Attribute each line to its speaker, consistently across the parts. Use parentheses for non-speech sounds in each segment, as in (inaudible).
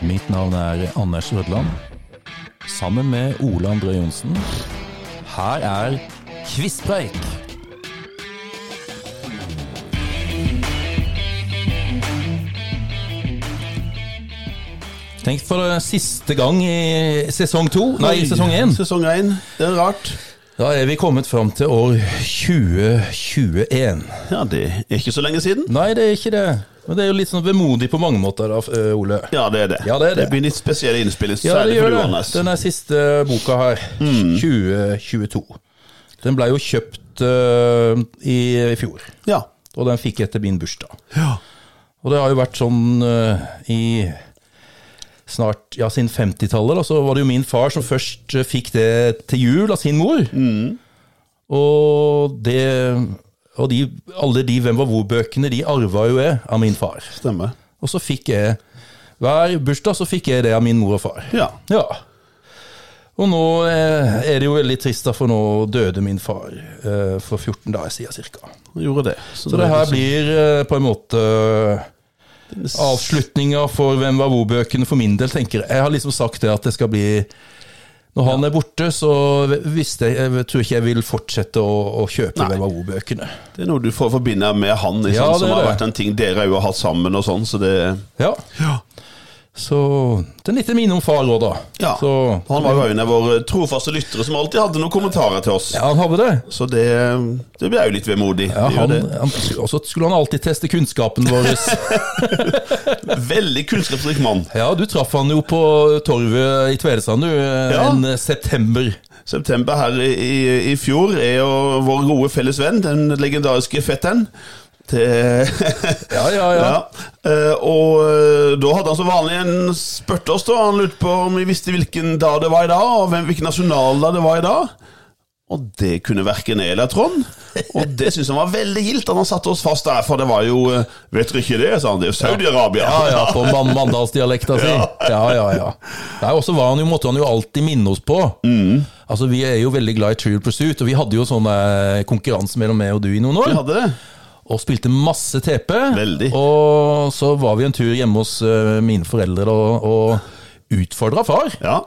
Speaker 1: Mitt navn er Anders Rødland. Sammen med Ole André Johnsen. Her er Kvisspreik! Tenk for det siste gang i sesong to, nei, i sesong én.
Speaker 2: Sesong én. Det er rart.
Speaker 1: Da er vi kommet fram til år 2021.
Speaker 2: Ja, det er ikke så lenge siden.
Speaker 1: Nei, det er ikke det. Men det er jo litt sånn vemodig på mange måter, da, eh, Ole.
Speaker 2: Ja, det er det.
Speaker 1: Ja, det er det.
Speaker 2: blir litt spesielle innspill,
Speaker 1: Ja, det
Speaker 2: særlig for Mm.
Speaker 1: gjør
Speaker 2: du,
Speaker 1: det.
Speaker 2: Anders.
Speaker 1: Den er siste boka her, 2022. Den ble jo kjøpt eh, i, i fjor,
Speaker 2: Ja.
Speaker 1: og den fikk jeg etter min bursdag.
Speaker 2: ja.
Speaker 1: Og det har jo vært sånn eh, i snart, ja, siden 50-tallet, da, så var det jo min far som først eh, fikk det til jul av sin mor.
Speaker 2: Mm.
Speaker 1: Og det Og de, alle de Hvem var hvor-bøkene, de arva jo jeg av min far.
Speaker 2: Stemmer.
Speaker 1: Og så fikk jeg Hver bursdag så fikk jeg det av min mor og far.
Speaker 2: Ja.
Speaker 1: Ja. Og nå eh, er det jo veldig trist, da, for nå døde min far eh, for 14 dager siden ca.
Speaker 2: Gjorde det. sånn.
Speaker 1: Så det her blir eh, på en måte avslutninga for Hvem var hvor-bøkene for min del, tenker jeg. Jeg har liksom sagt det at det skal bli Når han er borte, så visste jeg, jeg tror ikke jeg vil fortsette å, å kjøpe
Speaker 2: Nei.
Speaker 1: Hvem var hvor-bøkene.
Speaker 2: Det er noe du får forbinde med han, ikke
Speaker 1: Ja,
Speaker 2: sant,
Speaker 1: det
Speaker 2: som
Speaker 1: er
Speaker 2: har
Speaker 1: det.
Speaker 2: vært en ting dere òg har hatt sammen og sånn, så det
Speaker 1: Ja.
Speaker 2: Ja.
Speaker 1: Så det er litt minne om far òg, da.
Speaker 2: ja.
Speaker 1: Så,
Speaker 2: Han var jo en av våre trofaste lyttere som alltid hadde noen kommentarer til oss.
Speaker 1: ja, han hadde det.
Speaker 2: Så det, det ble jo litt vemodig.
Speaker 1: Ja,
Speaker 2: Det gjør
Speaker 1: han,
Speaker 2: det.
Speaker 1: han, og så skulle han alltid teste kunnskapen vår.
Speaker 2: (laughs) Veldig kunnskapsrik mann.
Speaker 1: Ja, du traff han jo på torvet i Tvedestrand du,
Speaker 2: Ja.
Speaker 1: en september.
Speaker 2: September her i, i, i fjor er jo vår gode felles venn, den legendariske fetteren. Til (laughs)
Speaker 1: Ja, ja, ja.
Speaker 2: Eh, og eh, da hadde han som vanlig en spurt oss, da. Han lurte på om vi visste hvilken dag det var i dag, og hvem, hvilken nasjonaldag det var i dag. Og det kunne verken jeg eller Trond. Og det syntes han var veldig gildt at han satte oss fast der, for det var jo eh, Vet dere ikke det, sa han. Det er jo Saudi-Arabia.
Speaker 1: Ja, ja,
Speaker 2: (laughs)
Speaker 1: på man mandalsdialekta si. Ja, ja, ja. Nei, Og så var han jo, måtte han jo alltid minne oss på.
Speaker 2: Mm.
Speaker 1: Altså, Vi er jo veldig glad i Trial Pursuit, og vi hadde jo sånn eh, konkurranse mellom meg og du i noen år.
Speaker 2: Vi hadde det.
Speaker 1: Og spilte masse TP.
Speaker 2: Veldig.
Speaker 1: Og så var vi en tur hjemme hos eh, mine foreldre da, og utfordra far.
Speaker 2: Ja.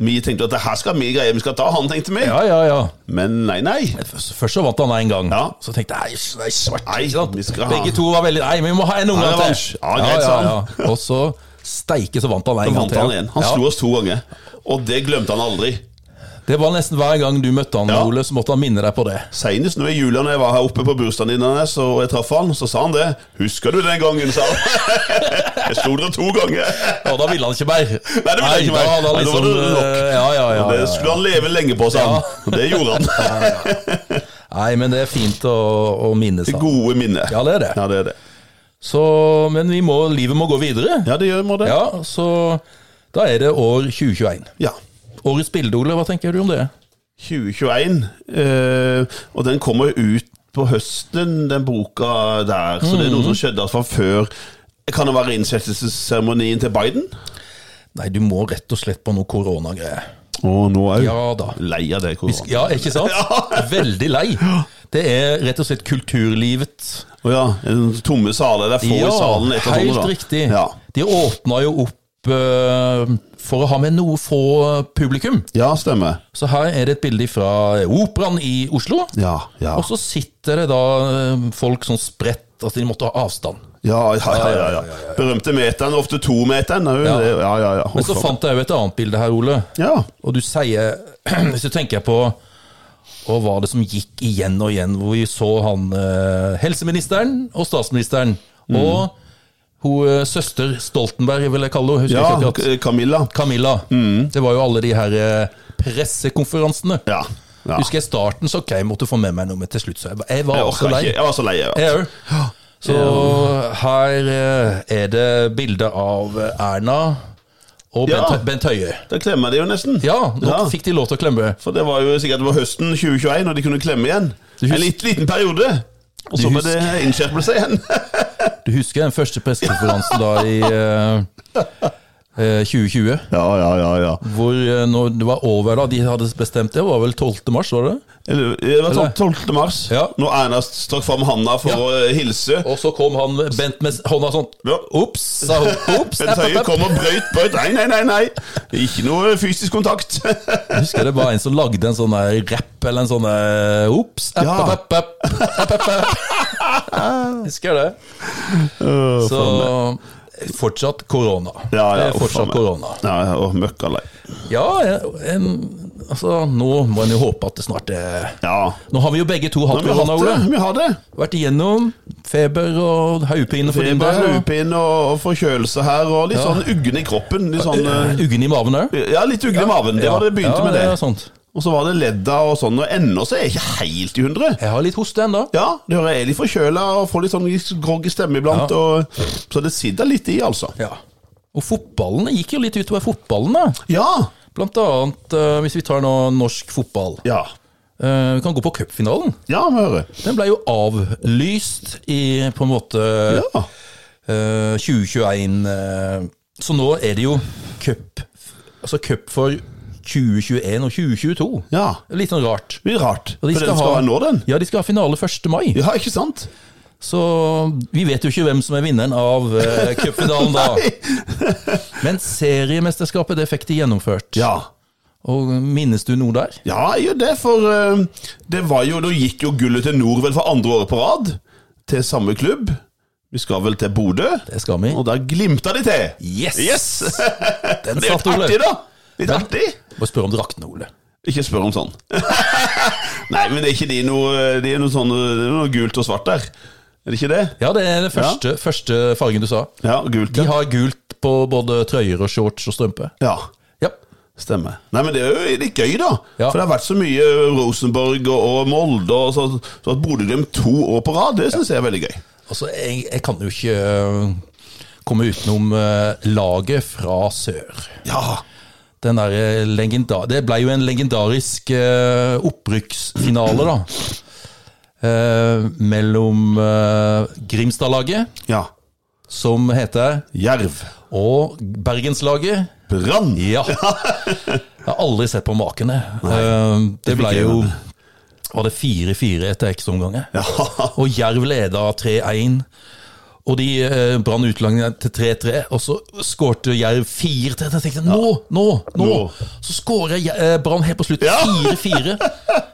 Speaker 2: Vi tenkte at det her skal vi greie, vi skal ta han, tenkte vi.
Speaker 1: Ja, ja, ja.
Speaker 2: Men nei, nei.
Speaker 1: Først først så vant han en gang.
Speaker 2: Ja.
Speaker 1: Så tenkte jeg nei, nei, svart,
Speaker 2: Nei,
Speaker 1: ikke sant?
Speaker 2: vi skal ha-
Speaker 1: Begge to var veldig Nei, vi må ha en
Speaker 2: Ja,
Speaker 1: omgang til.
Speaker 2: revansj. Ja, greit, sa
Speaker 1: Og så steike, så vant han
Speaker 2: Da
Speaker 1: en gang
Speaker 2: vant
Speaker 1: til.
Speaker 2: han igjen. Han
Speaker 1: Ja.
Speaker 2: slo oss to ganger. Og det glemte han aldri.
Speaker 1: Det var nesten hver gang du møtte han,
Speaker 2: Ja.
Speaker 1: Ole, så måtte han minne deg på
Speaker 2: (laughs)
Speaker 1: det.
Speaker 2: Senest nå i jula når jeg var her oppe på bursdagen din, Anders, og jeg traff han, så sa han det. 'Husker du den gangen', sa han. (laughs) Jeg slo dere to ganger.
Speaker 1: Og da ville han ikke mer. Nei,
Speaker 2: det ville han ikke mer.
Speaker 1: Da, da,
Speaker 2: Nei, da var
Speaker 1: liksom,
Speaker 2: det nok.
Speaker 1: eh, Ja, ja, ja,
Speaker 2: Og
Speaker 1: ja,
Speaker 2: det
Speaker 1: ja.
Speaker 2: skulle han leve lenge på, sa han. Og det
Speaker 1: (laughs)
Speaker 2: gjorde han.
Speaker 1: Nei, men det er fint å, å minnes han.
Speaker 2: Gode minner.
Speaker 1: Ja, det er det.
Speaker 2: Ja, det er det.
Speaker 1: Så, men vi må, livet må gå videre.
Speaker 2: Ja, det gjør må det.
Speaker 1: Ja, så da er det år 2021.
Speaker 2: Ja.
Speaker 1: Årets bilde, Ole, hva tenker du om det?
Speaker 2: 2021, eh, og den kommer ut på høsten, den boka der. Så
Speaker 1: Mm.
Speaker 2: det er noe som skjedde fra før. Kan det være innsettelsesseremonien til Biden?
Speaker 1: Nei, du må rett og slett på noe koronagreier.
Speaker 2: Og nå òg.
Speaker 1: Ja da.
Speaker 2: Lei av det,
Speaker 1: (laughs)
Speaker 2: korona.
Speaker 1: Ja, ikke sant? Veldig lei. Det er rett og slett kulturlivet.
Speaker 2: Å ja, en tomme saler. Det er få
Speaker 1: ja,
Speaker 2: i salen. etter sånne,
Speaker 1: helt
Speaker 2: da.
Speaker 1: riktig.
Speaker 2: Ja.
Speaker 1: De åpna jo opp eh, for å ha med noe få publikum.
Speaker 2: ja, stemmer.
Speaker 1: Så her er det et bilde fra Operaen i Oslo.
Speaker 2: Ja, ja.
Speaker 1: Og så sitter det da eh, folk sånn spredt, altså de måtte ha avstand.
Speaker 2: Ja, ja, ja, ja, ja. Berømte meteren, ofte tometeren. er jo det. Ja, ja, ja.
Speaker 1: Men så fant jeg jo et annet bilde her, Ole.
Speaker 2: Ja,
Speaker 1: Og du sier (clears throat) Hvis du tenker på og hva det som gikk igjen og igjen, hvor vi så han eh, helseministeren og statsministeren.
Speaker 2: Mm.
Speaker 1: Og hun eh, søster Stoltenberg, vil jeg kalle henne. Husker
Speaker 2: ja
Speaker 1: ikke akkurat.
Speaker 2: K- Camilla.
Speaker 1: Camilla. Det var jo alle de her eh, pressekonferansene.
Speaker 2: Ja. ja.
Speaker 1: Husker jeg starten, så ok, jeg måtte få med meg noe, men til slutt så jeg, ba- jeg var
Speaker 2: Jeg
Speaker 1: også
Speaker 2: orka
Speaker 1: lei.
Speaker 2: ikke. Jeg var så lei. Ja.
Speaker 1: Jeg òg. Så her eh, er det bilde av Erna og
Speaker 2: Ja.
Speaker 1: Bent, Bent Høie.
Speaker 2: Da klemmer de jo nesten.
Speaker 1: Ja, nå fikk de lov til å klemme.
Speaker 2: For det var jo sikkert det var høsten 2021 når de kunne klemme igjen.
Speaker 1: Du husker-
Speaker 2: En litt, liten periode. Og så
Speaker 1: Du
Speaker 2: ble det
Speaker 1: (laughs)
Speaker 2: innskjerpelse igjen.
Speaker 1: Du husker den første pressekonferansen da i eh, eh, 2020.
Speaker 2: Ja, ja, ja. ja.
Speaker 1: Hvor eh, når det var over, da. De hadde bestemt det, var vel 12. mars, var det det?
Speaker 2: Eller, Det var sånn 12. mars,
Speaker 1: Ja.
Speaker 2: når Erna strakk fram handa for å eh, hilse.
Speaker 1: Og så kom han Bent med hånda sånn
Speaker 2: Ja.
Speaker 1: Ops, sa hun.
Speaker 2: (laughs)
Speaker 1: Ops,
Speaker 2: Bent Høie kom og brøyt, brøyt. Nei, nei, nei. nei Ikke noe eh, fysisk
Speaker 1: (laughs)
Speaker 2: kontakt.
Speaker 1: Jeg husker det var en som lagde en sånn der rap eller en sånn der, Ops, app,
Speaker 2: Ja.
Speaker 1: app, app, app, app, app.
Speaker 2: (laughs)
Speaker 1: Husker det. Så fortsatt korona. Det er
Speaker 2: uff, faen
Speaker 1: fortsatt
Speaker 2: meg.
Speaker 1: korona.
Speaker 2: Ja, ja, og møkkalei.
Speaker 1: Ja, en, altså, nå må en jo håpe at det snart er
Speaker 2: Ja.
Speaker 1: Nå har vi jo begge to hatt
Speaker 2: Men vi har
Speaker 1: korona,
Speaker 2: det.
Speaker 1: Ole.
Speaker 2: Vi har det.
Speaker 1: Vært igjennom feber og hodepine for
Speaker 2: Det
Speaker 1: din
Speaker 2: er bare
Speaker 1: del. og-
Speaker 2: hodepine og og forkjølelse her, og litt sånn uggen i kroppen. Litt sånn eh,
Speaker 1: Uggen i maven òg.
Speaker 2: Ja, litt uggen i maven. Det var det begynte
Speaker 1: ja,
Speaker 2: med,
Speaker 1: Ja,
Speaker 2: det.
Speaker 1: sånt.
Speaker 2: Og så var det ledda og sånn, og ennå så er jeg ikke helt i hundre.
Speaker 1: Jeg har litt hoste ennå.
Speaker 2: Ja, det hører jeg er litt forkjøla og får litt sånn groggy stemme iblant, og, så det sitter litt i, altså.
Speaker 1: Ja. Og fotballen det gikk jo litt utover fotballen, da.
Speaker 2: Ja!
Speaker 1: Blant annet eh, hvis vi tar nå norsk fotball.
Speaker 2: Ja,
Speaker 1: Eh, vi kan gå på cupfinalen.
Speaker 2: ja vi hører.
Speaker 1: Den ble jo avlyst i på en måte
Speaker 2: Ja.
Speaker 1: eh, 2021. eh, så nå er det jo cup Altså cup for 2021 og 2022.
Speaker 2: ja.
Speaker 1: Litt sånn rart.
Speaker 2: Litt rart.
Speaker 1: Og
Speaker 2: For den skal være nå, den.
Speaker 1: Ja, de skal ha finale 1. mai.
Speaker 2: Ja, ikke sant?
Speaker 1: Så vi vet jo ikke hvem som er vinneren av
Speaker 2: (laughs)
Speaker 1: uh, cupfinalen da. Men seriemesterskapet, det fikk de gjennomført.
Speaker 2: Ja.
Speaker 1: Og minnes du noe der?
Speaker 2: Ja, jo det, for eh, det var jo Da gikk jo gullet til Norvel for andre året på rad. Til samme klubb. Vi skal vel til Bodø,
Speaker 1: Det skal vi.
Speaker 2: og da glimta de til.
Speaker 1: Yes!
Speaker 2: Yes!
Speaker 1: (laughs) Den
Speaker 2: Det er
Speaker 1: satt,
Speaker 2: litt
Speaker 1: Ole.
Speaker 2: artig, da. Litt artig.
Speaker 1: Må spørre om drakten, Ole.
Speaker 2: Ikke spør om sånn. (laughs) Nei, men er ikke de noe De er noe sånn Det er noe gult og svart der. Er det ikke det?
Speaker 1: Ja, det er den første, første fargen du sa.
Speaker 2: Ja, gult.
Speaker 1: De
Speaker 2: Ja.
Speaker 1: har gult på både trøyer og shorts og strømpe.
Speaker 2: ja.
Speaker 1: Ja.
Speaker 2: Stemmer. Nei, men det er jo litt gøy, da.
Speaker 1: Ja.
Speaker 2: For det har vært så mye Rosenborg og, og Molde, og så, så at Bodø-Glimt to år på rad, det syns jeg er veldig gøy.
Speaker 1: Altså, jeg, jeg kan jo ikke øh, komme utenom øh, laget fra sør.
Speaker 2: Ja.
Speaker 1: den der eh, legenda Det ble jo en legendarisk eh, opprykksfinale, da. Eh, mellom eh, Grimstad-laget,
Speaker 2: ja.
Speaker 1: som heter,
Speaker 2: Jerv.
Speaker 1: og Bergenslaget.
Speaker 2: Brann.
Speaker 1: Ja. Jeg har aldri sett på makene. Eh, det ble
Speaker 2: fikk jeg
Speaker 1: jo
Speaker 2: med.
Speaker 1: Var det 4-4 etter ekstraomganger?
Speaker 2: Ja. (laughs)
Speaker 1: Og Jerv leda 3-1. Og de eh, brann utlandet til 3-3, og så skårte Jerv 4-3. Jeg tenkte nå, nå, nå!
Speaker 2: Nå.
Speaker 1: Så skårer Jeg- eh, Brann helt på slutt 4-4.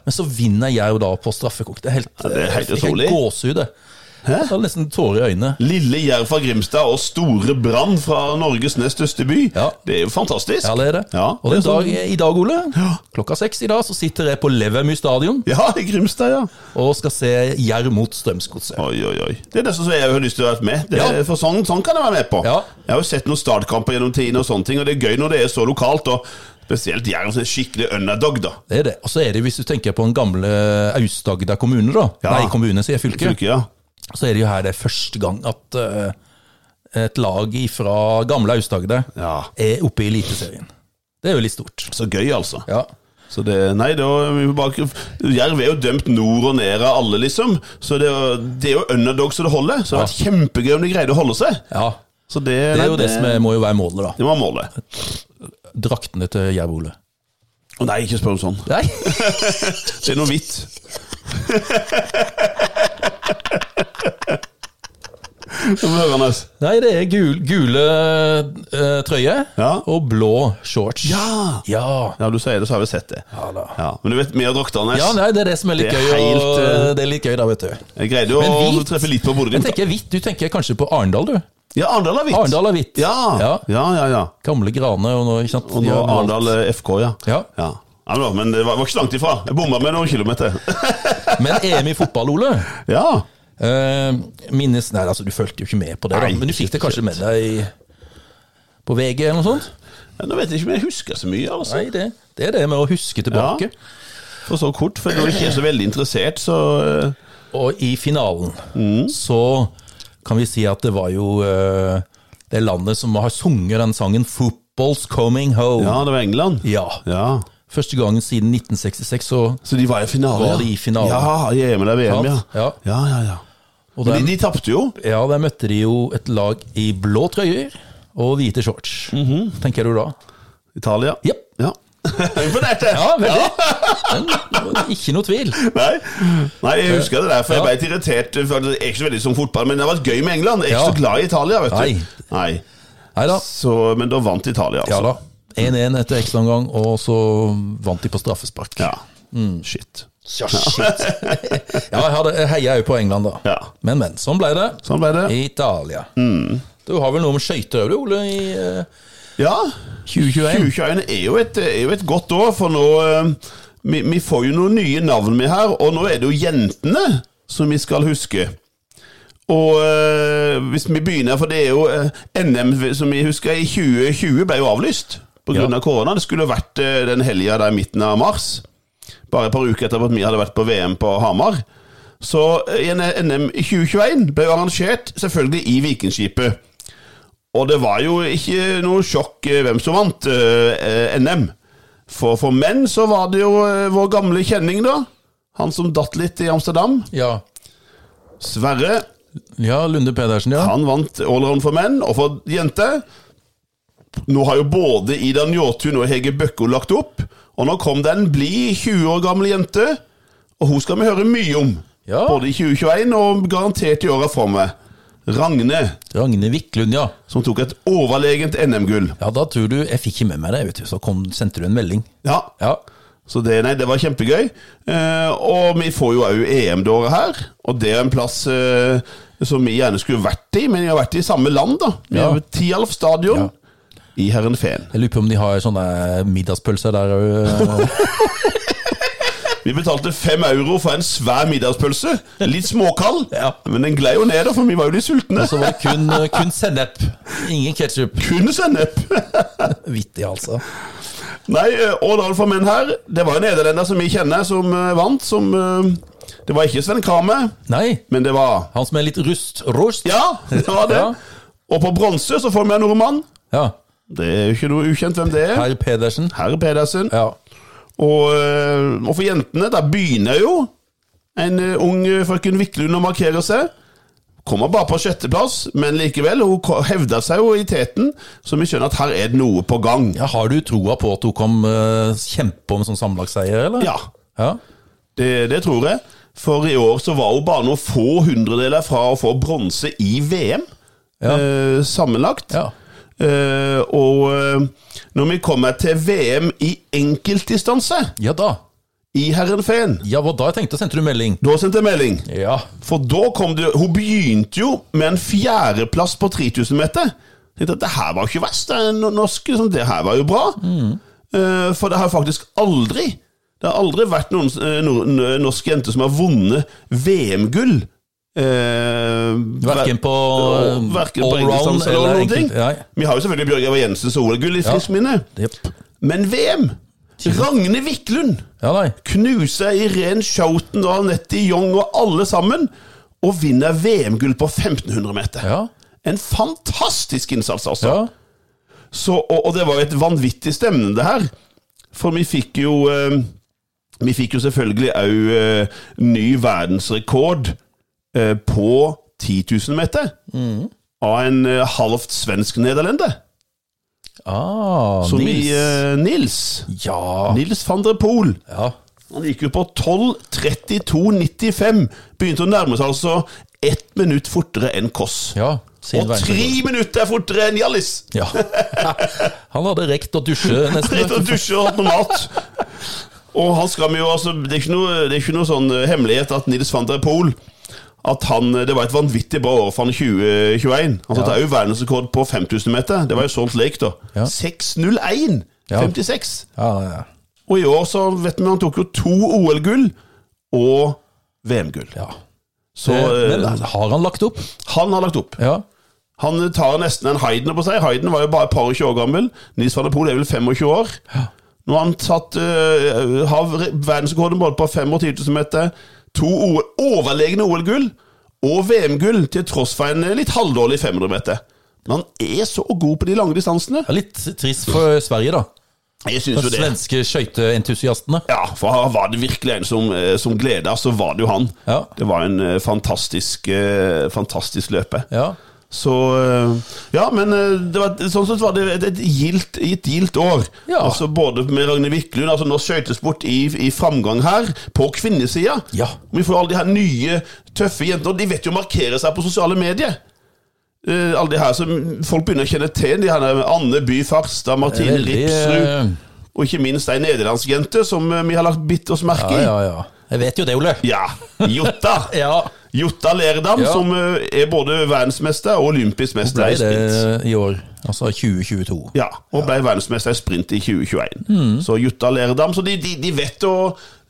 Speaker 1: Men så vinner Jerv da på straffekonk. Det er helt,
Speaker 2: det er helt
Speaker 1: jeg fikk
Speaker 2: utrolig.
Speaker 1: gåsehud, det. Jeg hadde nesten tårer i øynene.
Speaker 2: Lille Jerv fra Grimstad og Store Brann fra Norges nest største by.
Speaker 1: Ja.
Speaker 2: Det er jo fantastisk.
Speaker 1: Ja, det er det.
Speaker 2: Ja,
Speaker 1: og
Speaker 2: det
Speaker 1: i
Speaker 2: er sånn.
Speaker 1: dag, i dag, Ole, klokka seks i dag, så sitter jeg på Levermy stadion
Speaker 2: Ja, i Grimstad, ja.
Speaker 1: og skal se Jerv mot Strømsgodset.
Speaker 2: Oi, oi, oi. Det er nesten så jeg har lyst til å være med. Det,
Speaker 1: Ja.
Speaker 2: For sånn, sånn kan jeg være med på.
Speaker 1: Ja.
Speaker 2: Jeg har jo sett noen startkamper gjennom tiden, og sånne ting, og det er gøy når det er så lokalt. og Spesielt Jerv som er skikkelig underdog, da.
Speaker 1: Det er det. Og så er det, hvis du tenker på den gamle Aust-Agder kommune, da.
Speaker 2: Ja.
Speaker 1: Nei, kommune, sier fylke.
Speaker 2: Fylke, ja.
Speaker 1: Så er det jo her det er første gang at eh, et lag fra gamle Aust-Agder
Speaker 2: ja.
Speaker 1: er oppe i Eliteserien. Det er jo litt stort.
Speaker 2: Så gøy, altså.
Speaker 1: Ja.
Speaker 2: Så det, nei, det var, vi må bare, Jerv er jo dømt nord og ned av alle, liksom. Så det, er jo- det er jo underdog så det holder. Så det hadde vært kjempegøy om de greide å holde seg.
Speaker 1: ja.
Speaker 2: Så det,
Speaker 1: Det
Speaker 2: nei,
Speaker 1: er jo det som
Speaker 2: eh,
Speaker 1: er, må jo være målet, da.
Speaker 2: det var målet.
Speaker 1: Draktene til Jerv Ole.
Speaker 2: Å nei, ikke spør om sånn.
Speaker 1: Nei,
Speaker 2: Det er noe hvitt. (laughs) Det må høre, Anders.
Speaker 1: (laughs) Nei det er gul, gule eh, trøye
Speaker 2: Ja.
Speaker 1: og blå shorts.
Speaker 2: Ja!
Speaker 1: Ja.
Speaker 2: Ja, du sier det, så har vi sett det.
Speaker 1: Ja da.
Speaker 2: Ja, men du vet, vi og draktene
Speaker 1: Ja, nei, det er det som er litt
Speaker 2: Det er
Speaker 1: gøy. og,
Speaker 2: helt, eh,
Speaker 1: det er litt gøy da, vet du.
Speaker 2: Jeg greide jo
Speaker 1: Men
Speaker 2: å
Speaker 1: hvit?
Speaker 2: treffe litt på bordet
Speaker 1: Jeg
Speaker 2: ditt.
Speaker 1: tenker hvitt. Du tenker kanskje på Arendal, du.
Speaker 2: Ja, Arendal er hvitt.
Speaker 1: Arendal er hvitt.
Speaker 2: Ja. Ja.
Speaker 1: Ja.
Speaker 2: ja, ja,
Speaker 1: Gamle Grane og nå, ikke sant?
Speaker 2: Og
Speaker 1: De
Speaker 2: nå
Speaker 1: har valgt-
Speaker 2: Arendal eh, FK, ja.
Speaker 1: Ja.
Speaker 2: ja. Ja, men da, Men det var var ikke så langt ifra. Jeg bomma med noen (laughs) kilometer.
Speaker 1: Men EM i fotball, Ole.
Speaker 2: Ja.
Speaker 1: Eh, minnes Nei, altså, du fulgte jo ikke med på det, da,
Speaker 2: Nei,
Speaker 1: men du fikk det kanskje med deg i- på VG eller noe sånt?
Speaker 2: Ja, Nå vet jeg ikke om jeg husker så mye, altså.
Speaker 1: Nei, det, det er det med å huske tilbake.
Speaker 2: For så kort. For når du ikke er så veldig interessert, så eh,
Speaker 1: Og i finalen så kan vi si at det var jo eh, det landet som har sunget den sangen 'Football's Coming Home'.
Speaker 2: Ja, det var England.
Speaker 1: Ja.
Speaker 2: Ja.
Speaker 1: Første gangen siden 1966, så
Speaker 2: Så de var i finale?
Speaker 1: Var de i finale?
Speaker 2: Ja, i EM eller VM, ja.
Speaker 1: Sant? Ja.
Speaker 2: ja, ja, ja.
Speaker 1: og
Speaker 2: Men
Speaker 1: den,
Speaker 2: de, de tapte jo.
Speaker 1: Ja, der møtte de jo et lag i blå trøyer og hvite shorts. Tenker du da?
Speaker 2: Italia.
Speaker 1: Ja.
Speaker 2: (laughs) Ja. Imponerte!
Speaker 1: Ja, veldig. Men Ikke noe tvil.
Speaker 2: eh. Nei. Nei, jeg husker det der, for jeg ble litt irritert. For jeg er ikke så veldig som fotball, men det har vært gøy med England. Jeg er ikke
Speaker 1: Ja.
Speaker 2: så glad i Italia, vet du. Nei.
Speaker 1: Nei da.
Speaker 2: Så, men da vant Italia,
Speaker 1: Ja
Speaker 2: altså.
Speaker 1: da. 1-1 etter ekstraomgang, og så vant de på straffespark.
Speaker 2: Ja. Shit.
Speaker 1: Ja, shit. (laughs) ja, jeg, hadde, jeg heia jo på England, da.
Speaker 2: Ja. Mm.
Speaker 1: Men, men. Sånn ble det.
Speaker 2: Sånn ble det.
Speaker 1: Italia. Du har vel noe om skøyter òg, du, Ole? I eh,
Speaker 2: Ja.
Speaker 1: 2021?
Speaker 2: 2021 er jo et, er jo et godt år, for nå eh, vi, vi får jo noen nye navn med her, og nå er det jo jentene som vi skal huske. Og eh, hvis vi begynner, for det er jo eh, NM som vi husker i 2020 ble jo avlyst pga.
Speaker 1: Ja.
Speaker 2: av korona. Det skulle jo vært eh, den helga der i midten av mars. Bare et par uker etter at vi hadde vært på VM på Hamar. Så eh, en- NM i 2021 ble jo arrangert selvfølgelig i Vikingskipet. Og det var jo ikke noe sjokk eh, hvem som vant eh, eh, NM. For, for menn så var det jo eh, vår gamle kjenning, da. Han som datt litt i Amsterdam.
Speaker 1: Ja.
Speaker 2: Sverre.
Speaker 1: ja, Lunde Pedersen, ja.
Speaker 2: Han vant allround for menn og for jenter. Nå har jo både Ida Njåtun og Hege Bøkko lagt opp, og nå kom det en blid 20 år gammel jente, og hun skal vi høre mye om.
Speaker 1: Ja.
Speaker 2: Både i 2021 og garantert i åra framover. Ragne,
Speaker 1: Ragne Wiklund, ja.
Speaker 2: som tok et overlegent NM-gull.
Speaker 1: Ja, da tror du Jeg fikk ikke med meg det, vet du. Så kom, sendte du en melding.
Speaker 2: Ja,
Speaker 1: Ja.
Speaker 2: Så det, nei, det var kjempegøy. Eh, og vi får jo òg EM det året her, og det er en plass eh, som vi gjerne skulle vært i, men vi har vært i samme land, da. Vi
Speaker 1: Ja.
Speaker 2: har vært Tialf stadion i Herrenfeen.
Speaker 1: Jeg lurer på om de har sånne middagspølser der eh, òg.
Speaker 2: Vi betalte fem euro for en svær middagspølse. Litt småkald,
Speaker 1: (laughs) Ja. Altså-
Speaker 2: men den glei jo ned, da, for vi var jo litt sultne.
Speaker 1: Så var det kun, eh, kun sennep. Ingen ketsjup.
Speaker 2: Kun sennep!
Speaker 1: Vittig, altså.
Speaker 2: Nei, eh, Årdal for menn her. Det var jo nederlender som vi kjenner, som eh, vant. Som eh, Det var ikke Sven Kramer,
Speaker 1: Nei.
Speaker 2: men det var
Speaker 1: Han som er litt rust. Rust?
Speaker 2: Ja, det var det.
Speaker 1: Ja.
Speaker 2: Og på bronse så får vi en nordmann.
Speaker 1: ja.
Speaker 2: Det er jo ikke noe ukjent hvem det er.
Speaker 1: Herr Pedersen.
Speaker 2: Herr Pedersen.
Speaker 1: Ja.
Speaker 2: Og, eh, og for jentene, der begynner jo en eh, ung eh, frøken Wiklund å markere seg. Kommer bare på sjetteplass, men likevel, hun ko- hevder seg jo i teten, så vi skjønner at her er det noe på gang.
Speaker 1: ja. Har du troa på at hun kan eh, kjempe om sånn sammenlagtseier, eller?
Speaker 2: Ja,
Speaker 1: ja.
Speaker 2: det, det tror jeg. For i år så var hun bare noen få hundredeler fra å få bronse i VM
Speaker 1: Ja.
Speaker 2: eh, sammenlagt.
Speaker 1: Ja.
Speaker 2: Eh, og eh, når vi kommer til VM i enkeltdistanse
Speaker 1: Ja da.
Speaker 2: i Herrenfeen,
Speaker 1: Ja, hva da? Jeg tenkte, sendte du melding?
Speaker 2: da sendte jeg melding.
Speaker 1: Ja.
Speaker 2: For da kom det Hun begynte jo med en fjerdeplass på 3000 meter. Jeg tenkte at det her var jo ikke verst. Det, er no- norske, sånn, det her var jo bra. Eh, for det har faktisk aldri Det har aldri vært noen eh, nor- n- norsk jente som har vunnet VM-gull. Eh,
Speaker 1: Verken på
Speaker 2: Å, verken på
Speaker 1: allround
Speaker 2: enkeltdistanse eller
Speaker 1: eller
Speaker 2: noen ting.
Speaker 1: enkelt... Nei.
Speaker 2: Vi har jo selvfølgelig Bjørg Eivar Jensens OL-gull i friskt minne.
Speaker 1: Jepp.
Speaker 2: Men VM! Ragne Wiklund
Speaker 1: Ja, nei.
Speaker 2: knuser Irén Schouten og Anette Young og alle sammen, og vinner VM-gull på 1500 meter.
Speaker 1: Ja.
Speaker 2: En fantastisk innsats, altså.
Speaker 1: Ja.
Speaker 2: Så, og, og det var jo et vanvittig stemning, det her. For vi fikk jo eh, Vi fikk jo selvfølgelig òg eh, ny verdensrekord eh, på 10 000 meter.
Speaker 1: Mm.
Speaker 2: Av en eh, halvt svensk nederlender.
Speaker 1: Ah,
Speaker 2: Som
Speaker 1: Nils.
Speaker 2: i eh, Nils.
Speaker 1: Ja.
Speaker 2: Nils van der Poel.
Speaker 1: ja.
Speaker 2: Han gikk jo på 12.32,95. Begynte å nærme seg altså ett minutt fortere enn Koss.
Speaker 1: Ja. Sin
Speaker 2: og
Speaker 1: verden.
Speaker 2: tre minutter fortere enn Hjallis!
Speaker 1: Ja. Han hadde rekt å dusje
Speaker 2: (laughs)
Speaker 1: nesten.
Speaker 2: Litt å dusje og hatt noe mat. Og han skal vi jo, altså, det, er ikke noe, det er ikke noe sånn eh, hemmelighet at Nils van der Poel at han, eh, Det var et vanvittig bra år for han i 2021. Han satte òg verdensrekord på 5000 meter. Det var jo Salt Lake, da.
Speaker 1: Ja.
Speaker 2: 6.01,56.
Speaker 1: Ja. Ja, ja, ja.
Speaker 2: Og i år så vet vi han tok jo to OL-gull og VM-gull.
Speaker 1: ja.
Speaker 2: Så
Speaker 1: Eh,
Speaker 2: eh,
Speaker 1: Men har han lagt opp?
Speaker 2: han har lagt opp.
Speaker 1: Ja.
Speaker 2: Han tar nesten en Hayden på seg. Hayden var jo bare et par og tjue år gammel. Nils van der Poel er vel 25 år. Nå har han tatt eh, har verdensrekorden både på 5 og 10 000 meter. To OL, overlegne OL-gull og VM-gull, til tross for en eh, litt halvdårlig 500 meter. Men han er så god på de lange distansene.
Speaker 1: Det er litt trist for Sverige, da.
Speaker 2: Jeg synes
Speaker 1: De
Speaker 2: jo det.
Speaker 1: svenske skøyteentusiastene.
Speaker 2: Ja, for her var det virkelig en som, eh, som gleda, så var det jo han.
Speaker 1: Ja.
Speaker 2: Det var en eh, fantastisk, eh, fantastisk løpe.
Speaker 1: Ja.
Speaker 2: Så eh, Ja, men eh, det var, sånn sett var det et, et gildt et gildt år.
Speaker 1: Ja.
Speaker 2: Altså Både med Ragnhild Wiklund altså Nå skøytesport i, i framgang her, på kvinnesida.
Speaker 1: Ja.
Speaker 2: Vi får alle de her nye, tøffe jentene. Og de vet jo å markere seg på sosiale medier. Eh, alle de her som folk begynner å kjenne til. De her Anne By Farstad, Martine
Speaker 1: Veldig,
Speaker 2: Ripsrud.
Speaker 1: eh,
Speaker 2: Og ikke minst ei nederlandsjente som eh, vi har lagt bitt oss merke
Speaker 1: Ja,
Speaker 2: i.
Speaker 1: ja, ja. Jeg vet jo det, Ole.
Speaker 2: Ja, Jotta.
Speaker 1: Ja.
Speaker 2: Jotta Lerdam,
Speaker 1: Ja.
Speaker 2: som eh, er både verdensmester og olympisk mester
Speaker 1: Ble
Speaker 2: i sprint.
Speaker 1: det i år. Altså 2022.
Speaker 2: Ja, og ble verdensmester i sprint i 2021.
Speaker 1: Mm.
Speaker 2: Så Jutta Lerdam Så de, de, de, vet å,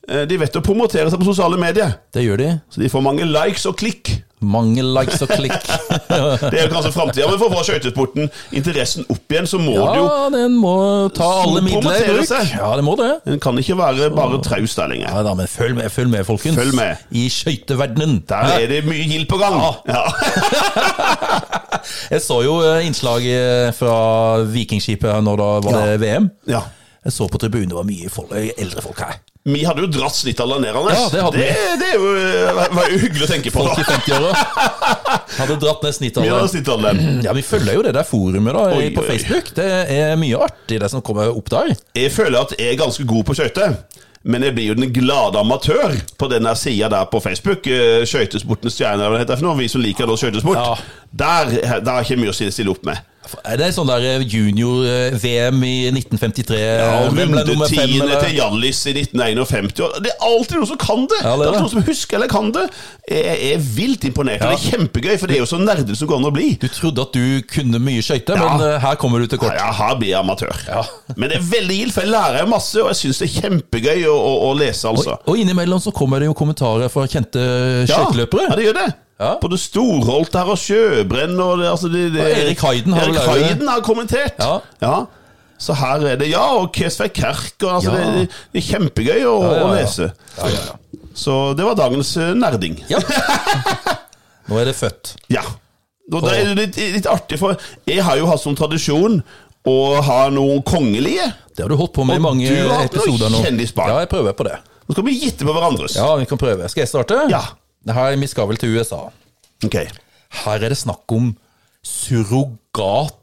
Speaker 2: eh, de vet å promotere seg på sosiale medier.
Speaker 1: Det gjør de.
Speaker 2: Så de får mange likes og klikk.
Speaker 1: Mange likes og
Speaker 2: (laughs)
Speaker 1: klikk.
Speaker 2: Det er jo kanskje framtida, men for å få skøytesporten interessen opp igjen, så må det jo
Speaker 1: Ja, den må ta alle
Speaker 2: Så
Speaker 1: midler i
Speaker 2: promotere
Speaker 1: bruk.
Speaker 2: seg.
Speaker 1: Ja, det må det.
Speaker 2: En kan ikke være bare traust der lenger.
Speaker 1: Ja da, men følg med, følg med, folkens.
Speaker 2: Følg med.
Speaker 1: I skøyteverdenen.
Speaker 2: Der er det mye gild på gang. Ja. (laughs)
Speaker 1: Jeg så jo eh, innslag eh, fra Vikingskipet her når da var det VM.
Speaker 2: ja.
Speaker 1: Jeg så på tribunen, det var mye folk, eh, eldre folk her.
Speaker 2: Vi hadde jo dratt snittallet ned, Anders.
Speaker 1: Ja, det hadde vi.
Speaker 2: det, det er jo, eh, var jo hyggelig å tenke på.
Speaker 1: Folk i
Speaker 2: da.
Speaker 1: 50-åra hadde dratt ned
Speaker 2: Vi hadde
Speaker 1: snittalderen.
Speaker 2: snittallet.
Speaker 1: Ja, Vi følger jo det der forumet da,
Speaker 2: Oi,
Speaker 1: på
Speaker 2: oi.
Speaker 1: Facebook. Det er mye artig det som kommer opp der.
Speaker 2: Jeg føler at jeg er ganske god på skøyter. Men jeg blir jo den glade amatør på denne sida der på Facebook. eh, Skøytesportens stjerne, hva det heter for noe. Vi som liker da skøytesport.
Speaker 1: Ja.
Speaker 2: Der, der er ikke mye å stille- stille opp med.
Speaker 1: Er det sånn der junior-VM i 1953?
Speaker 2: Ja,
Speaker 1: Eh,
Speaker 2: og
Speaker 1: Hvem ble nummer fem,
Speaker 2: Rundetiende
Speaker 1: eller?
Speaker 2: til Hjallis i 1951. og Det er alltid noen som kan det!
Speaker 1: Ja, det er
Speaker 2: det, er
Speaker 1: det.
Speaker 2: alltid noen som husker eller kan det. Jeg er vilt imponert. og Det er kjempegøy, for det er jo så nerdete som går an å bli.
Speaker 1: Du trodde at du kunne mye skøyter,
Speaker 2: Ja.
Speaker 1: men eh, her kommer du til kort.
Speaker 2: Ja, her blir jeg amatør.
Speaker 1: Ja.
Speaker 2: Men det er veldig gildt, for jeg lærer masse, og jeg syns det er kjempegøy å, å, å lese, altså.
Speaker 1: Og innimellom så kommer det jo kommentarer fra kjente skøyteløpere.
Speaker 2: Ja, det gjør det.
Speaker 1: Ja.
Speaker 2: Både Storholt her og Sjøbrenn og det, altså det, det,
Speaker 1: Og Erik Heiden har
Speaker 2: Erik
Speaker 1: vel laget det.
Speaker 2: Heiden har kommentert.
Speaker 1: Ja.
Speaker 2: Så her er det Ja, og Kesvei Kerk. Og, altså,
Speaker 1: Ja.
Speaker 2: det, det er kjempegøy å,
Speaker 1: ja, ja.
Speaker 2: å lese. Så det var dagens eh, nerding.
Speaker 1: Ja. Nå er det født.
Speaker 2: Ja. Og det er litt, litt artig, for jeg har jo hatt som tradisjon å ha noen kongelige.
Speaker 1: Det har du holdt på med i
Speaker 2: Og
Speaker 1: mange
Speaker 2: du har hatt noe
Speaker 1: episoder nå.
Speaker 2: kjendisbarn.
Speaker 1: Ja, jeg prøver på det.
Speaker 2: Nå skal vi gitte på hverandres.
Speaker 1: Ja, vi kan prøve. Skal jeg starte?
Speaker 2: Ja.
Speaker 1: Det her, vi skal vel til USA.
Speaker 2: Ok.
Speaker 1: Her er det snakk om surrogat.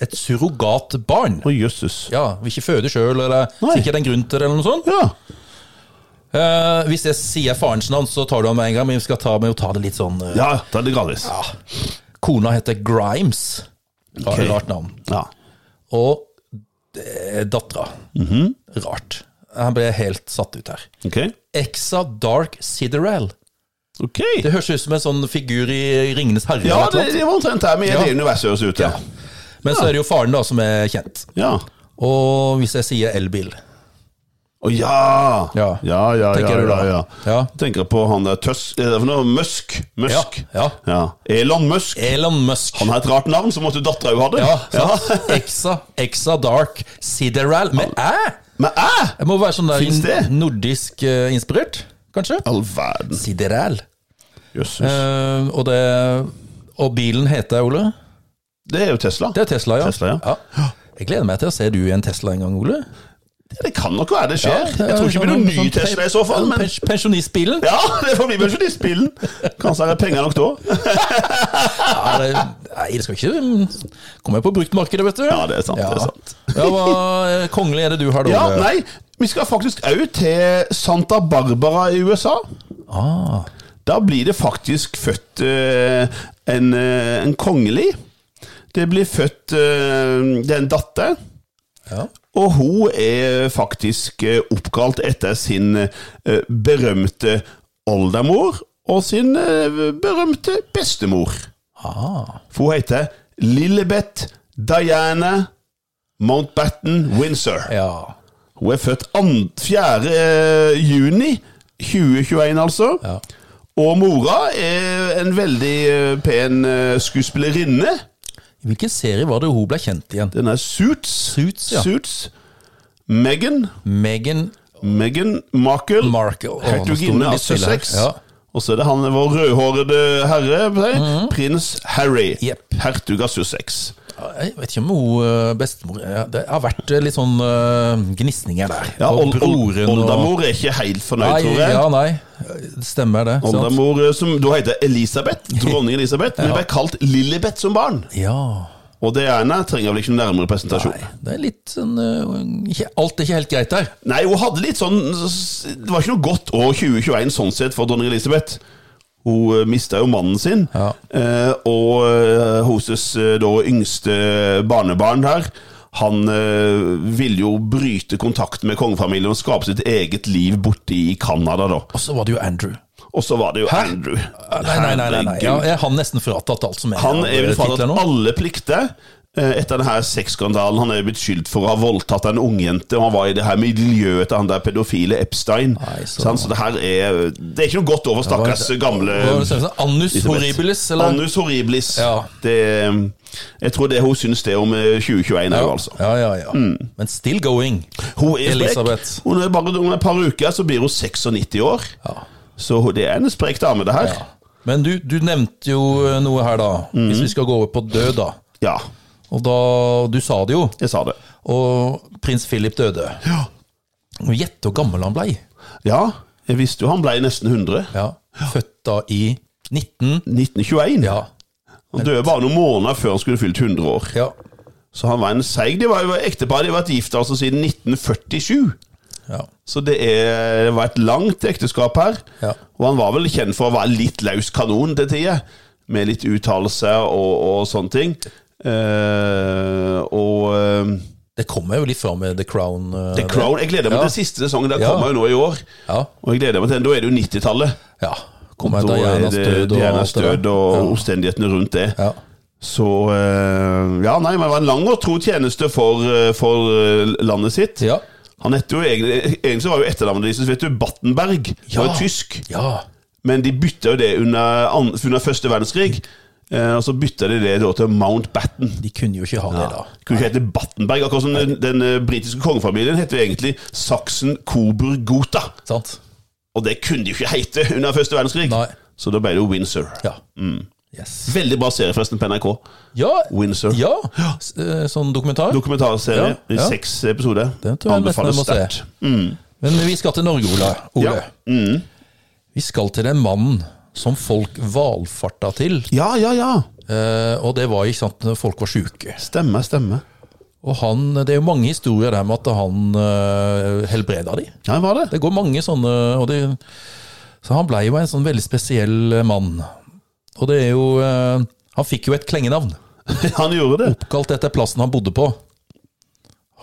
Speaker 1: Et surrogatbarn.
Speaker 2: Å, jøsses.
Speaker 1: Ja, vil ikke føde sjøl, eller
Speaker 2: Nei.
Speaker 1: sikkert en grunn til det, eller noe sånt.
Speaker 2: Ja.
Speaker 1: Eh, hvis jeg sier farens navn, så tar du han med en gang, men vi skal ta, med, ta det litt sånn eh.
Speaker 2: ja, da er det gradvis. Ja.
Speaker 1: Kona heter Grimes. Ra-
Speaker 2: Ok.
Speaker 1: Rart navn. Og eh, dattera.
Speaker 2: Mhm.
Speaker 1: Rart. Han ble helt satt ut her.
Speaker 2: Ok.
Speaker 1: Exa Dark Sideral.
Speaker 2: Ok.
Speaker 1: Det høres ut som en sånn figur i Ringenes herre.
Speaker 2: Ja,
Speaker 1: eller noe
Speaker 2: det, det var omtrent her vi er i
Speaker 1: Ja.
Speaker 2: det universet høres ut. Ja.
Speaker 1: sånt. Men så er det jo faren da som er kjent.
Speaker 2: Ja.
Speaker 1: Og hvis jeg sier elbil
Speaker 2: Å ja!
Speaker 1: Ja.
Speaker 2: ja, ja, ja,
Speaker 1: Tenker du
Speaker 2: ja,
Speaker 1: da?
Speaker 2: ja.
Speaker 1: Ja.
Speaker 2: Tenker på han der Tøsk Er det for noe? Musk?
Speaker 1: ja,
Speaker 2: Musk.
Speaker 1: ja.
Speaker 2: Elon Musk.
Speaker 1: Elon Musk.
Speaker 2: Han har et rart navn, så måtte dattera jo ha det.
Speaker 1: Ja, sant? Exa, Exa Dark Sideral med æ!
Speaker 2: Men eh! æ!
Speaker 1: Det må være sånn
Speaker 2: Finns
Speaker 1: der
Speaker 2: det?
Speaker 1: nordisk eh, inspirert, kanskje?
Speaker 2: All verden.
Speaker 1: Sideral.
Speaker 2: Jøsses.
Speaker 1: Eh, og, det, og bilen heter Ole?
Speaker 2: Det er jo Tesla.
Speaker 1: Det er Tesla, ja.
Speaker 2: Tesla, ja.
Speaker 1: Jeg gleder meg til å se du i en Tesla en gang, Ole.
Speaker 2: Det kan nok være det skjer.
Speaker 1: Ja,
Speaker 2: jeg tror ikke det blir
Speaker 1: sånn-
Speaker 2: noen ny
Speaker 1: sånn
Speaker 2: Tesla i så fall, men
Speaker 1: pens- Pensjonistbilen?
Speaker 2: ja, det får bli pensjonistbilen. Kanskje det er penger nok da.
Speaker 1: Ja, det, nei, det skal ikke Kommer jeg på bruktmarkedet, vet du.
Speaker 2: Ja, det er sant, det er sant.
Speaker 1: Ja, hva eh, kongelig er det du har, da?
Speaker 2: Ja,
Speaker 1: Ole?
Speaker 2: nei, vi skal faktisk òg til Santa Barbara i USA.
Speaker 1: Ah,
Speaker 2: Da blir det faktisk født eh, en, eh, en kongelig. Det blir født eh, Det er en datter,
Speaker 1: ja.
Speaker 2: og hun er faktisk eh, oppkalt etter sin eh, berømte oldemor og sin eh, berømte bestemor.
Speaker 1: Ah,
Speaker 2: For hun heter Lillebeth Diana Mountbatten Windsor.
Speaker 1: ja.
Speaker 2: Hun er født an- 4. juni 2021, altså.
Speaker 1: ja.
Speaker 2: Og mora er en veldig eh, pen eh, skuespillerinne.
Speaker 1: I hvilken serie var det hun ble kjent igjen?
Speaker 2: Den er Suits.
Speaker 1: Suits, ja.
Speaker 2: Suits. Meghan.
Speaker 1: Meghan
Speaker 2: Meghan Markle.
Speaker 1: Markle. Å, nå sto det
Speaker 2: hertuginne av
Speaker 1: litt stille her.
Speaker 2: Sussex.
Speaker 1: Ja.
Speaker 2: Og så er det han
Speaker 1: Mhm.
Speaker 2: vår rødhårede herre, vil jeg si, prins Harry.
Speaker 1: Jepp.
Speaker 2: Hertug av Sussex.
Speaker 1: Jeg vet ikke om hun eh, bestemor ja, Det har vært eh, litt sånn eh, gnisninger der.
Speaker 2: Ja,
Speaker 1: Og
Speaker 2: old, old,
Speaker 1: broren og-
Speaker 2: oldemor er ikke helt fornøyd,
Speaker 1: Nei,
Speaker 2: tror jeg.
Speaker 1: ja, nei. Det Stemmer det. Sant?
Speaker 2: Oldemor eh, som da heter
Speaker 1: (laughs)
Speaker 2: Elisabeth, dronning Elisabeth, men ble kalt Lillebeth som barn.
Speaker 1: Ja.
Speaker 2: Og det ene trenger vel ikke noen nærmere presentasjon.
Speaker 1: Nei, det er litt sånn eh, ikke, Alt er ikke helt greit der.
Speaker 2: Nei, hun hadde litt sånn Det var ikke noe godt år 2021 sånn sett for dronning Elisabeth. Hun mista jo mannen sin,
Speaker 1: Ja.
Speaker 2: eh, og eh, hennes eh, da yngste barnebarn her han eh, ville jo bryte kontakt med kongefamilien og skape sitt eget liv borte i Canada, da.
Speaker 1: Og så var det jo Andrew.
Speaker 2: Og så var det jo Andrew.
Speaker 1: Nei, nei, nei. nei, nei.
Speaker 2: Herregud.
Speaker 1: Ja, er han nesten fratatt alt som er
Speaker 2: Han er vel
Speaker 1: av titler
Speaker 2: fratatt
Speaker 1: nå?
Speaker 2: alle plikter eh, etter denne sexskandalen. Han er blitt skyldt for å ha voldtatt en ungjente, og han var i det her miljøet til han der pedofile Epstein.
Speaker 1: Nei, så-
Speaker 2: sant? så det her er Det er ikke noe godt over stakkars
Speaker 1: Hva
Speaker 2: gamle
Speaker 1: var det som sa? Annus
Speaker 2: Elisabeth.
Speaker 1: horribilis, eller?
Speaker 2: Annus horribilis.
Speaker 1: Ja.
Speaker 2: Det, eh, jeg tror det hun syns det om eh, 2021 òg,
Speaker 1: ja.
Speaker 2: altså.
Speaker 1: ja, ja, ja. Men still going.
Speaker 2: Hun er
Speaker 1: Elisabeth.
Speaker 2: sprek. Hun er bare om et par uker så blir hun 96 år.
Speaker 1: Ja.
Speaker 2: Så hun- det er en sprek dame, det her.
Speaker 1: Ja. Men du, du nevnte jo eh, noe her, da.
Speaker 2: Mm.
Speaker 1: Hvis vi skal gå over på død, da.
Speaker 2: Ja,
Speaker 1: Og da, Du sa det jo.
Speaker 2: jeg sa det.
Speaker 1: Og prins Philip døde.
Speaker 2: Ja.
Speaker 1: Og Gjett hvor gammel han blei.
Speaker 2: ja, jeg visste jo han ble nesten 100.
Speaker 1: Ja. Født da i 19...
Speaker 2: 1921.
Speaker 1: Ja.
Speaker 2: Han døde bare noen måneder før han skulle fylt 100 år.
Speaker 1: ja.
Speaker 2: Så han var en seig. De var jo ektepar. De har vært gift altså siden 1947.
Speaker 1: ja.
Speaker 2: Så det, er, det var et langt ekteskap her.
Speaker 1: Ja.
Speaker 2: Og han var vel kjent for å være litt løs kanon til tider, med litt uttalelser og, og sånne ting. Eh, og eh,
Speaker 1: Det kommer jo litt fram med The Crown. eh,
Speaker 2: The
Speaker 1: det.
Speaker 2: Crown Jeg gleder meg
Speaker 1: Ja.
Speaker 2: til siste sesongen. Den
Speaker 1: Ja.
Speaker 2: kommer jo nå i år.
Speaker 1: Ja.
Speaker 2: Og jeg gleder meg til den. Da er det jo 90-tallet.
Speaker 1: ja. Kommer
Speaker 2: Da
Speaker 1: da
Speaker 2: er
Speaker 1: Dianas
Speaker 2: det
Speaker 1: død og
Speaker 2: Dianas
Speaker 1: alt det
Speaker 2: eh, død
Speaker 1: der.
Speaker 2: og omstendighetene rundt det.
Speaker 1: Ja.
Speaker 2: Så eh, Ja, nei, men det var en lang og tro tjeneste for, eh, for eh, landet sitt.
Speaker 1: Ja.
Speaker 2: Han hette jo egentlig, egentlig så var jo etternavnet deres vet du, Battenberg. Ja.
Speaker 1: Ja.
Speaker 2: Var jo tysk.
Speaker 1: ja.
Speaker 2: Men de bytta jo det under, an- under første verdenskrig. Eh, og så bytta de det da til Mountbatten.
Speaker 1: De kunne jo ikke ha det, da.
Speaker 2: Kunne ikke hete Battenberg. Akkurat som den, den eh, britiske kongefamilien heter jo egentlig Saksen-Coburg-Gotha.
Speaker 1: Sant?
Speaker 2: Og det kunne de jo ikke hete under første verdenskrig.
Speaker 1: Nei.
Speaker 2: Så da ble det jo Windsor.
Speaker 1: Ja.
Speaker 2: Mm.
Speaker 1: Yes.
Speaker 2: Veldig bra serie forresten på NRK.
Speaker 1: Ja.
Speaker 2: Windsor.
Speaker 1: ja. S- eh, Sånn dokumentar.
Speaker 2: Dokumentarserie
Speaker 1: Ja, ja.
Speaker 2: i seks episoder.
Speaker 1: Den tror jeg nesten jeg må se.
Speaker 2: Mm.
Speaker 1: Men vi skal til Norge, Ole. Ole.
Speaker 2: Ja. Mm.
Speaker 1: Vi skal til den mannen som folk valfarta til.
Speaker 2: ja, ja, ja.
Speaker 1: Eh, og det var ikke sant når folk var sjuke.
Speaker 2: Stemme, stemme.
Speaker 1: Og han, det er jo mange historier der med at han eh, helbreda de.
Speaker 2: Ja, det var det.
Speaker 1: Det går mange sånne og det, Så han blei jo en sånn veldig spesiell eh, mann. Og det er jo eh, Han fikk jo et klengenavn,
Speaker 2: (laughs) Han gjorde det.
Speaker 1: kalt etter plassen han bodde på.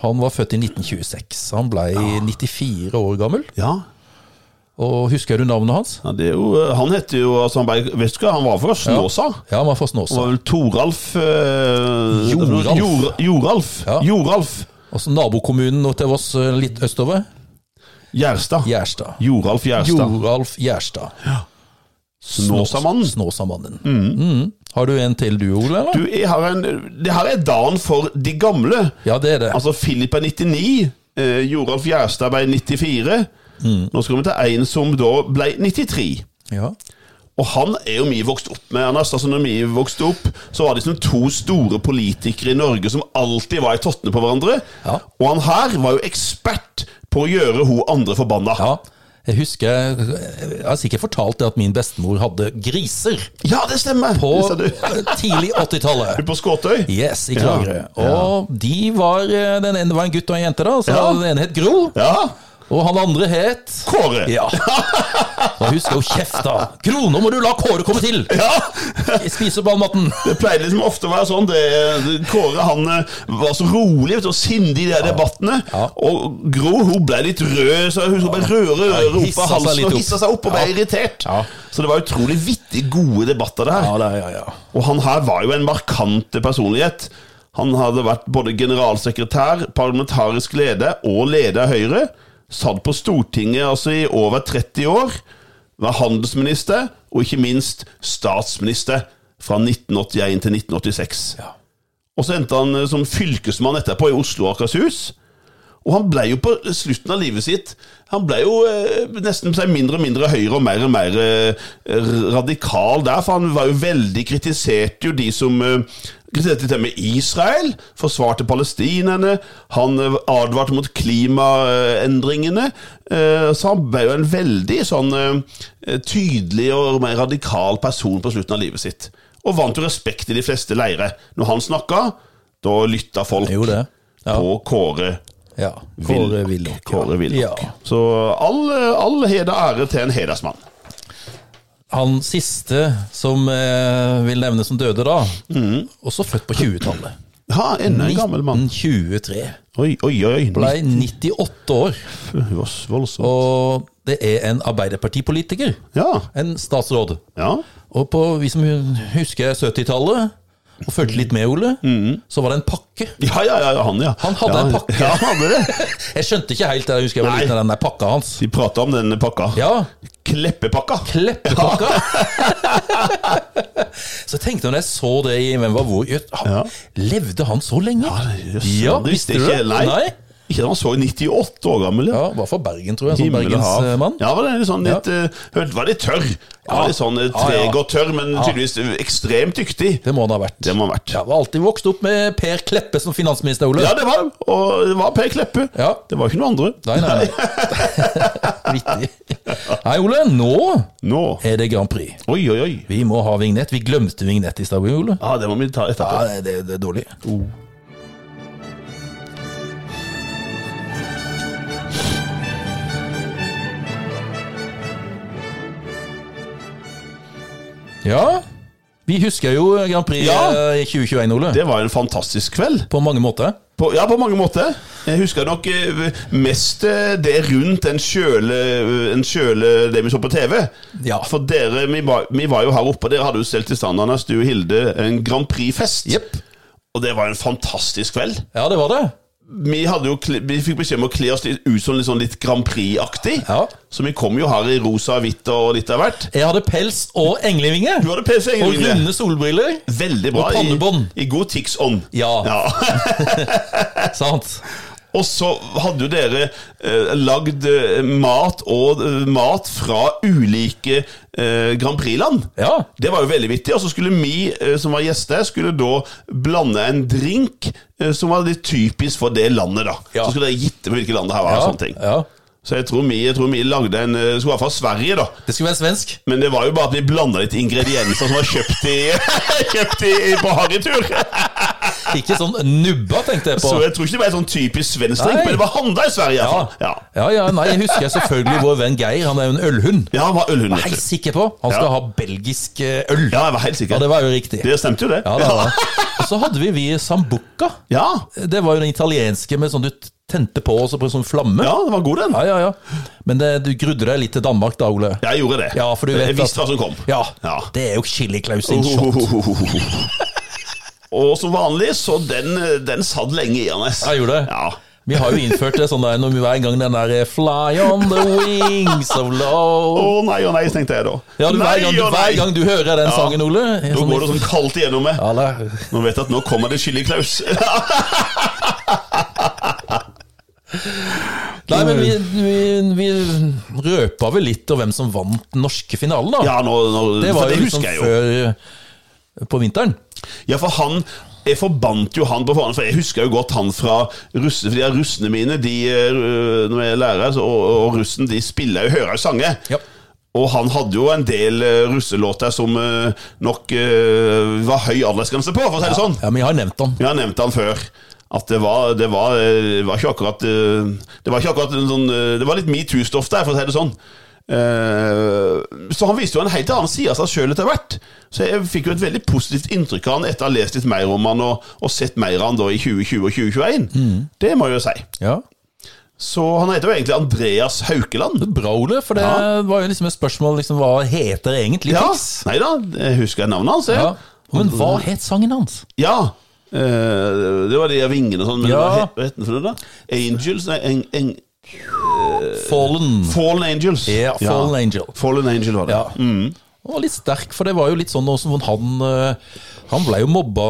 Speaker 1: Han var født i 1926. Han blei
Speaker 2: Ah.
Speaker 1: 94 år gammel.
Speaker 2: Ja.
Speaker 1: Og husker du navnet hans?
Speaker 2: ja det er jo, han heter jo altså han, ble- Vet du hva, han var fra Snåsa.
Speaker 1: Ja, han var fra Snåsa.
Speaker 2: Det var vel Toralf eh,
Speaker 1: Joralf.
Speaker 2: Jor, Joralf.
Speaker 1: Ja.
Speaker 2: Joralf
Speaker 1: Altså nabokommunen nå til oss eh, litt østover.
Speaker 2: Gjerstad.
Speaker 1: Gjerstad.
Speaker 2: Joralf Gjerstad.
Speaker 1: Joralf Gjerstad.
Speaker 2: Snåsamannen. Mm.
Speaker 1: Snåsamannen. Mhm. Har du en til du, Ole? Eller?
Speaker 2: Du, jeg har en, det her er dagen for de gamle.
Speaker 1: ja, det er det.
Speaker 2: Altså, Philip er 99, eh, Joralf Gjerstad ble 94.
Speaker 1: Mm.
Speaker 2: Nå skal vi til en som da ble 93.
Speaker 1: Ja.
Speaker 2: Og han er jo vi vokst opp med, Ernest. Altså, når vi vokste opp, så var det liksom to store politikere i Norge som alltid var i tottene på hverandre.
Speaker 1: Ja.
Speaker 2: Og han her var jo ekspert på å gjøre hun andre forbanna.
Speaker 1: ja. Jeg husker Jeg har sikkert fortalt det at min bestemor hadde griser
Speaker 2: Ja, det stemmer!
Speaker 1: på
Speaker 2: Det sa du.
Speaker 1: (laughs) tidlig 80-tallet.
Speaker 2: På Skåtøy?
Speaker 1: Yes, i
Speaker 2: Ja.
Speaker 1: Kragerø. Og de var eh, Den ene var en gutt og en jente, da. Så
Speaker 2: Ja.
Speaker 1: den ene het Gro,
Speaker 2: Ja.
Speaker 1: og han andre het
Speaker 2: Kåre.
Speaker 1: Ja. (laughs) Og husk å kjefte. Gro, nå må du la Kåre komme til!
Speaker 2: Ja.
Speaker 1: Spise opp all maten!
Speaker 2: Det pleide liksom ofte å være sånn. Det, det- Kåre han eh, var så rolig vet du, og sindig i de der debattene.
Speaker 1: Ja.
Speaker 2: Og Gro hun ble litt rød, så hun ble rødere rød,
Speaker 1: Ja,
Speaker 2: rød,
Speaker 1: hissa
Speaker 2: opp av
Speaker 1: seg litt
Speaker 2: halsen og
Speaker 1: opp.
Speaker 2: hissa seg opp og ble
Speaker 1: Ja.
Speaker 2: irritert.
Speaker 1: Ja.
Speaker 2: Så det var utrolig vittig gode debatter det her.
Speaker 1: Ja, ja, ja.
Speaker 2: Og han her var jo en markant personlighet. Han hadde vært både generalsekretær, parlamentarisk leder og leder av Høyre. Satt på Stortinget altså i over 30 år. Var handelsminister, og ikke minst statsminister fra 1981 til 1986.
Speaker 1: Ja.
Speaker 2: Og så endte han eh, som fylkesmann etterpå i Oslo og Akershus. Og han ble jo på slutten av livet sitt Han ble jo eh, nesten seg mindre og mindre høyre og mer og mer eh, radikal der, for han var jo veldig kritiserte jo de som eh, kritiserte til og med Israel, forsvarte palestinerne, han eh, advarte mot klimaendringene. eh, Så han ble jo en veldig sånn eh, tydelig og mer radikal person på slutten av livet sitt. Og vant jo respekt i de fleste leirer. Når han snakka, da lytta folk
Speaker 1: Jo, det. Ja.
Speaker 2: på Kåre
Speaker 1: ja. Kåre
Speaker 2: Willoch.
Speaker 1: Willoch. ja.
Speaker 2: Kåre Willoch.
Speaker 1: Ja.
Speaker 2: Så all, all heder og ære til en hedersmann.
Speaker 1: Han siste som eh, vil nevne som døde da, også født på 20-tallet.
Speaker 2: Ja, enda en gammel mann.
Speaker 1: 1923.
Speaker 2: Oi, oi, oi.
Speaker 1: Ble 98 år.
Speaker 2: Nitt- Voss- Voldsomt.
Speaker 1: Og det er en arbeiderpartipolitiker.
Speaker 2: Ja.
Speaker 1: En statsråd.
Speaker 2: ja.
Speaker 1: Og på, vi som husker 70-tallet, og fulgte litt med, Ole, så var det en pakke.
Speaker 2: Ja, ja, ja, han, ja.
Speaker 1: Han hadde
Speaker 2: ja,
Speaker 1: en pakke.
Speaker 2: Ja, han hadde det.
Speaker 1: Jeg skjønte ikke helt det, jeg husker jeg var
Speaker 2: Nei.
Speaker 1: liten av den der pakka hans.
Speaker 2: De prata om den pakka.
Speaker 1: Ja,
Speaker 2: Kleppepakka.
Speaker 1: Kleppepakka! (laughs) så jeg tenkte når jeg så det i Hvem var hvor han,
Speaker 2: Ja.
Speaker 1: Levde han så lenge?
Speaker 2: Jøss,
Speaker 1: Ja,
Speaker 2: det
Speaker 1: visste
Speaker 2: visste
Speaker 1: du
Speaker 2: ikke
Speaker 1: det?
Speaker 2: Nei.
Speaker 1: Nei.
Speaker 2: Ikke da han så 98 år gammel.
Speaker 1: Ja, var fra Bergen, tror jeg. Sånn
Speaker 2: Himmel og hav.
Speaker 1: bergensmann.
Speaker 2: Ja, var det litt sånn litt eh, Hørte var litt tørr. Ja,
Speaker 1: Ja.
Speaker 2: litt sånn eh,
Speaker 1: Ja, ja.
Speaker 2: treg og tørr, men tydeligvis ekstremt dyktig.
Speaker 1: Det må han ha vært.
Speaker 2: Det må han ha vært.
Speaker 1: Ja, var alltid vokst opp med Per Kleppe som finansminister, Ole.
Speaker 2: Ja, det var det. Og det var Per Kleppe.
Speaker 1: Ja.
Speaker 2: Det var ikke noe andre.
Speaker 1: Nei, nei,
Speaker 2: (laughs)
Speaker 1: nei. Vittig. Nei, Ole, nå
Speaker 2: Nå.
Speaker 1: er det Grand Prix.
Speaker 2: Oi, oi, oi.
Speaker 1: Vi må ha vignett. Vi glemte vignett i stad, Ole.
Speaker 2: Ja, det må vi ta etterpå.
Speaker 1: Ja, det, det, det er dårlig. Ja, vi husker jo Grand Prix
Speaker 2: Ja.
Speaker 1: eh, i 2021, Ole.
Speaker 2: Det var en fantastisk kveld.
Speaker 1: På mange måter.
Speaker 2: På, ja, på mange måter. Jeg husker nok eh, mest eh, det rundt en kjøle, eh, en kjøle det vi så på TV.
Speaker 1: Ja.
Speaker 2: For dere, vi var, vi var jo her oppe, og dere hadde jo stelt i stand, Anders, du og Hilde, en Grand Prix-fest.
Speaker 1: Jepp.
Speaker 2: Og det var en fantastisk kveld.
Speaker 1: Ja, det var det.
Speaker 2: Vi, hadde jo, kle- vi fikk beskjed om å kle oss litt ut som litt, sånn litt Grand Prix-aktig.
Speaker 1: Ja.
Speaker 2: Så vi kom jo her i rosa, hvitt og litt av hvert.
Speaker 1: Jeg hadde pels og englevinger.
Speaker 2: Du hadde PC,
Speaker 1: Og
Speaker 2: Ingrid.
Speaker 1: runde solbriller.
Speaker 2: Veldig bra.
Speaker 1: Og pannebånd.
Speaker 2: I, i god Tix-ånd.
Speaker 1: Ja.
Speaker 2: ja. (laughs)
Speaker 1: Sant.
Speaker 2: Og så hadde jo dere eh, lagd eh, mat og eh, mat fra ulike eh, Grand Prix-land.
Speaker 1: Ja.
Speaker 2: Det var jo veldig vittig. Og så skulle vi eh, som var gjester, skulle da blande en drink eh, som var litt typisk for det landet, da.
Speaker 1: Ja.
Speaker 2: Så skulle dere gitte på hvilket land det her var.
Speaker 1: Ja,
Speaker 2: og sånne ting.
Speaker 1: ja.
Speaker 2: Så jeg tror, vi, jeg tror vi lagde en eh, Skulle være fra Sverige, da.
Speaker 1: Det skulle være svensk.
Speaker 2: Men det var jo bare at vi blanda litt ingredienser som var kjøpt, i, (laughs) kjøpt i, på harrytur.
Speaker 1: Ikke sånn nubba, tenkte jeg på.
Speaker 2: Så jeg tror ikke det var en sånn typisk svensk drink,
Speaker 1: Nei.
Speaker 2: men det var handla i Sverige. i hvert fall.
Speaker 1: Ja.
Speaker 2: Ja.
Speaker 1: ja, ja, nei, jeg husker selvfølgelig vår venn Geir, han er jo en ølhund.
Speaker 2: Ja, han var
Speaker 1: Jeg er
Speaker 2: ølhund. vet du.
Speaker 1: helt sikker på, han skal
Speaker 2: Ja.
Speaker 1: ha belgisk eh, øl.
Speaker 2: Ja, jeg var helt sikker.
Speaker 1: Ja,
Speaker 2: det,
Speaker 1: det var jo riktig.
Speaker 2: stemte jo, det.
Speaker 1: Ja, det var. det. Og så hadde vi vi sambuca.
Speaker 2: Ja.
Speaker 1: Det var jo den italienske med sånn du tente på, og så på en sånn flamme.
Speaker 2: ja, det var god, den.
Speaker 1: Ja, ja, ja. Men det, du grudde deg litt til Danmark da, Ole.
Speaker 2: Jeg gjorde det.
Speaker 1: Ja, for du vet
Speaker 2: jeg visste
Speaker 1: at-
Speaker 2: hva som kom.
Speaker 1: Ja,
Speaker 2: Ja. Oh.
Speaker 1: det er jo Chili Claus in shot.
Speaker 2: (laughs) Og som vanlig, så den, den satt lenge i hans.
Speaker 1: Ja, gjorde det.
Speaker 2: Ja.
Speaker 1: Vi har jo innført det sånn der når vi hver gang den der eh, Fly on the wings of
Speaker 2: Å
Speaker 1: love
Speaker 2: nei og nei, tenkte jeg da.
Speaker 1: Ja, du, hver,
Speaker 2: nei
Speaker 1: gang, du,
Speaker 2: og
Speaker 1: hver
Speaker 2: nei.
Speaker 1: gang du hører den sangen, Ole er
Speaker 2: Nå
Speaker 1: sånn-
Speaker 2: går det sånn kaldt igjennom meg.
Speaker 1: Ja, det er-
Speaker 2: Nå vet jeg at nå kommer det chili klaus. Ja,
Speaker 1: Nei, men vi, vi, vi røpa vel litt om hvem som vant den norske finalen, da.
Speaker 2: nå, nå,
Speaker 1: det var
Speaker 2: for det
Speaker 1: jo liksom
Speaker 2: husker jeg jo.
Speaker 1: før eh, på vinteren.
Speaker 2: Ja, for han Jeg forbandt jo han på forhånd, for jeg husker jo godt han fra russe, For de her russene mine, de, øh, når jeg er lærer, så, og, og russen, de spiller jo, hører jo sanger.
Speaker 1: Ja.
Speaker 2: Og han hadde jo en del øh, russelåter som øh, nok øh, var høy aldersgrense på, for å si det sånn.
Speaker 1: Ja, men jeg har nevnt han.
Speaker 2: Vi har nevnt han før. At det var, det var, øh, var ikke akkurat øh, Det var ikke akkurat en sånn øh, Det var litt metoo-stoff der, for å si det sånn. Eh, Så han viste jo en helt annen side av seg sjøl etter hvert. Så jeg fikk jo et veldig positivt inntrykk av han etter å ha lest litt mer om han og, og sett mer av han da i 2020 og 2021.
Speaker 1: Mm.
Speaker 2: Det må jeg jo si.
Speaker 1: Ja.
Speaker 2: Så han heter jo egentlig Andreas Haukeland.
Speaker 1: Bra, Ole, for det
Speaker 2: Ja.
Speaker 1: var jo liksom et spørsmål liksom, hva heter egentlig
Speaker 2: Ja,
Speaker 1: Tix?
Speaker 2: Nei da, jeg husker navnet hans. jeg.
Speaker 1: Ja. Men hva het sangen hans?
Speaker 2: Ja. eh, det var de vingene og sånn, men
Speaker 1: Ja.
Speaker 2: hva het- hva het den for noe, da? Angels? Nei, eng, eng,
Speaker 1: Fallen.
Speaker 2: Eh, Fallen Angels.
Speaker 1: Ja, Fallen Angel.
Speaker 2: Fallen Angel var det.
Speaker 1: Ja. Han var litt sterk, for det var jo litt sånn også, hvor han eh, Han ble jo mobba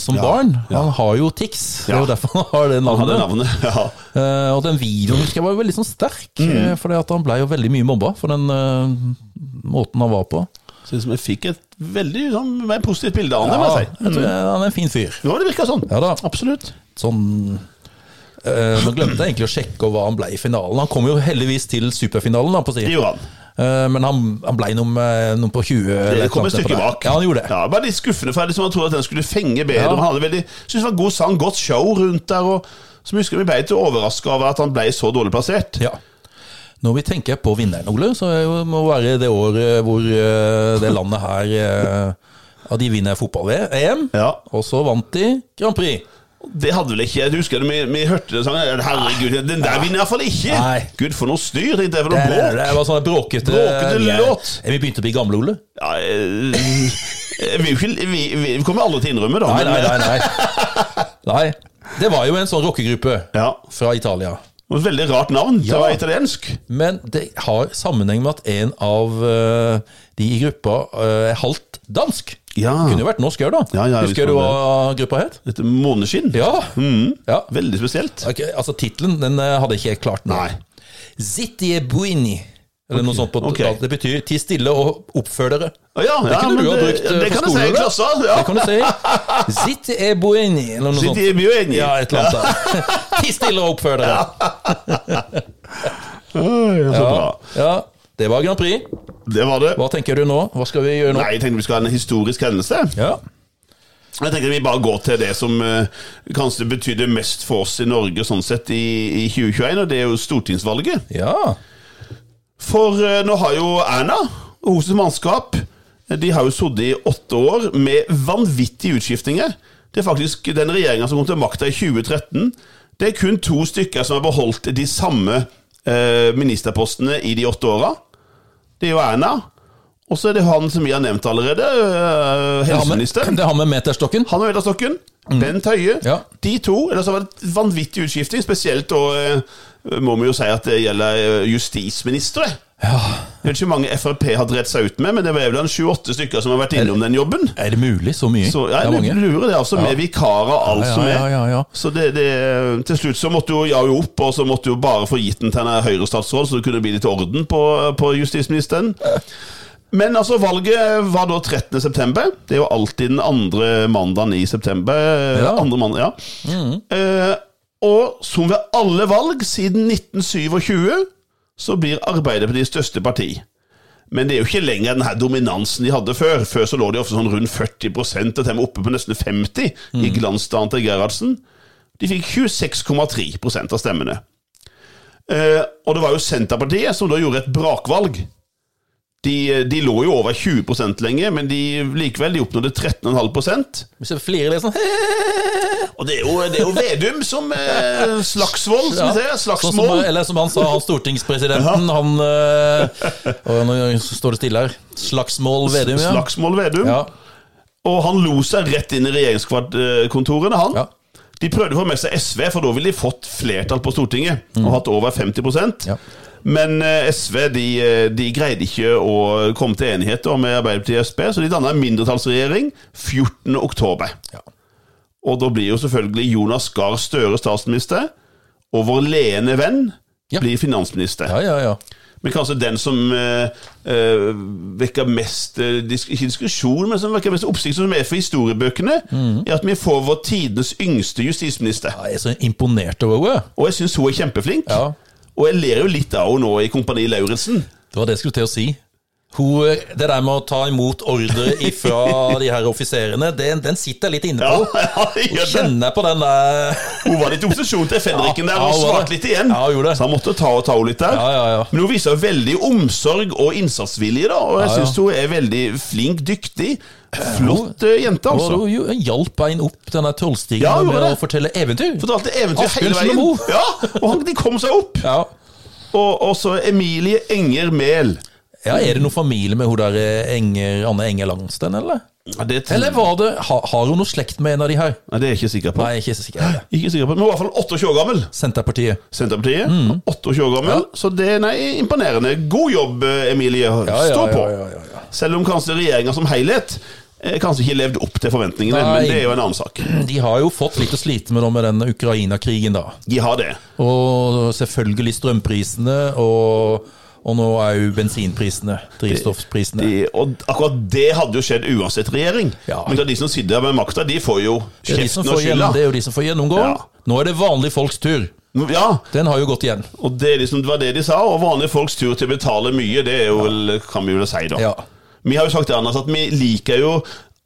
Speaker 1: som barn. Han har jo tics, det er
Speaker 2: Ja.
Speaker 1: jo derfor han har det
Speaker 2: Han hadde
Speaker 1: navnet.
Speaker 2: navnet. Ja.
Speaker 1: Eh, og den
Speaker 2: Mm.
Speaker 1: videoen husker jeg var jo veldig sånn sterk, eh, fordi at han ble jo veldig mye mobba for den eh, måten han var på.
Speaker 2: Synes vi liksom, fikk et veldig sånn, mer positivt bilde av ham,
Speaker 1: Ja,
Speaker 2: må jeg
Speaker 1: jeg
Speaker 2: si. Mm.
Speaker 1: tror jeg, han er en fin fyr.
Speaker 2: Jo, det virka sånn.
Speaker 1: Ja da.
Speaker 2: Absolutt.
Speaker 1: Sånn eh, Nå glemte jeg egentlig å sjekke hva han ble i finalen. Han kom jo heldigvis til superfinalen, da, på å si.
Speaker 2: Det gjorde han.
Speaker 1: Eh, men han, han ble nummer, eh, nummer på 20. eller
Speaker 2: Det kom
Speaker 1: noe
Speaker 2: et
Speaker 1: sånt
Speaker 2: stykke
Speaker 1: på det.
Speaker 2: bak.
Speaker 1: Ja, han gjorde det.
Speaker 2: Ja, bare litt skuffende, for jeg liksom hadde trodd at den skulle fenge bedre.
Speaker 1: Ja.
Speaker 2: Han hadde veldig, synes det var god sang, godt show rundt der. Og så husker jeg vi ble litt overraska over at han ble så dårlig plassert.
Speaker 1: Ja. Når vi tenker på vinneren, Ole, så er jo- må være det året hvor eh, det landet her eh, ja, de vinner fotball-EM,
Speaker 2: Ja.
Speaker 1: og så vant de Grand Prix.
Speaker 2: Det hadde vel ikke jeg husker det, vi, vi hørte det sangen. Herregud, den der vinner jeg iallfall ikke!
Speaker 1: Nei.
Speaker 2: Gud, for noe styr! Tenkte jeg, for
Speaker 1: Det,
Speaker 2: noe
Speaker 1: det,
Speaker 2: bråk!
Speaker 1: det var sånn bråkete
Speaker 2: Bråkete
Speaker 1: vi er-
Speaker 2: låt.
Speaker 1: Vi begynte å bli gamle, Ole.
Speaker 2: Ja, eh, vi, er jo ikke- vi, vi vi kommer alle til å innrømme, da.
Speaker 1: Nei,
Speaker 2: men- eh,
Speaker 1: nei, nei. nei. nei. (laughs) Det var jo en sånn rockegruppe
Speaker 2: Ja,
Speaker 1: fra Italia.
Speaker 2: og et Veldig rart navn til å
Speaker 1: Ja.
Speaker 2: være italiensk.
Speaker 1: Men det har sammenheng med at en av eh, de i gruppa eh, er halvt dansk.
Speaker 2: Ja.
Speaker 1: Kunne jo vært norsk òg, da.
Speaker 2: Ja, ja, hvis
Speaker 1: Husker du
Speaker 2: man Mm.
Speaker 1: hva gruppa het?
Speaker 2: Dette måneskinn.
Speaker 1: Ja. ja.
Speaker 2: Veldig spesielt.
Speaker 1: Ok, altså tittelen den eh, hadde ikke jeg klart nå.
Speaker 2: Nei.
Speaker 1: Zittie buini. Eller noe sånt på
Speaker 2: ok.
Speaker 1: ja, Det betyr 'ti stille og oppfør dere'.
Speaker 2: Ja, ja,
Speaker 1: Det kunne
Speaker 2: men
Speaker 1: du ha brukt eh,
Speaker 2: Det
Speaker 1: på
Speaker 2: kan jeg si i
Speaker 1: skolen.
Speaker 2: klassa. Ja.
Speaker 1: Det kan du si. Zittie buini, eller noe
Speaker 2: Sitter i
Speaker 1: sånt.
Speaker 2: byen.
Speaker 1: Ja, et eller annet. (laughs) Ja. ti stille og oppfør dere.
Speaker 2: Oi, Så bra.
Speaker 1: ja. Det var Grand Prix.
Speaker 2: Det var det.
Speaker 1: Hva tenker du nå? Hva skal vi gjøre nå?
Speaker 2: Nei, jeg tenkte vi skulle ha en historisk hendelse.
Speaker 1: Ja.
Speaker 2: Jeg tenkte vi bare går til det som eh, kanskje betydde mest for oss i Norge sånn sett i, i 2021, og det er jo stortingsvalget.
Speaker 1: ja.
Speaker 2: For eh, nå har jo Erna og hennes mannskap eh, De har jo sittet i åtte år med vanvittige utskiftinger. Det er faktisk den regjeringa som kom til makta i 2013. Det er kun to stykker som har beholdt de samme eh, ministerpostene i de åtte åra. Det er jo Erna, og så er det han som vi har nevnt allerede, eh,
Speaker 1: Det har med,
Speaker 2: helseminister.
Speaker 1: det har med meterstokken.
Speaker 2: Han og Edastokken, Bent Høie,
Speaker 1: Ja.
Speaker 2: de to. Ellers har det vært vanvittig utskifting, spesielt da eh, må vi jo si at det gjelder eh, justisministre.
Speaker 1: Ja.
Speaker 2: Jeg vet ikke hvor mange Frp har drevet seg ut med, men det er vel en 28 stykker som har vært innom den jobben.
Speaker 1: Er det mulig? Så mye?
Speaker 2: Så
Speaker 1: det
Speaker 2: jeg
Speaker 1: er mange.
Speaker 2: lurer det, altså, med vikarer og alt
Speaker 1: Ja,
Speaker 2: som er.
Speaker 1: ja, ja, ja.
Speaker 2: Så det, det, til slutt så måtte jo jeg jo opp, og så måtte jo bare få gitt den til en Høyre-statsråd, så det kunne bli litt orden på, på justisministeren. Men altså, valget var da 13. september. Det er jo alltid den andre mandagen i september.
Speaker 1: Ja.
Speaker 2: Andre mandag, ja. Eh, og som ved alle valg siden 1927, så blir Arbeiderpartiet største parti. Men det er jo ikke lenger den her dominansen de hadde før. Før så lå de ofte sånn rundt 40 og til og med oppe på nesten 50 i glansdagen til Gerhardsen. De fikk 26,3 av stemmene. Eh, og det var jo Senterpartiet som da gjorde et brakvalg. De, de lå jo over 20 lenge, men de, likevel de oppnådde 13,5
Speaker 1: Hvis jeg flirer litt sånn (laughs)
Speaker 2: og det er jo, det er jo Vedum som eh, Slagsvold,
Speaker 1: Ja.
Speaker 2: som vi ser.
Speaker 1: Sånn som,
Speaker 2: Slagsmål.
Speaker 1: eller som han sa, han stortingspresidenten, han eh, og Nå står det stille her. Slagsmål Vedum, ja.
Speaker 2: Slagsmål Vedum.
Speaker 1: ja.
Speaker 2: Og han lo seg rett inn i regjeringskontorene, han.
Speaker 1: Ja.
Speaker 2: De prøvde å få med seg SV, for da ville de fått flertall på Stortinget. Og hatt over 50
Speaker 1: Mm. Ja.
Speaker 2: Men eh, SV de, eh, de greide ikke å komme til enighet da med Arbeiderpartiet og Sp, så de danna en mindretallsregjering 14. oktober.
Speaker 1: Ja.
Speaker 2: Og da blir jo selvfølgelig Jonas Gahr Støre statsminister, og vår leende venn
Speaker 1: Ja.
Speaker 2: blir finansminister.
Speaker 1: ja, ja, ja.
Speaker 2: Men kanskje den som eh, eh, vekker mest eh, dis Ikke diskusjon, men som vekker mest oppsikt, som er for historiebøkene,
Speaker 1: Mm.
Speaker 2: er at vi får vår tidenes yngste justisminister.
Speaker 1: Jeg er så imponert over henne.
Speaker 2: Og jeg syns hun er kjempeflink.
Speaker 1: Ja.
Speaker 2: Og jeg ler jo litt av henne nå i Kompani Lauritzen.
Speaker 1: Det var det jeg skulle til å si. Hun, eh, det der med å ta imot ordre
Speaker 2: (laughs)
Speaker 1: ifra de her offiserene, den, den sitter jeg litt inne
Speaker 2: Ja,
Speaker 1: på.
Speaker 2: ja, jeg gjør det.
Speaker 1: Kjenner jeg på den der
Speaker 2: Hun var litt i opposisjon til Fenriken der,
Speaker 1: Ja,
Speaker 2: og
Speaker 1: hun var
Speaker 2: svarte
Speaker 1: det.
Speaker 2: litt igjen.
Speaker 1: Ja, hun gjorde det.
Speaker 2: Så han måtte ta og ta henne litt der.
Speaker 1: Ja, ja, ja.
Speaker 2: Men hun viser veldig omsorg og innsatsvilje, da. Og jeg
Speaker 1: Ja, ja.
Speaker 2: syns hun er veldig flink, dyktig. Flott eh, jente,
Speaker 1: Og
Speaker 2: altså.
Speaker 1: hun jo- hjalp en opp denne trollstigen
Speaker 2: Ja, hun
Speaker 1: med
Speaker 2: gjorde
Speaker 1: å fortelle eventyr.
Speaker 2: Fortalte eventyr hele
Speaker 1: Asbjørnsen og
Speaker 2: veien.
Speaker 1: Moe.
Speaker 2: Ja, og han, de kom seg opp.
Speaker 1: Ja.
Speaker 2: Og og så Emilie Enger Mehl.
Speaker 1: Ja, Er det noen familie med hun der eh, Enger, Anne Enger Langsten, eller?
Speaker 2: Ja, det, er-
Speaker 1: Eller var det, ha, Har hun noe slekt med en av de her?
Speaker 2: Nei, det er jeg ikke sikker på.
Speaker 1: Nei, jeg er ikke så sikker.
Speaker 2: Ikke sikker på, Men hun er i hvert fall 28 år gammel.
Speaker 1: Senterpartiet.
Speaker 2: Senterpartiet.
Speaker 1: Mm.
Speaker 2: 28 år gammel. Så det nei, imponerende. God jobb, eh, Emilie.
Speaker 1: ja,
Speaker 2: Stå på.
Speaker 1: ja, ja, ja, ja.
Speaker 2: Selv om kanskje regjeringa som helhet eh, kanskje ikke levde opp til forventningene,
Speaker 1: Nei.
Speaker 2: men det er jo en annen sak.
Speaker 1: De har jo fått litt å slite med nå med den Ukraina-krigen, da.
Speaker 2: De har det.
Speaker 1: Og selvfølgelig strømprisene, og, og nå er jo bensinprisene, drivstoffprisene.
Speaker 2: De, og akkurat det hadde jo skjedd uansett regjering.
Speaker 1: Ja.
Speaker 2: Men det er de som sitter med makta, de får jo
Speaker 1: Det er, de som
Speaker 2: kjeften og
Speaker 1: får
Speaker 2: skylda.
Speaker 1: gjennom, det er jo de som får gjennomgå.
Speaker 2: Ja.
Speaker 1: Nå er det vanlige folks tur.
Speaker 2: Ja,
Speaker 1: Den har jo gått igjen.
Speaker 2: og det, er liksom, det var det de sa. Og vanlige folks tur til å betale mye, det er jo vel, kan vi vel si, da.
Speaker 1: Ja.
Speaker 2: Vi har jo sagt til Anders at vi liker jo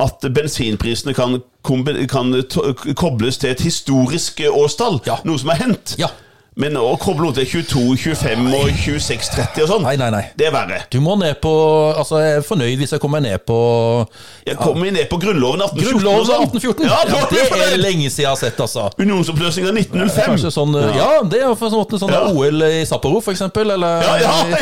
Speaker 2: at bensinprisene kan, kombi- kan to kobles til et historisk årstall.
Speaker 1: Ja.
Speaker 2: Noe som har hendt.
Speaker 1: Ja.
Speaker 2: Men å koble noe til 22, 25 og 26, 30 og sånn,
Speaker 1: Nei, nei, nei.
Speaker 2: det er verre.
Speaker 1: Du må ned på Altså, jeg er fornøyd hvis jeg kommer ned på
Speaker 2: Jeg kommer ned på Grunnloven 1814.
Speaker 1: Grunnloven
Speaker 2: og sånn.
Speaker 1: 1814!
Speaker 2: Ja, da er vi
Speaker 1: det er
Speaker 2: fornøyd!
Speaker 1: lenge siden jeg har sett, altså.
Speaker 2: Unionsoppløsninga 1905.
Speaker 1: Kanskje sånn Ja, det er for sånn, sånn
Speaker 2: Ja.
Speaker 1: OL i Sapporo, for eksempel. Eller
Speaker 2: Ja, (laughs) ja,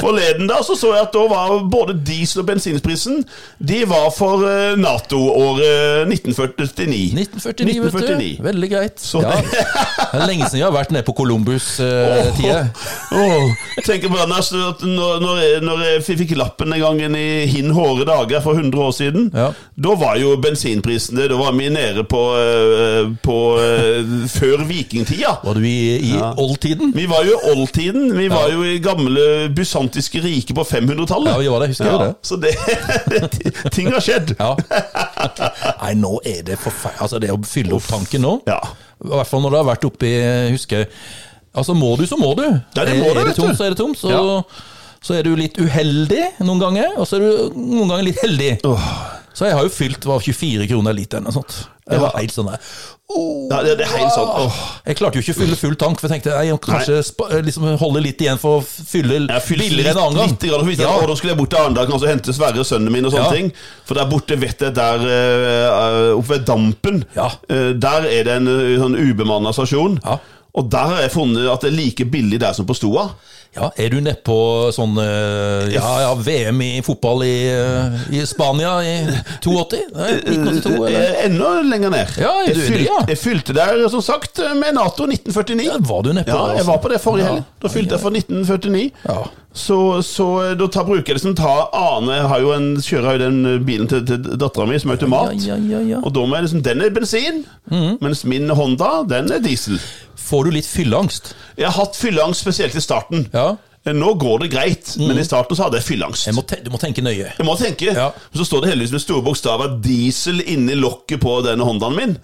Speaker 2: Forleden da så så jeg at da var både diesel- og bensinprisen De var for eh, Nato-året 1949.
Speaker 1: 1949, vet
Speaker 2: 1949.
Speaker 1: du. Veldig greit.
Speaker 2: Så
Speaker 1: Ja.
Speaker 2: det-
Speaker 1: Det er lenge siden jeg har vært nede på Columbus-tida.
Speaker 2: Åh, jeg tenker på den der, så at når, når, jeg, når jeg fikk lappen den gangen i hin hårde dager for 100 år siden,
Speaker 1: Ja.
Speaker 2: da var jo bensinprisene Da var vi nede på, eh, på eh, før vikingtida.
Speaker 1: Var du i, i oldtiden?
Speaker 2: Vi var jo i oldtiden. Vi var jo i gamle bysantiske riket på 500-tallet.
Speaker 1: Ja, vi var det, husker jeg det.
Speaker 2: Så det, (laughs) ting har skjedd.
Speaker 1: Ja. Nei, nå er det forferdelig Altså, det å fylle opp tanken nå
Speaker 2: Ja.
Speaker 1: I hvert fall når det har vært oppi Husker jeg Altså, må du, så må du.
Speaker 2: Ja, det
Speaker 1: er,
Speaker 2: må du,
Speaker 1: er det
Speaker 2: vet
Speaker 1: tomt,
Speaker 2: du.
Speaker 1: så er det tomt. Så,
Speaker 2: Ja.
Speaker 1: så er du litt uheldig noen ganger, og så er du noen ganger litt heldig. Så jeg har jo fylt hva, 24 kroner literen og sånt. Det var helt sånn der.
Speaker 2: Ja, det, det er helt sånn åh.
Speaker 1: Jeg klarte jo ikke å fylle full tank, for jeg tenkte nei, jeg må kanskje spa, liksom holde litt igjen for å fylle
Speaker 2: Jeg fylte
Speaker 1: billigere en
Speaker 2: litt-
Speaker 1: annen gang.
Speaker 2: Litt, grann, for hvis jeg-
Speaker 1: Ja.
Speaker 2: å, da skulle jeg bort til Arendal kanskje og hente Sverre, sønnen min, og sånne
Speaker 1: Ja.
Speaker 2: ting. For der borte, vet jeg, der eh, eh, oppe ved Dampen,
Speaker 1: Ja.
Speaker 2: eh, der er det en eh, sånn ubemanna stasjon.
Speaker 1: Ja.
Speaker 2: Og der har jeg funnet at det er like billig der som på Stoa.
Speaker 1: Ja, er du nedpå sånn eh, ja, ja, VM i fotball i, eh, i Spania i 82? Nei, 1982, eller?
Speaker 2: Eh, Enda lenger ned.
Speaker 1: Ja,
Speaker 2: jeg,
Speaker 1: du-
Speaker 2: fylte,
Speaker 1: ja.
Speaker 2: jeg fylte der, som sagt, med Nato 1949.
Speaker 1: Ja, Var du nedpå?
Speaker 2: Ja, jeg var på det forrige
Speaker 1: Ja.
Speaker 2: helg. Da fylte jeg for 1949.
Speaker 1: Ja.
Speaker 2: Så, så da tar, bruker jeg det som tar Ane jeg har jo en, kjører jo den bilen til, til dattera mi som automat.
Speaker 1: Ja, Mhm. ja, ja, ja.
Speaker 2: Og da må jeg liksom Den er bensin, mens min Honda, den er diesel.
Speaker 1: Får du litt fylleangst?
Speaker 2: Jeg har hatt fylleangst spesielt i starten.
Speaker 1: Ja. Mhm.
Speaker 2: Nå går det greit, men i starten så hadde jeg fylleangst.
Speaker 1: Jeg må te du må tenke nøye.
Speaker 2: Jeg må tenke.
Speaker 1: Ja.
Speaker 2: Så står det heldigvis med store bokstaver 'diesel' inni lokket på denne Hondaen min.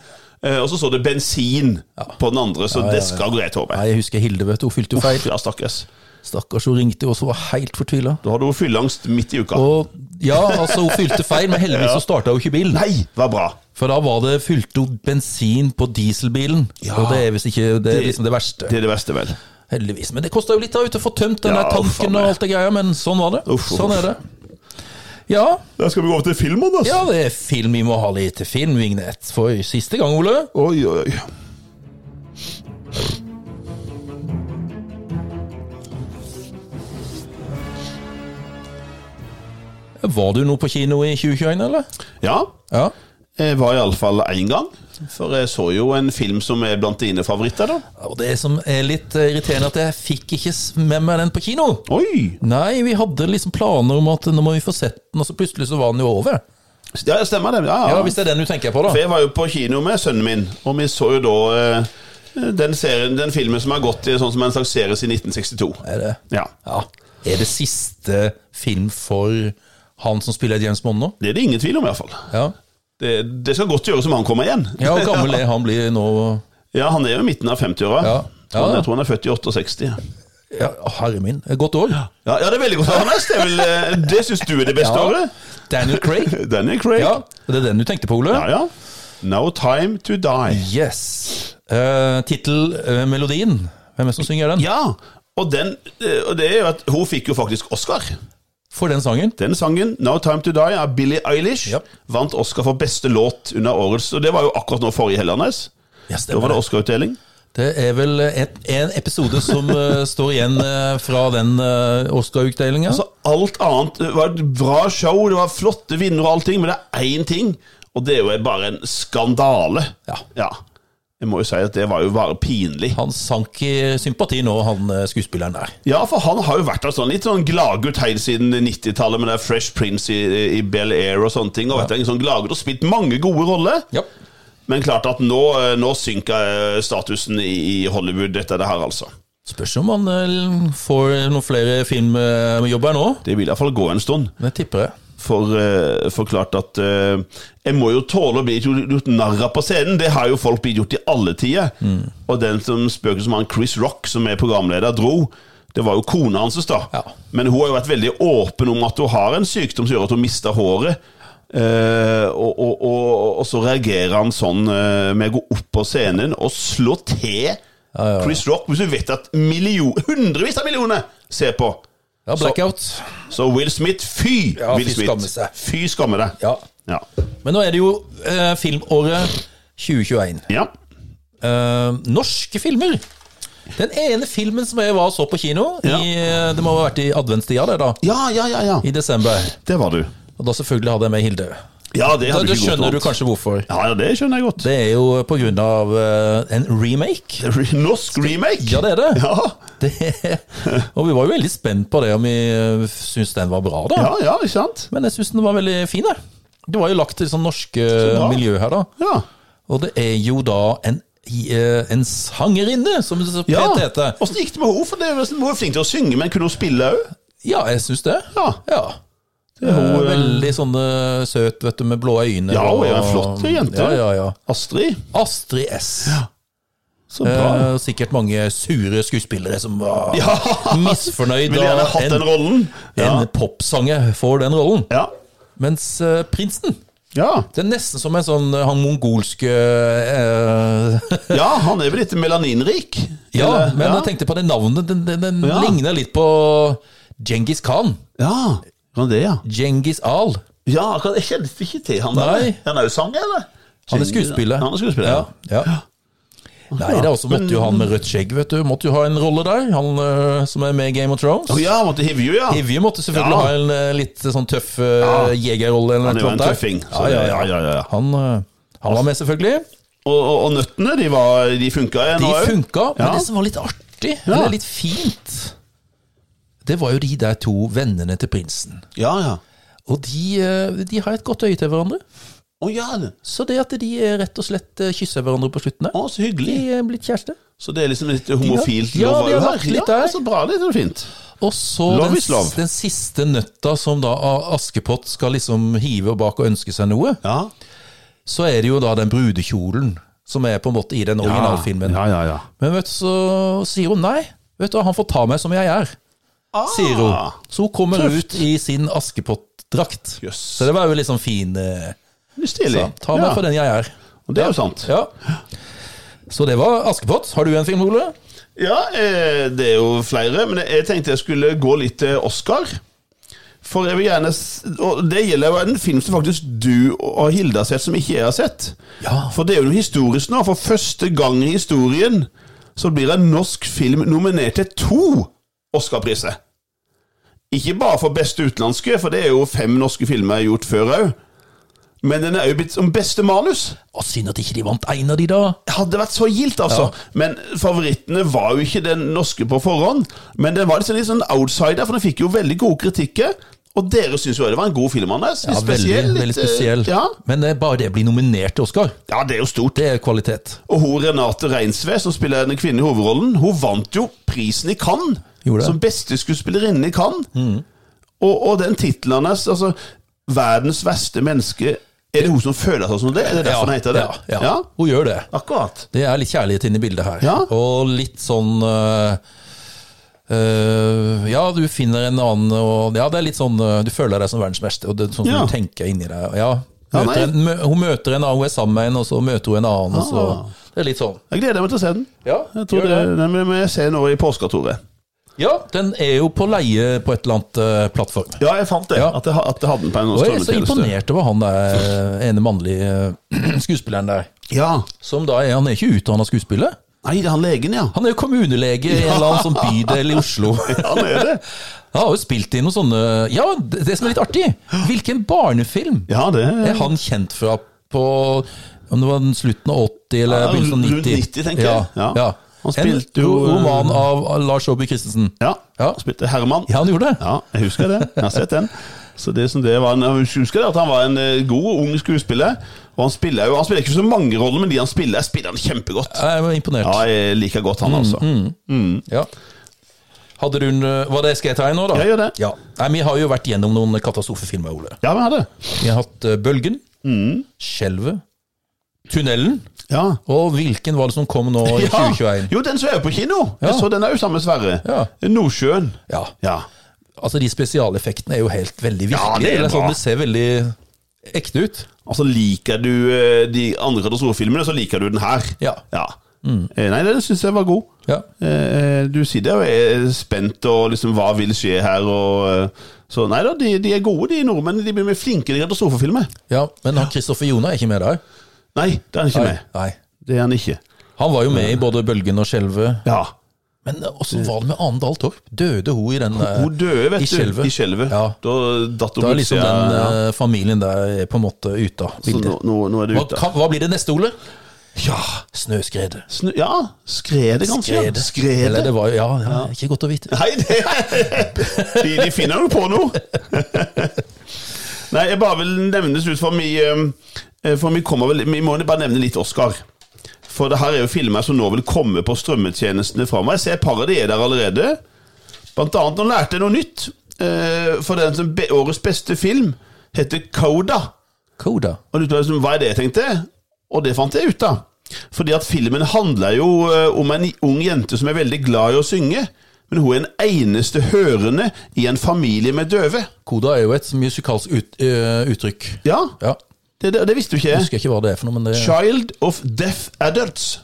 Speaker 2: Eh, Og så står det 'bensin' på den andre, så det skal gå greit, håper jeg.
Speaker 1: Nei, Jeg husker Hilde, vet du. Hun fylte jo feil.
Speaker 2: Ja, stakkars.
Speaker 1: Stakkars, hun ringte jo også og var helt fortvila.
Speaker 2: Da har du fylleangst midt i uka.
Speaker 1: Og ja, altså, hun fylte feil, men heldigvis så starta hun ikke bilen.
Speaker 2: Nei, det var bra.
Speaker 1: For da var det fylte hun bensin på dieselbilen,
Speaker 2: Ja.
Speaker 1: og det er visst ikke det, er liksom det verste.
Speaker 2: Det er det verste, vel.
Speaker 1: Heldigvis. Men det kosta jo litt da ute å få tømt den
Speaker 2: Ja,
Speaker 1: der
Speaker 2: uff, faen
Speaker 1: tanken
Speaker 2: meg.
Speaker 1: og alt det greia, men sånn var det.
Speaker 2: Uff, uff.
Speaker 1: Sånn er det. Ja,
Speaker 2: Da skal vi gå over til filmen, altså.
Speaker 1: ja, det er film. Vi må ha litt filmvignett for siste gang, Ole.
Speaker 2: Oi, oi, oi.
Speaker 1: Var du noe på kino i 2021, eller?
Speaker 2: Ja,
Speaker 1: Ja.
Speaker 2: jeg var iallfall én gang. For jeg så jo en film som er blant dine favoritter, da.
Speaker 1: Og det som er litt eh, irriterende, at jeg fikk ikke s- med meg den på kino.
Speaker 2: Oi!
Speaker 1: Nei, vi hadde liksom planer om at nå må vi få sett den, og så plutselig så var den jo over.
Speaker 2: Ja, stemmer det. Ja,
Speaker 1: Ja,
Speaker 2: ja.
Speaker 1: Hvis det er den du tenker på, da.
Speaker 2: For jeg var jo på kino med sønnen min, og vi så jo da eh, den, serien, den filmen som har gått i sånn som en slags serie siden 1962.
Speaker 1: Er det,
Speaker 2: Ja.
Speaker 1: ja. er det siste film for han som spiller James Bond nå?
Speaker 2: Det er det ingen tvil om, i hvert fall.
Speaker 1: Ja.
Speaker 2: Det, det skal godt gjøres om han kommer igjen.
Speaker 1: Ja, hvor gammel er han blir nå?
Speaker 2: (laughs) Ja, han er jo i midten av 50-åra.
Speaker 1: Ja.
Speaker 2: Tror han-
Speaker 1: Ja.
Speaker 2: Jeg tror han er født i 68.
Speaker 1: Ja, herre min, et godt år.
Speaker 2: Ja, ja, det er veldig godt. Anders. Det, er vel, eh, det syns du er det beste året?
Speaker 1: Daniel Craig.
Speaker 2: Daniel Craig.
Speaker 1: Ja, det er den du tenkte på, Ole?
Speaker 2: ja, ja. No time to die.
Speaker 1: Yes. Uh, Tittelmelodien. Hvem er det som synger den?
Speaker 2: Ja, og, den, eh, og det er jo at hun fikk jo faktisk Oscar.
Speaker 1: For den sangen?
Speaker 2: Den sangen, No Time To Die, av Billie Eilish,
Speaker 1: Ja.
Speaker 2: vant Oscar for beste låt under årets Og det var jo akkurat nå forrige helg, Anders.
Speaker 1: Ja,
Speaker 2: Da var
Speaker 1: stemmer
Speaker 2: det
Speaker 1: det.
Speaker 2: Oscar-utdeling.
Speaker 1: Det er vel et, en episode som eh, står igjen eh, fra den uh, Oscar-utdelinga.
Speaker 2: Altså, alt annet det var et bra show, det var flotte vinnere og allting, men det er én ting, og det er jo bare en skandale.
Speaker 1: Ja.
Speaker 2: Jeg må jo si at det var jo bare pinlig.
Speaker 1: Han sank i sympati nå, han eh, skuespilleren der.
Speaker 2: Ja, for han har jo vært en sånn litt sånn gladgutt helt siden 90-tallet med det Fresh Prince i, i Bel Air og sånne ting. Og vet du, en sånn gladgutt og spilt mange gode roller.
Speaker 1: Ja.
Speaker 2: Men klart at nå, eh, nå synker eh, statusen i, i Hollywood etter det her, altså.
Speaker 1: Spørs om han eh, får noen flere filmjobber nå.
Speaker 2: Det vil iallfall gå en stund.
Speaker 1: Det tipper jeg.
Speaker 2: For, eh, for klart at eh, Jeg må jo tåle å bli gjort gjort narr av på scenen. Det har jo folk blitt gjort i alle tider. Og den som spøker som han Chris Rock, som er programleder, dro, det var jo kona hans, da.
Speaker 1: Ja.
Speaker 2: Men hun har jo vært veldig åpen om at hun har en sykdom som gjør at hun mister håret. Eh, og, og, og, og så reagerer han sånn eh, med å gå opp på scenen og slå til Chris Rock, hvis du vet at million, hundrevis av millioner ser på.
Speaker 1: Ja, blackout.
Speaker 2: Så Will Smith, fy!
Speaker 1: Ja,
Speaker 2: Will
Speaker 1: fy
Speaker 2: Smith.
Speaker 1: skamme seg.
Speaker 2: Fy skamme deg.
Speaker 1: Ja.
Speaker 2: Ja.
Speaker 1: Men nå er det jo eh, filmåret 2021.
Speaker 2: ja.
Speaker 1: Eh, norske filmer. Den ene filmen som jeg var og så på kino,
Speaker 2: Ja.
Speaker 1: i, eh, det må ha vært i adventstida, det da,
Speaker 2: Ja, ja, ja, ja.
Speaker 1: i desember.
Speaker 2: Det var du.
Speaker 1: Og da selvfølgelig hadde jeg med Hilde.
Speaker 2: Ja, det
Speaker 1: Da,
Speaker 2: hadde
Speaker 1: da
Speaker 2: ikke gått
Speaker 1: skjønner du
Speaker 2: annet.
Speaker 1: kanskje hvorfor.
Speaker 2: Ja, ja, det skjønner jeg godt.
Speaker 1: Det er jo på grunn av eh, en remake.
Speaker 2: Norsk remake?
Speaker 1: Ja, det er det.
Speaker 2: Ja,
Speaker 1: det. (laughs) Og vi var jo veldig spent på det, om vi eh, syntes den var bra, da.
Speaker 2: ja, ja ikke sant?
Speaker 1: Men jeg syns den var veldig fin, jeg. Det var jo lagt til sånn norske
Speaker 2: bra.
Speaker 1: miljø her, da.
Speaker 2: Ja.
Speaker 1: Og det er jo da en, i, eh, en sangerinne, som det så pent
Speaker 2: ja.
Speaker 1: heter.
Speaker 2: Åssen gikk det med henne? For det var- Hun var jo flink til å synge, men kunne hun spille òg?
Speaker 1: Ja, jeg syns det.
Speaker 2: Ja.
Speaker 1: Det er
Speaker 2: hun, eh,
Speaker 1: veldig sånn eh, søt, vet du, med blå øyne.
Speaker 2: Ja, hun
Speaker 1: og-
Speaker 2: er en flott jente.
Speaker 1: Ja, ja, ja.
Speaker 2: Astrid.
Speaker 1: Astrid S.
Speaker 2: Så bra.
Speaker 1: Eh, sikkert mange sure skuespillere som var
Speaker 2: (laughs) Ja.
Speaker 1: misfornøyd
Speaker 2: Ville gjerne hatt den
Speaker 1: en,
Speaker 2: rollen. Ja.
Speaker 1: en popsanger får den rollen.
Speaker 2: ja.
Speaker 1: Mens eh, prinsen
Speaker 2: Ja.
Speaker 1: det er nesten som en sånn eh, han mongolske eh, (laughs)
Speaker 2: ja, han er vel litt melaninrik?
Speaker 1: Ja,
Speaker 2: Eller-
Speaker 1: men
Speaker 2: ja.
Speaker 1: jeg tenkte på det navnet. Den, den, den
Speaker 2: Ja.
Speaker 1: ligner litt på Djengis Khan.
Speaker 2: Ja, han det, ja.
Speaker 1: Djengis Al.
Speaker 2: Ja, akkurat, jeg kjente ikke til han der.
Speaker 1: Nei.
Speaker 2: Han er jo sanger, eller?
Speaker 1: Han er skuespiller.
Speaker 2: Han er skuespiller, ja. Ah,
Speaker 1: ja. ja. Nei, det er også måtte jo han med rødt skjegg, vet du. Måtte jo ha en rolle der, han eh, som er med i Game of Thrones.
Speaker 2: Å ja, han måtte hive jo, ja.
Speaker 1: Evje måtte selvfølgelig
Speaker 2: Ja.
Speaker 1: ha en eh, litt sånn tøff eh, jegerrolle. eller
Speaker 2: Han er jo
Speaker 1: noe
Speaker 2: en
Speaker 1: sånt der.
Speaker 2: tøffing, så
Speaker 1: Ja, ja,
Speaker 2: det-
Speaker 1: ja.
Speaker 2: ja, ja, ja.
Speaker 1: Han, eh, han var med, selvfølgelig.
Speaker 2: Og, og, og nøttene, de, var, de funka igjen
Speaker 1: De
Speaker 2: også.
Speaker 1: funka,
Speaker 2: Ja.
Speaker 1: men det som var litt artig,
Speaker 2: Ja.
Speaker 1: eller litt fint, det var jo de der to vennene til prinsen.
Speaker 2: Ja, ja.
Speaker 1: Og de, eh, de har et godt øye til hverandre.
Speaker 2: Å ja, det-
Speaker 1: Så det at de eh, rett og slett eh, kysser hverandre på slutten der,
Speaker 2: å, så hyggelig.
Speaker 1: de er blitt kjærester.
Speaker 2: Så det er liksom litt homofilt
Speaker 1: Ja,
Speaker 2: lov
Speaker 1: de har
Speaker 2: også
Speaker 1: vært litt
Speaker 2: ja,
Speaker 1: der.
Speaker 2: Så bra, det er så fint.
Speaker 1: Og så
Speaker 2: Love
Speaker 1: den,
Speaker 2: is love.
Speaker 1: den siste nøtta som da Askepott skal liksom hive bak og ønske seg noe.
Speaker 2: Ja.
Speaker 1: så er det jo da den brudekjolen som er på en måte i den originalfilmen.
Speaker 2: Ja, ja, ja.
Speaker 1: Men vet du, så sier hun nei. Vet du, hva, Han får ta meg som jeg er,
Speaker 2: Ah.
Speaker 1: sier hun. Så hun kommer ut i sin Askepott-drakt.
Speaker 2: Jøss.
Speaker 1: Så det var jo litt sånn fin eh,
Speaker 2: Det er stilig.
Speaker 1: Ta meg for den jeg er.
Speaker 2: Og Det er jo sant.
Speaker 1: Ja. Så det var Askepott. Har du en film, Ole?
Speaker 2: Ja, eh, det er jo flere, men jeg tenkte jeg skulle gå litt til Oscar. For jeg vil gjerne s- Og det gjelder jo en film som faktisk du og Hilde har sett, som ikke jeg har sett.
Speaker 1: Ja.
Speaker 2: For det er jo noe historisk nå. For første gang i historien så blir en norsk film nominert til to Oscar-priser. Ikke bare for beste utenlandske, for det er jo fem norske filmer gjort før òg. Men den er òg blitt som beste manus
Speaker 1: Å, Synd at ikke de vant en av de, da.
Speaker 2: hadde vært så gildt, altså. Men favorittene var jo ikke den norske på forhånd. Men den var liksom litt sånn outsider, for den fikk jo veldig gode kritikker. Og dere syns jo det var en god film, Anders. Litt
Speaker 1: Ja,
Speaker 2: spesiell.
Speaker 1: veldig, veldig
Speaker 2: litt, eh,
Speaker 1: spesiell.
Speaker 2: Ja.
Speaker 1: Men eh, bare det blir nominert til Oscar,
Speaker 2: ja, det er jo stort.
Speaker 1: det er kvalitet.
Speaker 2: Og hun Renate Reinsve, som spiller den kvinnen i hovedrollen, hun vant jo prisen i Cannes.
Speaker 1: Gjorde det. Mm.
Speaker 2: Som beste skuespillerinne i Cannes. Og, og den tittelen hennes, altså 'Verdens verste menneske' Er det hun som føler seg som det? Er det derfor den heter det?
Speaker 1: Ja, ja. Hun gjør det.
Speaker 2: Akkurat.
Speaker 1: Det er litt kjærlighet inne i bildet her.
Speaker 2: Ja.
Speaker 1: Og litt sånn øh, øh, Ja, du finner en annen og, Ja, det er litt sånn øh, Du føler deg som verdensmester, og det er sånn
Speaker 2: Ja.
Speaker 1: du tenker inni deg. Ja,
Speaker 2: Ja,
Speaker 1: møter
Speaker 2: nei.
Speaker 1: en, mø, hun møter en annen, hun er sammen med en, og så møter hun en annen. Og
Speaker 2: Ah.
Speaker 1: så, det er litt sånn.
Speaker 2: Jeg gleder meg til å se den.
Speaker 1: Ja,
Speaker 2: Jeg tror
Speaker 1: gjør
Speaker 2: det, den vil vi se nå i påska, Tore.
Speaker 1: ja, den er jo på leie på et eller annet øh, plattform.
Speaker 2: Ja, jeg fant det.
Speaker 1: Ja.
Speaker 2: At, jeg, ha- at jeg hadde den på en
Speaker 1: Og jeg er så
Speaker 2: strømmetjeneste.
Speaker 1: imponert over han der eh, øh, ene mannlige øh, (clears throat) skuespilleren der.
Speaker 2: Ja.
Speaker 1: Som da er, Han er ikke utdanna skuespiller,
Speaker 2: Nei, det er han legen, ja.
Speaker 1: Han er jo kommunelege i en eller annen sånn bydel i Oslo.
Speaker 2: Han er det.
Speaker 1: Han har jo spilt i noen sånne Ja, det det som er litt artig! Hvilken barnefilm
Speaker 2: Ja, det er
Speaker 1: er han kjent fra på Om det var den slutten av 80 eller
Speaker 2: Ja,
Speaker 1: begynnelsen av 90?
Speaker 2: rundt 90, tenker jeg.
Speaker 1: Ja,
Speaker 2: Ja.
Speaker 1: ja.
Speaker 2: Han spilte
Speaker 1: en
Speaker 2: jo, eh,
Speaker 1: ro- roman av Lars Aabye Christensen.
Speaker 2: Ja,
Speaker 1: Ja.
Speaker 2: han spilte Herman.
Speaker 1: Ja, han gjorde det.
Speaker 2: Ja, jeg husker det. Jeg har sett den. Så det som det var en, jeg husker det at han var en eh, god, ung skuespiller. Og han spiller jo Han spiller ikke så mange roller, men de han spiller, spiller han kjempegodt.
Speaker 1: Jeg var imponert.
Speaker 2: Ja, jeg liker godt han, altså.
Speaker 1: Mm, Ja. Hadde du en, Var det skal jeg ta en nå, da?
Speaker 2: Ja, gjør det.
Speaker 1: Ja. Nei, vi har jo vært gjennom noen katastrofefilmer, Ole.
Speaker 2: Ja, vi har det.
Speaker 1: Vi har hatt eh, Bølgen,
Speaker 2: Mm.
Speaker 1: Skjelvet, Tunnelen,
Speaker 2: Ja.
Speaker 1: og hvilken var det som kom nå (laughs) i 2021?
Speaker 2: Jo, den som er på kino! Jeg
Speaker 1: Ja.
Speaker 2: så den er jo sammen med Sverre.
Speaker 1: Ja.
Speaker 2: Nordsjøen.
Speaker 1: Ja.
Speaker 2: Ja.
Speaker 1: Altså, de spesialeffektene er jo helt veldig virkelige.
Speaker 2: Ja, det er
Speaker 1: Eller sånn,
Speaker 2: bra.
Speaker 1: det ser veldig ekte ut.
Speaker 2: Altså, liker du eh, de andre katastrofefilmene, så liker du den her.
Speaker 1: Ja. Mm.
Speaker 2: Eh, Nei, den syns jeg var god.
Speaker 1: Ja.
Speaker 2: Eh, Du sier det, og er spent og liksom hva vil skje her og eh, Så nei da, de, de er gode, de nordmennene. De blir mer flinke til katastrofefilmer.
Speaker 1: ja men han Kristoffer Jona er ikke med der?
Speaker 2: Nei, det er han ikke
Speaker 1: Nei.
Speaker 2: med.
Speaker 1: Nei.
Speaker 2: Det er han ikke.
Speaker 1: Han var jo med i både Bølgen og Skjelvet.
Speaker 2: Ja.
Speaker 1: Men åssen var det med Ane Dahl Torp? Døde hun i den eh,
Speaker 2: Hun døde, vet
Speaker 1: i
Speaker 2: du.
Speaker 1: Skjelvet.
Speaker 2: I skjelvet.
Speaker 1: Ja.
Speaker 2: Da datt hun
Speaker 1: Da er liksom
Speaker 2: plutselig
Speaker 1: den
Speaker 2: ja.
Speaker 1: eh, familien der er på en måte ute av
Speaker 2: Så
Speaker 1: bildet.
Speaker 2: nå, nå, nå er det
Speaker 1: Hva,
Speaker 2: ute.
Speaker 1: kan, hva blir det neste, Ole?
Speaker 2: Ja,
Speaker 1: Snøskredet.
Speaker 2: snu, ja. skredet, kanskje. ja.
Speaker 1: Eller
Speaker 2: Skredet.
Speaker 1: det var, ja, ja, ikke godt å vite.
Speaker 2: Nei, det de, de finner jo på noe! Nei, jeg bare vil nevnes ut for vi, eh, for vi kommer vel Vi må bare nevne litt Oscar. For det her er jo filmer som nå vil komme på strømmetjenestene framover. Jeg ser et par av de er der allerede. Blant annet nå lærte jeg noe nytt. eh, For den som be, årets beste film heter Coda.
Speaker 1: Koda.
Speaker 2: Og lurte på liksom, hva er det jeg tenkte, og det fant jeg ut av. Fordi at filmen handler jo eh, om en ung jente som er veldig glad i å synge, men hun er en eneste hørende i en familie med døve.
Speaker 1: Koda er jo et musikalsk ut, eh, uttrykk.
Speaker 2: Ja,
Speaker 1: Ja,
Speaker 2: det, det, det visste jo ikke
Speaker 1: jeg
Speaker 2: jeg.
Speaker 1: husker ikke hva det er for noe, men det
Speaker 2: Child of Deaf Adults.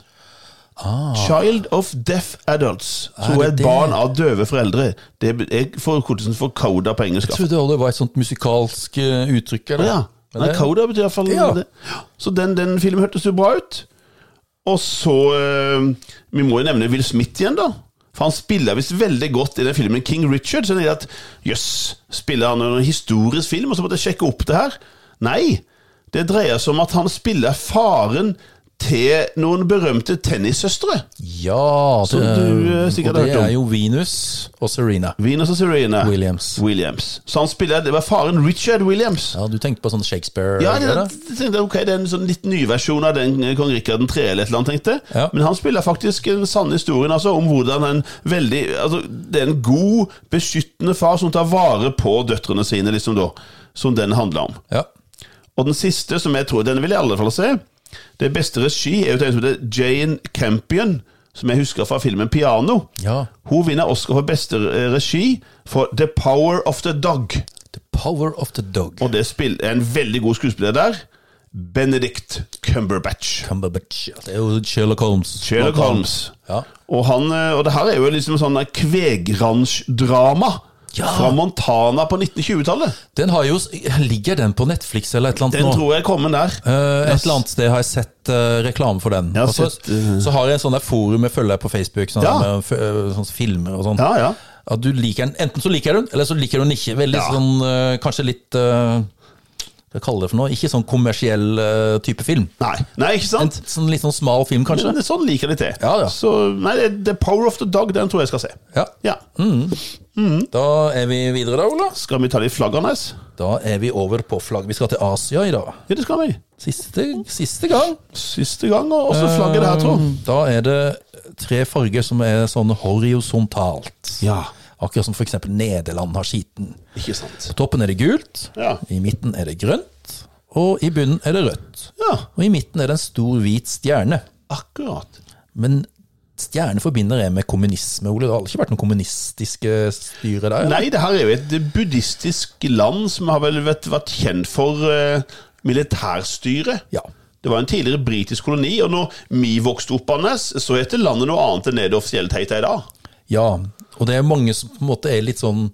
Speaker 2: Child of Deaf Adults. Så
Speaker 1: Ah. Er
Speaker 2: hun
Speaker 1: det
Speaker 2: er et
Speaker 1: det?
Speaker 2: barn av døve foreldre. Det er for kortelsen for Coda på engelsk.
Speaker 1: Jeg trodde det var et sånt musikalsk eh, uttrykk. Eller?
Speaker 2: Ja.
Speaker 1: Men
Speaker 2: Nei,
Speaker 1: det-
Speaker 2: Coda betyr iallfall
Speaker 1: Ja.
Speaker 2: det. Så den, den filmen hørtes jo bra ut. Og så eh, Vi må jo nevne Will Smith igjen, da. For han spiller visst veldig godt i den filmen King Richard. Så jeg tenkte at jøss, spiller han en historisk film? Og så måtte jeg sjekke opp det her. Nei. Det dreier seg om at han spiller faren til noen berømte tennissøstre.
Speaker 1: ja det,
Speaker 2: du, eh,
Speaker 1: og
Speaker 2: sikkert
Speaker 1: det
Speaker 2: har hørt om.
Speaker 1: er jo Venus og Serena.
Speaker 2: Venus og Serena
Speaker 1: Williams.
Speaker 2: Williams. Så han spiller Det var faren Richard Williams.
Speaker 1: Ja, Du tenkte på sånn Shakespeare?
Speaker 2: Ja, det,
Speaker 1: eller?
Speaker 2: det, det, ok, det er en sånn litt ny versjon av den eh, kong Rikard 3. eller et eller annet, tenkte jeg.
Speaker 1: Ja.
Speaker 2: Men han spiller faktisk den sanne historien altså, om hvordan en veldig altså, Det er en god, beskyttende far som tar vare på døtrene sine, liksom da. Som den handler om.
Speaker 1: ja.
Speaker 2: Og den siste, som jeg tror Den vil jeg i alle fall se. Det beste regi er jo den som heter Jane Campion, som jeg husker fra filmen 'Piano'.
Speaker 1: Ja.
Speaker 2: Hun vinner Oscar for beste eh, regi for 'The Power of the Dog'.
Speaker 1: The Power of the Dog.
Speaker 2: Og det spill, er en veldig god skuespiller der. Benedict Cumberbatch.
Speaker 1: Cumberbatch. Ja, Det er jo Sherlock Holmes.
Speaker 2: Sherlock Holmes.
Speaker 1: Ja.
Speaker 2: Og, han, eh, og det her er jo liksom sånn der kvegransjdrama
Speaker 1: Ja.
Speaker 2: fra Montana på 1920-tallet.
Speaker 1: Den har jo, Ligger den på Netflix eller et eller annet
Speaker 2: Den
Speaker 1: nå?
Speaker 2: tror jeg er kommet der.
Speaker 1: Eh, et eller annet sted har jeg sett eh, reklame for den.
Speaker 2: Jeg har
Speaker 1: Og så-
Speaker 2: sett, eh,
Speaker 1: Så har jeg en sånn der forum jeg følger deg på Facebook, sånn
Speaker 2: Ja.
Speaker 1: med, f- eh, sånn filmer og sånn.
Speaker 2: Ja, ja.
Speaker 1: At du liker den, Enten så liker du den, eller så liker du den ikke. Veldig
Speaker 2: Ja.
Speaker 1: sånn, eh, Kanskje litt eh, Hva kaller jeg det for noe? Ikke sånn kommersiell eh, type film.
Speaker 2: Nei, nei ikke
Speaker 1: En
Speaker 2: sant?
Speaker 1: sånn, litt sånn smal film, kanskje.
Speaker 2: Men det- Sånn liker de til.
Speaker 1: Ja, ja.
Speaker 2: Så nei, det- The Power of the Dog, den tror jeg jeg skal se.
Speaker 1: Ja,
Speaker 2: Ja.
Speaker 1: Mm.
Speaker 2: Mm.
Speaker 1: Da er vi videre, da, Ola.
Speaker 2: Skal vi ta litt flaggernes?
Speaker 1: Da er vi over på flagg. Vi skal til Asia i dag.
Speaker 2: Ja, det skal vi.
Speaker 1: Siste, siste gang.
Speaker 2: Siste gang, og også flagget der, tror jeg.
Speaker 1: Eh, Da er det tre farger som er sånn horisontalt.
Speaker 2: Ja.
Speaker 1: Akkurat som f.eks. Nederland har skiten.
Speaker 2: Ikke sant.
Speaker 1: På toppen er det gult,
Speaker 2: Ja.
Speaker 1: i midten er det grønt, og i bunnen er det rødt.
Speaker 2: Ja,
Speaker 1: Og i midten er det en stor hvit stjerne.
Speaker 2: akkurat.
Speaker 1: Men stjerne forbinder jeg med kommunisme, Ole. Det har ikke vært noen kommunistiske styre der? eller?
Speaker 2: Nei, det her er jo et buddhistisk land som har vel vært, vært kjent for eh, militærstyre.
Speaker 1: Ja.
Speaker 2: Det var en tidligere britisk koloni, og når vi vokste opp, Anders, så heter landet noe annet enn det det offisielt heter i dag.
Speaker 1: ja. Og det er mange som på en måte er litt sånn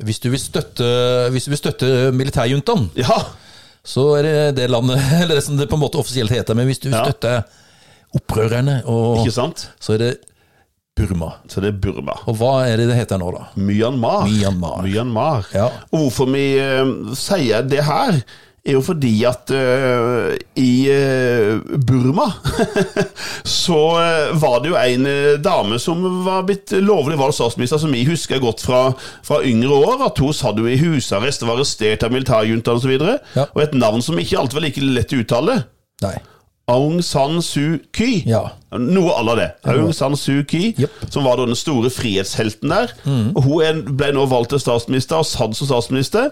Speaker 1: Hvis du vil støtte, hvis du vil støtte militærjuntaen,
Speaker 2: Ja,
Speaker 1: (laughs) så er det det landet Eller det som det på en måte offisielt heter, men hvis du
Speaker 2: Ja.
Speaker 1: støtter opprørerne, og
Speaker 2: Ikke sant?
Speaker 1: så er det Burma.
Speaker 2: Så det er Burma.
Speaker 1: Og hva er det det heter nå, da?
Speaker 2: Myanmar.
Speaker 1: Myanmar.
Speaker 2: Myanmar.
Speaker 1: Ja.
Speaker 2: Og hvorfor vi eh, sier det her, er jo fordi at eh, i eh, Burma (laughs) så eh, var det jo en eh, dame som var blitt lovlig valgt statsminister, som vi husker godt fra, fra yngre år. At hun satt jo i husarrest og var arrestert av militærjuntaen osv. videre
Speaker 1: Ja.
Speaker 2: Og et navn som ikke alltid var like lett å uttale.
Speaker 1: Nei.
Speaker 2: Aung San Suu Kyi.
Speaker 1: Ja.
Speaker 2: Noe à la det. Aung San Suu Kyi,
Speaker 1: Jep. Mm.
Speaker 2: som var da den store frihetshelten der. Og Hun er- ble nå valgt til statsminister, og satt som statsminister.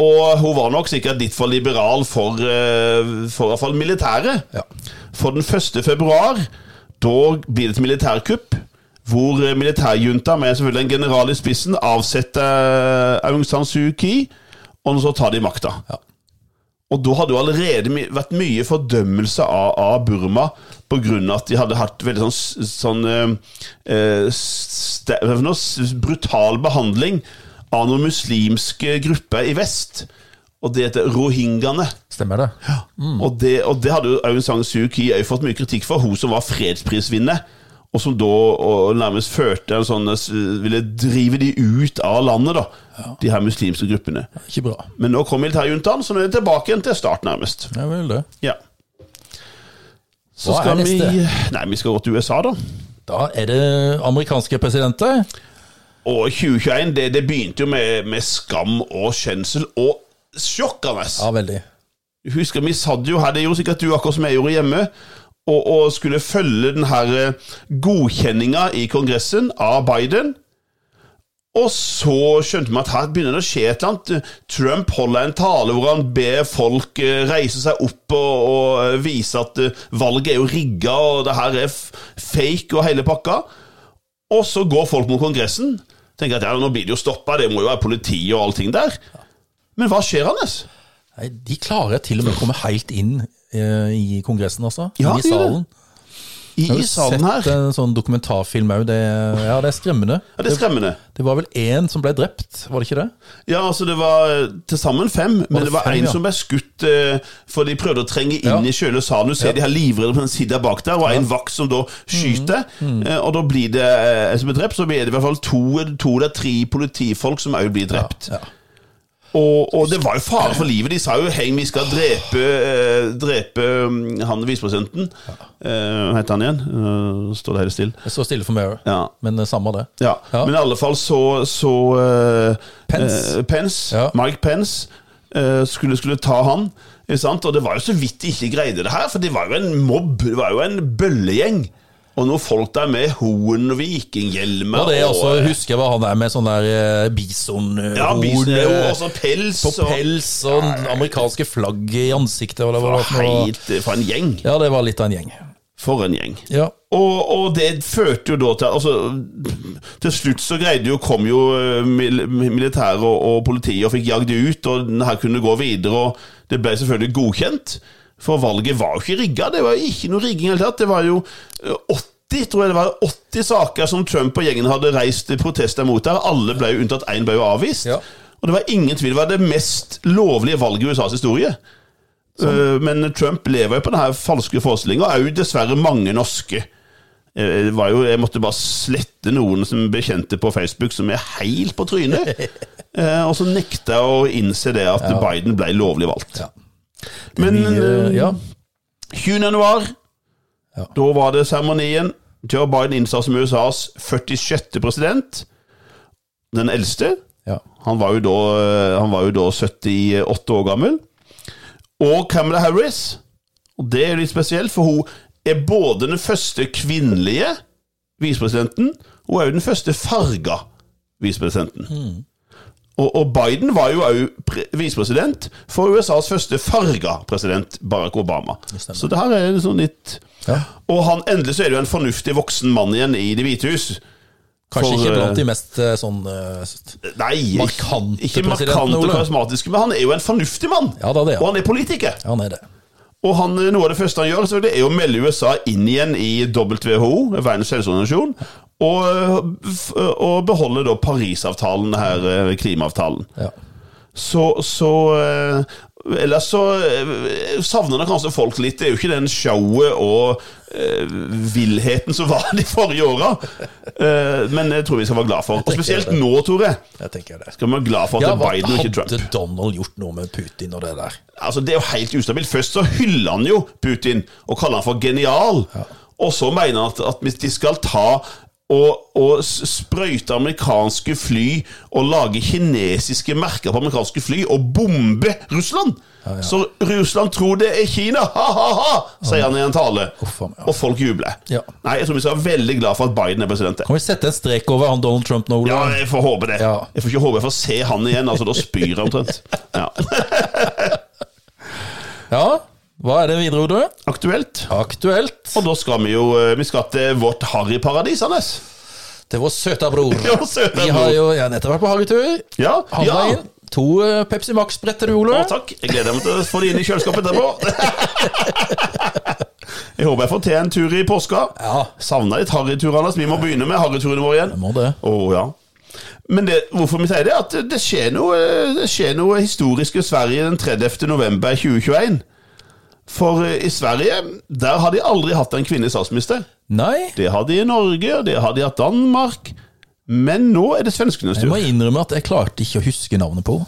Speaker 2: Og hun var nok sikkert litt for liberal for, eh, for i hvert fall militæret.
Speaker 1: Ja.
Speaker 2: For den 1. februar, da blir det et militærkupp. Hvor eh, militærjunta, med selvfølgelig en general i spissen, avsetter eh, Aung San Suu Kyi. Og så tar de makta.
Speaker 1: Ja.
Speaker 2: Og da hadde jo allerede my vært mye fordømmelse av, av Burma på grunn av at de hadde hatt veldig sånn, s- sånn eh, eh, ste- hva for noe? S- brutal behandling av noen muslimske grupper i vest. Og det heter rohingyaene.
Speaker 1: Stemmer det? Mm.
Speaker 2: Og, det, og det hadde jo Aung San Suu Kyi også fått mye kritikk for, hun som var fredsprisvinner. Og som da og nærmest førte en sånn eh, Ville drive de ut av landet, da. De her muslimske gruppene.
Speaker 1: Ikke bra.
Speaker 2: Men nå kom militærjuntaen, så nå er det tilbake igjen til start, nærmest.
Speaker 1: Ja vel, det.
Speaker 2: Ja. Så
Speaker 1: Hva er
Speaker 2: skal vi
Speaker 1: neste?
Speaker 2: Nei, vi skal gå til USA, da.
Speaker 1: Da er det amerikanske presidenter.
Speaker 2: Og 2021, det, det begynte jo med, med skam og skjønnsel og sjokkende.
Speaker 1: Ja, veldig.
Speaker 2: Husker vi satt jo her, det gjorde sikkert du akkurat som jeg gjorde hjemme, og, og skulle følge den her eh, godkjenninga i Kongressen av Biden. Og så skjønte vi at her begynner det å skje et eller annet. Trump holder en tale hvor han ber folk eh, reise seg opp og, og eh, vise at eh, valget er jo rigga, og det her er f- fake og hele pakka. Og så går folk mot Kongressen. Tenker at ja, nå blir det jo stoppa, det må jo være politi og allting der. Men hva skjer, Anders?
Speaker 1: Nei, de klarer til og med å komme helt inn eh, i Kongressen, altså.
Speaker 2: Ja,
Speaker 1: I
Speaker 2: de gjør det.
Speaker 1: salen.
Speaker 2: I,
Speaker 1: Jeg har
Speaker 2: i salen her?
Speaker 1: sett en sånn dokumentarfilm òg. Det, ja, det er skremmende.
Speaker 2: Ja, det er skremmende.
Speaker 1: Det var vel én som ble drept, var det ikke det?
Speaker 2: Ja, altså det var eh, til sammen fem, men
Speaker 1: det
Speaker 2: det var
Speaker 1: fem,
Speaker 2: en
Speaker 1: ja?
Speaker 2: som ble skutt eh, for de prøvde å trenge inn
Speaker 1: Ja.
Speaker 2: i sjøle salen. Du ser de har livredde på den sida bak der, og en vakt som da skyter.
Speaker 1: Mm,
Speaker 2: eh, Og da blir det eh, en som blir drept, så blir det i hvert fall to, to eller tre politifolk som òg blir drept.
Speaker 1: Ja.
Speaker 2: Og, og det var jo fare for livet. De sa jo 'heng, vi skal drepe, eh, drepe mm, han visepresidenten'. Eh, Hva heter han igjen? Eh, Står det helt stille.
Speaker 1: Det står stille for meg òg,
Speaker 2: Ja.
Speaker 1: men eh, samme det.
Speaker 2: Ja.
Speaker 1: Ja.
Speaker 2: Men i alle fall så, så eh,
Speaker 1: Pence.
Speaker 2: eh, Pence
Speaker 1: Ja.
Speaker 2: Mike Pence eh, skulle, skulle ta han. Ikke sant? Og det var jo så vidt de ikke greide det her, for det var jo en mobb. Det var jo en bøllegjeng. Og noen folk der med horn og vikinghjelmer
Speaker 1: Og det
Speaker 2: og,
Speaker 1: altså, husker jeg var han der med sånn der eh, bisonhorn
Speaker 2: ja, bisen, og
Speaker 1: eh,
Speaker 2: også pels.
Speaker 1: på pels og amerikanske flagg i ansiktet. Og det var,
Speaker 2: og,
Speaker 1: for noe.
Speaker 2: Heit, for en gjeng.
Speaker 1: Ja, det var litt av en gjeng.
Speaker 2: For en gjeng.
Speaker 1: Ja.
Speaker 2: Og, og det førte jo da til altså, Til slutt så greide jo kom jo eh, mil, militæret og, og politiet og fikk jagd de ut, og den her kunne gå videre, og det ble selvfølgelig godkjent. For valget var jo ikke rigga, det var ikke noe rigging i det hele tatt. Det var jo eh, 80, tror jeg det var, 80 saker som Trump og gjengen hadde reist protester mot der. Alle ble jo unntatt én ble jo avvist.
Speaker 1: Ja.
Speaker 2: Og det var ingen tvil, det var det mest lovlige valget i USAs historie. Eh, Men Trump lever jo på denne falske forestillinga, og òg dessverre mange norske. Eh, Det var jo, jeg måtte bare slette noen som bekjente på Facebook som er helt på trynet.
Speaker 1: (laughs)
Speaker 2: Eh, Og så nekta jeg å innse det at Biden ble lovlig valgt.
Speaker 1: Ja.
Speaker 2: Men
Speaker 1: Eh, ja.
Speaker 2: 20. januar,
Speaker 1: Ja.
Speaker 2: da var det seremonien. Joe Biden innsatt som USAs 46. president. Den eldste.
Speaker 1: ja.
Speaker 2: Han var jo da, eh, han var jo da 78 år gammel. Og Kamala Harris. Og det er litt spesielt, for hun er både den første kvinnelige visepresidenten og også den første farga visepresidenten. Og, og Biden var jo også visepresident for USAs første farga president, Barack Obama.
Speaker 1: stemmer.
Speaker 2: Så det her er liksom litt
Speaker 1: ja.
Speaker 2: Og han, endelig så er det jo en fornuftig voksen mann igjen i Det hvite hus.
Speaker 1: Kanskje
Speaker 2: For,
Speaker 1: ikke
Speaker 2: eh,
Speaker 1: blant de mest eh, sånn eh, st-
Speaker 2: Nei,
Speaker 1: Markante
Speaker 2: ikke, ikke
Speaker 1: presidenten,
Speaker 2: markante og
Speaker 1: Ole.
Speaker 2: karismatiske, men han er jo en fornuftig mann.
Speaker 1: Ja da, det er
Speaker 2: Og
Speaker 1: han.
Speaker 2: han er politiker.
Speaker 1: Ja, nei, det.
Speaker 2: Og han, eh, noe av det første han gjør, selvfølgelig, er jo å melde USA inn igjen i WHO, Verdens helseorganisasjon, og, eh, og beholde da Parisavtalen, her, klimaavtalen.
Speaker 1: Ja.
Speaker 2: eh, Så, så eh, Ellers så eh, savner det kanskje folk litt. Det er jo ikke den showet og eh, villheten som var (laughs) de forrige åra. Eh, men jeg tror vi skal være glad for. Og spesielt nå, Tore.
Speaker 1: Jeg tenker det.
Speaker 2: Skal vi være glad for at
Speaker 1: Ja,
Speaker 2: det er
Speaker 1: hva
Speaker 2: Biden og ikke Trump.
Speaker 1: hadde Donald gjort noe med Putin og det der?
Speaker 2: Altså, det er jo helt ustabilt. Først så hyller han jo Putin og kaller han for genial. Og så mener han at, at hvis de skal ta og, og s- sprøyte amerikanske fly og lage kinesiske merker på amerikanske fly og bombe Russland! Så Russland tror det er Kina! Ha-ha-ha! sier han i en tale.
Speaker 1: Uff, faen, ja.
Speaker 2: Og folk jubler.
Speaker 1: Ja.
Speaker 2: Nei, jeg tror vi skal være veldig glad for at Biden er president.
Speaker 1: Kan vi sette en strek over han Donald Trump nå,
Speaker 2: Ja,
Speaker 1: Ola?
Speaker 2: jeg får håpe det.
Speaker 1: Ja.
Speaker 2: Jeg får ikke håpe jeg får se han igjen. altså Da spyr jeg
Speaker 1: (laughs)
Speaker 2: omtrent. Ja.
Speaker 1: Ja. Hva er det videre, Odo?
Speaker 2: Aktuelt.
Speaker 1: Aktuelt.
Speaker 2: Og da skal vi jo eh, Vi skal til vårt harryparadis, Anders.
Speaker 1: Det var søta bror.
Speaker 2: Ja, søta
Speaker 1: Vi har
Speaker 2: bror.
Speaker 1: jo jeg har nettopp vært på harrytur.
Speaker 2: Ja, ja.
Speaker 1: Handla inn to eh, Pepsi Max-brett til du, Ola.
Speaker 2: Å, takk. Jeg gleder meg til å få det inn i kjøleskapet etterpå. (laughs) Jeg håper jeg får til en tur i påska.
Speaker 1: Ja.
Speaker 2: Savna litt harrytur, Anders. Vi må begynne med harryturene våre igjen.
Speaker 1: Må det.
Speaker 2: Å, ja. Men det, hvorfor vi sier det, er at det skjer noe, eh, det skjer noe historisk i Sverige den 30. november 2021. For eh, i Sverige, der har de aldri hatt en kvinnelig statsminister.
Speaker 1: Nei,
Speaker 2: Det har de i Norge, og det har de hatt i Danmark. Men nå er det svenskenes
Speaker 1: jeg
Speaker 2: tur.
Speaker 1: må innrømme at jeg klarte ikke å huske navnet på.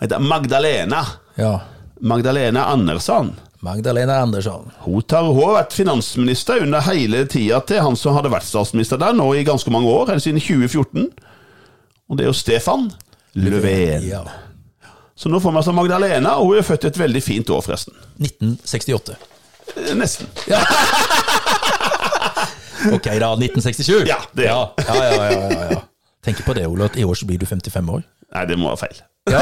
Speaker 2: heter Magdalena.
Speaker 1: Ja.
Speaker 2: Magdalena Andersson.
Speaker 1: Magdalena Andersson.
Speaker 2: Hun, tar, hun har vært finansminister under hele tida til han som hadde vært statsminister der nå i ganske mange år, helt siden 2014. Og det er jo Stefan Löfven.
Speaker 1: Ja.
Speaker 2: Så nå får vi altså Magdalena, og hun er født et veldig fint år, forresten.
Speaker 1: 1968.
Speaker 2: Eh, Nesten.
Speaker 1: Ok, da. 1967.
Speaker 2: Ja, det er
Speaker 1: ja. Ja, ja, ja, ja, ja. Tenk på det, Ola, at i år så blir du 55 år.
Speaker 2: Nei, det må være feil.
Speaker 1: Ja.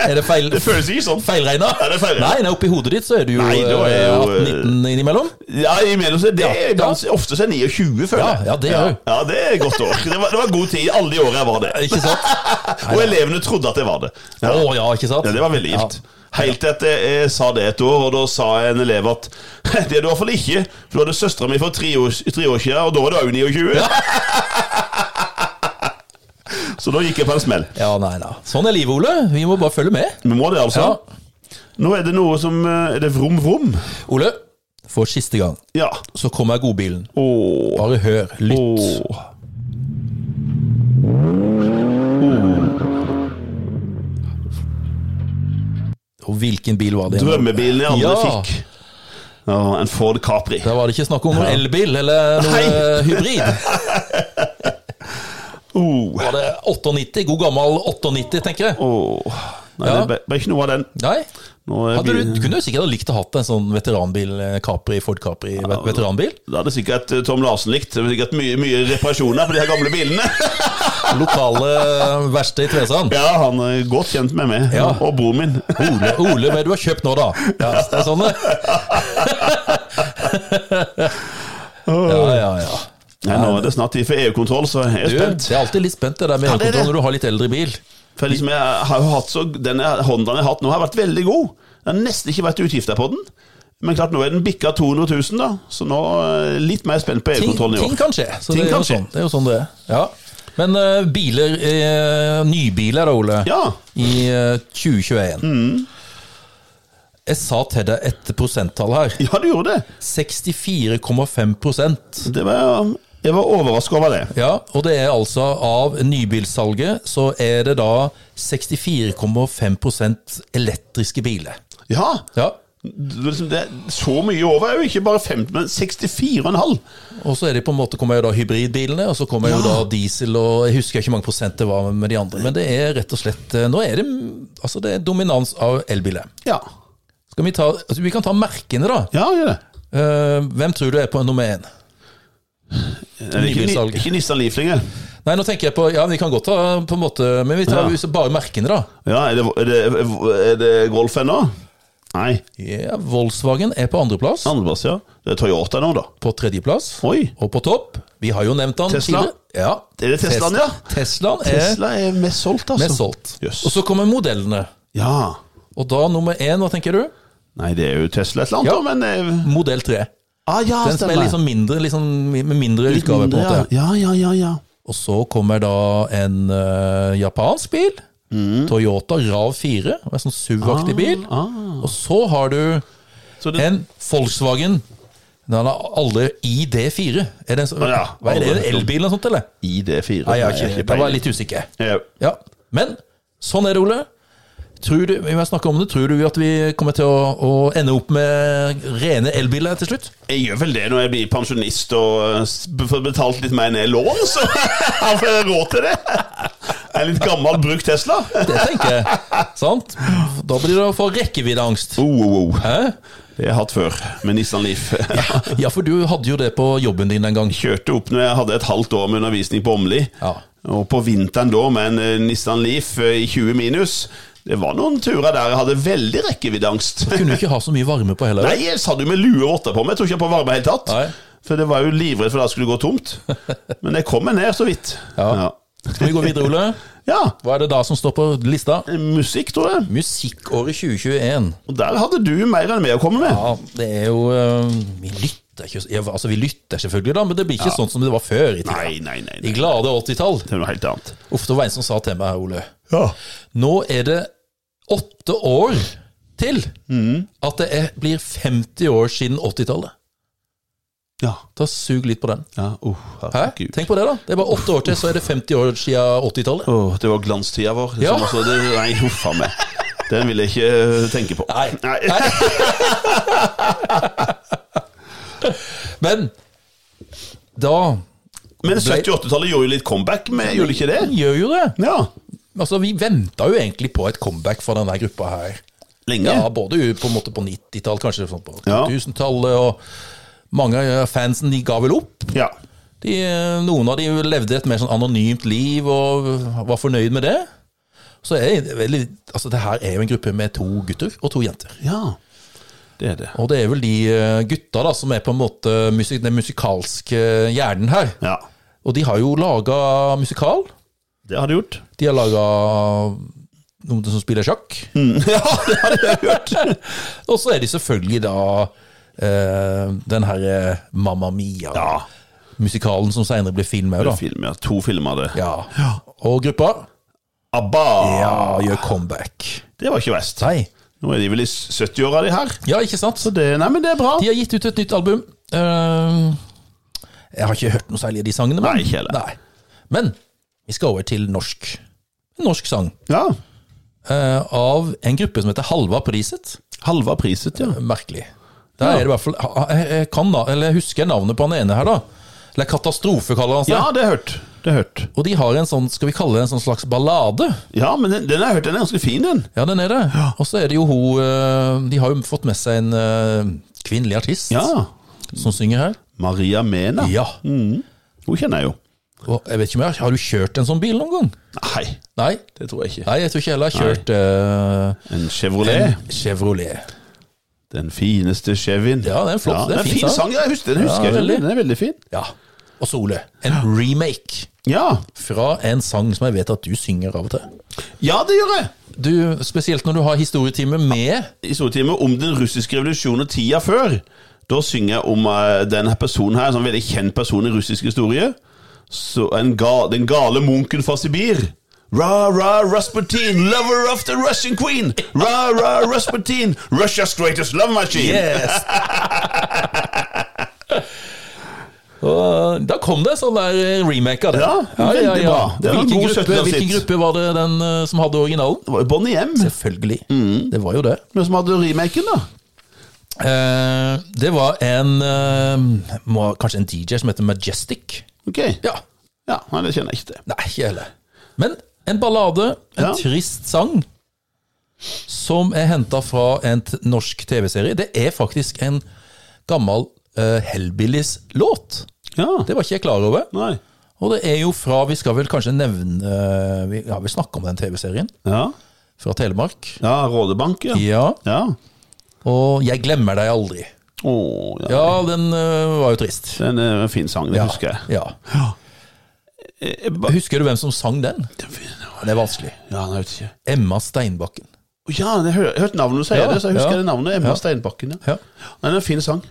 Speaker 1: Er det feil?
Speaker 2: Det føles ikke sånn.
Speaker 1: Feilregna?
Speaker 2: Ja, det er feilregnet.
Speaker 1: Nei, nei, oppi hodet ditt så er du jo,
Speaker 2: Nei, da er
Speaker 1: eh,
Speaker 2: jo,
Speaker 1: 18-19 innimellom.
Speaker 2: Ja, i mellomtiden. Det er
Speaker 1: Ja, ja.
Speaker 2: ganske- ofte så er 29, føler
Speaker 1: Ja,
Speaker 2: jeg.
Speaker 1: ja, det er jo.
Speaker 2: Ja, det er et godt år. Det var, det var god tid. i Alle de åra jeg var det.
Speaker 1: Ikke sant?
Speaker 2: Og elevene trodde at jeg var det.
Speaker 1: Å ja, ikke sant?
Speaker 2: (laughs) Ja, det var veldig gildt. Helt til at jeg, jeg sa det et år, og da sa en elev at (laughs) det er du i hvert fall ikke, for du hadde søstera mi for tre år, tre år siden, og da var du òg 29. (laughs) Så da gikk jeg på en smell.
Speaker 1: Ja, nei, nei. Sånn er livet, Ole. Vi må bare følge med.
Speaker 2: Vi må det, altså.
Speaker 1: Ja.
Speaker 2: Nå er det noe som eh, Er det vrom-vrom?
Speaker 1: Ole, for siste gang
Speaker 2: Ja.
Speaker 1: så kommer godbilen.
Speaker 2: Åh.
Speaker 1: Bare hør, lytt.
Speaker 2: Åh.
Speaker 1: Og Oh, hvilken bil var det? igjen?
Speaker 2: Drømmebilen jeg aldri
Speaker 1: Ja.
Speaker 2: fikk. Ja, en Ford Capri.
Speaker 1: Da var det ikke snakk om noen elbil eller noe
Speaker 2: Nei.
Speaker 1: hybrid.
Speaker 2: Åh.
Speaker 1: Var det 98? God gammel 98, tenker jeg.
Speaker 2: Åh. Nei,
Speaker 1: Ja.
Speaker 2: det ble- ble ikke noe av den.
Speaker 1: Nei?
Speaker 2: Nå eh, er
Speaker 1: Hadde du,
Speaker 2: bilen-
Speaker 1: kunne du sikkert ha likt å hatt en sånn veteranbil, eh, Capri, Ford Capri, vet- veteranbil?
Speaker 2: Det hadde sikkert eh, Tom Larsen likt. Det hadde sikkert mye, mye reparasjoner på de her gamle bilene.
Speaker 1: Lokale eh, verksted i Tvedestrand.
Speaker 2: (laughs) Ja, han er godt kjent med meg.
Speaker 1: Ja.
Speaker 2: Og broren min.
Speaker 1: Ole, Ole, hva er det du har kjøpt nå, da? Ja, det er sånn det. Ja, ja, ja.
Speaker 2: Nei, nå er det snart tid for EU-kontroll, så jeg er
Speaker 1: Du,
Speaker 2: spent.
Speaker 1: det er alltid litt spent det der med
Speaker 2: det er
Speaker 1: elkontroll
Speaker 2: det.
Speaker 1: når du har litt eldre bil.
Speaker 2: For liksom, jeg har jo hatt så, Den Hondaen jeg har hatt nå, har vært veldig god. Det har nesten ikke vært utgifter på den. Men klart, nå er den bikka 200 000, da. Så nå er jeg litt mer spent på
Speaker 1: Ting,
Speaker 2: EU-kontrollen i
Speaker 1: ting
Speaker 2: år.
Speaker 1: kan skje. Så
Speaker 2: Ting
Speaker 1: det, er
Speaker 2: kan
Speaker 1: jo
Speaker 2: skje.
Speaker 1: sånn, det er jo sånn det er. Ja. Men eh, biler, eh, nybiler da, Ole,
Speaker 2: Ja. Mm.
Speaker 1: i eh, 2021. Jeg sa til deg et prosenttall her.
Speaker 2: ja, du gjorde det.
Speaker 1: 64,5 prosent.
Speaker 2: det var, jeg var overraska over det.
Speaker 1: Ja, og det er altså av nybilsalget så er det da 64,5 prosent elektriske biler.
Speaker 2: Ja.
Speaker 1: Ja,
Speaker 2: Det, er liksom- det, er så mye over er jo ikke bare 50, men 64,5.
Speaker 1: Og så er det på en måte, kommer jo da hybridbilene, og så kommer jo da diesel, og jeg husker ikke hvor mange prosent det var med de andre. Men det er rett og slett eh, Nå er det altså det er dominans av elbiler.
Speaker 2: Ja.
Speaker 1: Skal Vi ta, altså vi kan ta merkene, da.
Speaker 2: Ja, gjør det.
Speaker 1: Eh, hvem tror du er på nummer én?
Speaker 2: Er det Ikke,
Speaker 1: Nybilsalg.
Speaker 2: ikke Nissan Leaf lenger.
Speaker 1: Nei, nå tenker jeg på Ja, vi kan godt ta på en måte Men vi tar
Speaker 2: Ja.
Speaker 1: jo bare merkene, da.
Speaker 2: Ja, er det, er det, er det Golf ennå? Nei.
Speaker 1: Ja, Volkswagen er på andreplass.
Speaker 2: Andreplass, ja. Det er Toyota nå, da.
Speaker 1: På tredjeplass.
Speaker 2: Oi.
Speaker 1: Og på topp Vi har jo nevnt han
Speaker 2: Tesla?
Speaker 1: tidligere. Ja.
Speaker 2: Er det Teslaen, ja?
Speaker 1: Teslaen er
Speaker 2: Tesla er mest solgt, altså.
Speaker 1: mest solgt.
Speaker 2: Jøss.
Speaker 1: Og så kommer modellene.
Speaker 2: Ja.
Speaker 1: Og da nummer én, hva tenker du?
Speaker 2: Nei, det er jo Tesla et eller annet,
Speaker 1: Ja.
Speaker 2: da, men eh,
Speaker 1: Modell 3.
Speaker 2: ah, ja,
Speaker 1: Den som er liksom mindre, liksom, med mindre utgave, på en måte.
Speaker 2: Ja, ja, ja, ja.
Speaker 1: Og så kommer da en eh, japansk bil.
Speaker 2: Mm.
Speaker 1: Toyota RAV 4, og en sånn
Speaker 2: Ah,
Speaker 1: SUV-aktig bil. Og så har du
Speaker 2: Så det,
Speaker 1: en Volkswagen Den har alle ID4. Er det en, sånn-
Speaker 2: Ja,
Speaker 1: hva er det, en
Speaker 2: alle.
Speaker 1: elbil eller noe sånt, eller?
Speaker 2: ID4
Speaker 1: Nei, jeg har ikke, da var jeg
Speaker 2: peiling.
Speaker 1: litt usikker.
Speaker 2: Ja.
Speaker 1: Ja, Men sånn er det, Ole. Tror du, vi må snakke om det. Tror du at vi kommer til å, å ende opp med rene elbiler til slutt?
Speaker 2: Jeg gjør vel det når jeg blir pensjonist og eh, s- får betalt litt mer enn jeg lån, så (laughs) jeg får råd til det. En litt gammel brukt Tesla.
Speaker 1: Det tenker jeg. Sant? Da blir det å få rekkeviddeangst.
Speaker 2: Oh, oh, oh.
Speaker 1: Hæ?
Speaker 2: Det har jeg hatt før, med Nissan
Speaker 1: (laughs)
Speaker 2: Leaf.
Speaker 1: Ja, for du hadde jo det på jobben din en gang.
Speaker 2: Kjørte opp når jeg hadde et halvt år med undervisning på Åmli.
Speaker 1: Ja.
Speaker 2: Og på vinteren da med en eh, Nissan Leaf eh, i 20 minus. Det var noen turer der jeg hadde veldig rekkeviddeangst.
Speaker 1: Kunne jo ikke ha så mye varme på heller.
Speaker 2: Nei, jeg satt jo med lue og votter på meg, jeg tok ikke på varme i det hele tatt.
Speaker 1: Nei.
Speaker 2: For det var jo livredd for da skulle det gå tomt.
Speaker 1: (laughs)
Speaker 2: Men jeg kom meg ned så vidt.
Speaker 1: Ja. Skal vi gå videre, Ole?
Speaker 2: ja.
Speaker 1: Hva er det da som står på lista?
Speaker 2: Musikk, tror jeg.
Speaker 1: Musikkåret 2021.
Speaker 2: Og der hadde du mer enn meg å komme med.
Speaker 1: Ja, det er jo eh, Vi lytter ikke ja, Altså, vi lytter selvfølgelig, da, men det blir ikke sånn som det var før i tida.
Speaker 2: Nei, nei, nei,
Speaker 1: I
Speaker 2: nei.
Speaker 1: glade 80-tall.
Speaker 2: Det er noe helt annet.
Speaker 1: Uff, det var en som sa til meg her, Ole. Nå er det åtte år til at det er, blir 50 år siden 80-tallet.
Speaker 2: Ja.
Speaker 1: Ta Sug litt på den.
Speaker 2: ja. Oh,
Speaker 1: Hæ?
Speaker 2: herregud.
Speaker 1: Tenk på det, da. Det er bare åtte år til, så er det 50 år siden 80-tallet.
Speaker 2: Åh, det var glanstida vår. Det
Speaker 1: Ja.
Speaker 2: som også, det, nei, huff a meg. Den vil jeg ikke øh, tenke på.
Speaker 1: Nei. Men da
Speaker 2: Men 78-tallet gjorde jo litt comeback, med, gjorde det ikke det?
Speaker 1: gjør jo det.
Speaker 2: Ja.
Speaker 1: Altså, vi venta jo egentlig på et comeback fra denne gruppa her.
Speaker 2: Lenge.
Speaker 1: Ja, både på, en måte på 90-tall, kanskje sånn på
Speaker 2: Ja.
Speaker 1: 2000-tallet, og mange av fansen de ga vel opp.
Speaker 2: Ja.
Speaker 1: De, eh, noen av de levde et mer sånn anonymt liv og var fornøyd med det. Så er det veldig, altså det her er jo en gruppe med to gutter og to jenter.
Speaker 2: ja. Det er det.
Speaker 1: Og det er vel de eh, gutta da, som er på en måte musik den musikalske eh, hjernen her.
Speaker 2: Ja.
Speaker 1: Og de har jo laga musikal.
Speaker 2: Det har du gjort.
Speaker 1: De har laga noen som spiller sjakk.
Speaker 2: (laughs) Ja, det har jeg gjort.
Speaker 1: Og så er de selvfølgelig da eh, den her eh, Mamma
Speaker 2: Ja.
Speaker 1: Mia-musikalen som senere ble film òg, da.
Speaker 2: Film, ja. To filmer, det.
Speaker 1: Ja. Og gruppa
Speaker 2: ABBA!
Speaker 1: ja,
Speaker 2: Ah.
Speaker 1: gjør comeback.
Speaker 2: Det var ikke verst.
Speaker 1: Nei.
Speaker 2: Nå er de vel i 70-åra, de her.
Speaker 1: Ja, ikke sant?
Speaker 2: Så det, nei, men det er bra.
Speaker 1: De har gitt ut et nytt album. Eh, jeg har ikke hørt noe særlig av de sangene. Men,
Speaker 2: Nei, ikke heller.
Speaker 1: Nei. men vi skal over til norsk. En norsk sang
Speaker 2: Ja.
Speaker 1: eh, av en gruppe som heter Halva priset.
Speaker 2: Halva priset, ja.
Speaker 1: Merkelig. Der er det i hvert fall jeg, jeg kan da, eller jeg husker navnet på han ene her, da. Eller Katastrofe, kaller han seg.
Speaker 2: Ja, det er hørt. Det er hørt.
Speaker 1: Og de har en sånn, skal vi kalle det en sånn slags ballade?
Speaker 2: Ja, men den, den har jeg hørt, den er ganske fin, den.
Speaker 1: Ja, den er det. Og så er det jo hun eh, De har jo fått med seg en eh, kvinnelig artist
Speaker 2: Ja.
Speaker 1: som synger her.
Speaker 2: Maria Mena.
Speaker 1: Ja.
Speaker 2: Hun kjenner jeg jo.
Speaker 1: Og jeg vet ikke om jeg har Har du kjørt en sånn bil noen gang?
Speaker 2: Nei,
Speaker 1: Nei.
Speaker 2: det tror jeg ikke.
Speaker 1: Nei, jeg tror ikke heller jeg har kjørt eh,
Speaker 2: En Chevrolet.
Speaker 1: en Chevrolet.
Speaker 2: Den fineste Chevyen.
Speaker 1: Ja, det er en flott- det er en
Speaker 2: det er
Speaker 1: fin
Speaker 2: fin
Speaker 1: sang.
Speaker 2: sang. ja, jeg husker, den husker
Speaker 1: Ja,
Speaker 2: jeg.
Speaker 1: veldig.
Speaker 2: Den er veldig fin.
Speaker 1: Ja. Og Sole. En remake
Speaker 2: Ja,
Speaker 1: fra en sang som jeg vet at du synger av og til.
Speaker 2: ja det gjør jeg.
Speaker 1: Du, Spesielt når du har historietime med
Speaker 2: I stortime om den russiske revolusjonen og tida før. Da synger jeg om eh, denne personen her, en sånn veldig kjent person i russisk historie. Så en ga, den gale munken fra Sibir. Ra, ra, Rasputin, lover of the Russian queen. Ra, ra, Rasputin, Russia's greatest love machine.
Speaker 1: Yes! (laughs) Og da kom det en sånn der remake av det.
Speaker 2: Ja, veldig bra. Det var en
Speaker 1: hvilken,
Speaker 2: god
Speaker 1: gruppe,
Speaker 2: 17-årshit.
Speaker 1: hvilken gruppe var det den eh, som hadde originalen?
Speaker 2: Det var jo Bonnie M
Speaker 1: Selvfølgelig.
Speaker 2: Mm.
Speaker 1: Det var jo det.
Speaker 2: men som hadde remaken, da.
Speaker 1: Eh, det var en eh, må, Kanskje en DJ som heter Majestic?
Speaker 2: Ok.
Speaker 1: Ja.
Speaker 2: Ja, nei, det kjenner jeg ikke til.
Speaker 1: Nei, ikke heller. Men en ballade, en
Speaker 2: Ja.
Speaker 1: trist sang, som er henta fra en t norsk TV-serie. Det er faktisk en gammel uh, Hellbillies-låt.
Speaker 2: Ja,
Speaker 1: Det var ikke jeg klar over.
Speaker 2: nei.
Speaker 1: Og det er jo fra Vi skal vel kanskje nevne eh, Vi har vel snakka om den TV-serien
Speaker 2: Ja,
Speaker 1: fra Telemark.
Speaker 2: ja Rådebank, ja.
Speaker 1: Ja.
Speaker 2: Ja.
Speaker 1: Og 'Jeg glemmer deg aldri'.
Speaker 2: Å, ja.
Speaker 1: Ja, den eh, var jo trist.
Speaker 2: Det er en eh, fin sang, det husker jeg.
Speaker 1: Ja.
Speaker 2: Eh, eh, ba-
Speaker 1: Husker du hvem som sang den? Det er vanskelig.
Speaker 2: Ja, nei, jeg vet ikke.
Speaker 1: Emma Steinbakken.
Speaker 2: Å, Ja, jeg har hørt navnet du sier
Speaker 1: Ja,
Speaker 2: det, så jeg husker
Speaker 1: ja.
Speaker 2: det navnet. Emma Steinbakken, ja.
Speaker 1: Ja.
Speaker 2: Nei, det er en fin sang.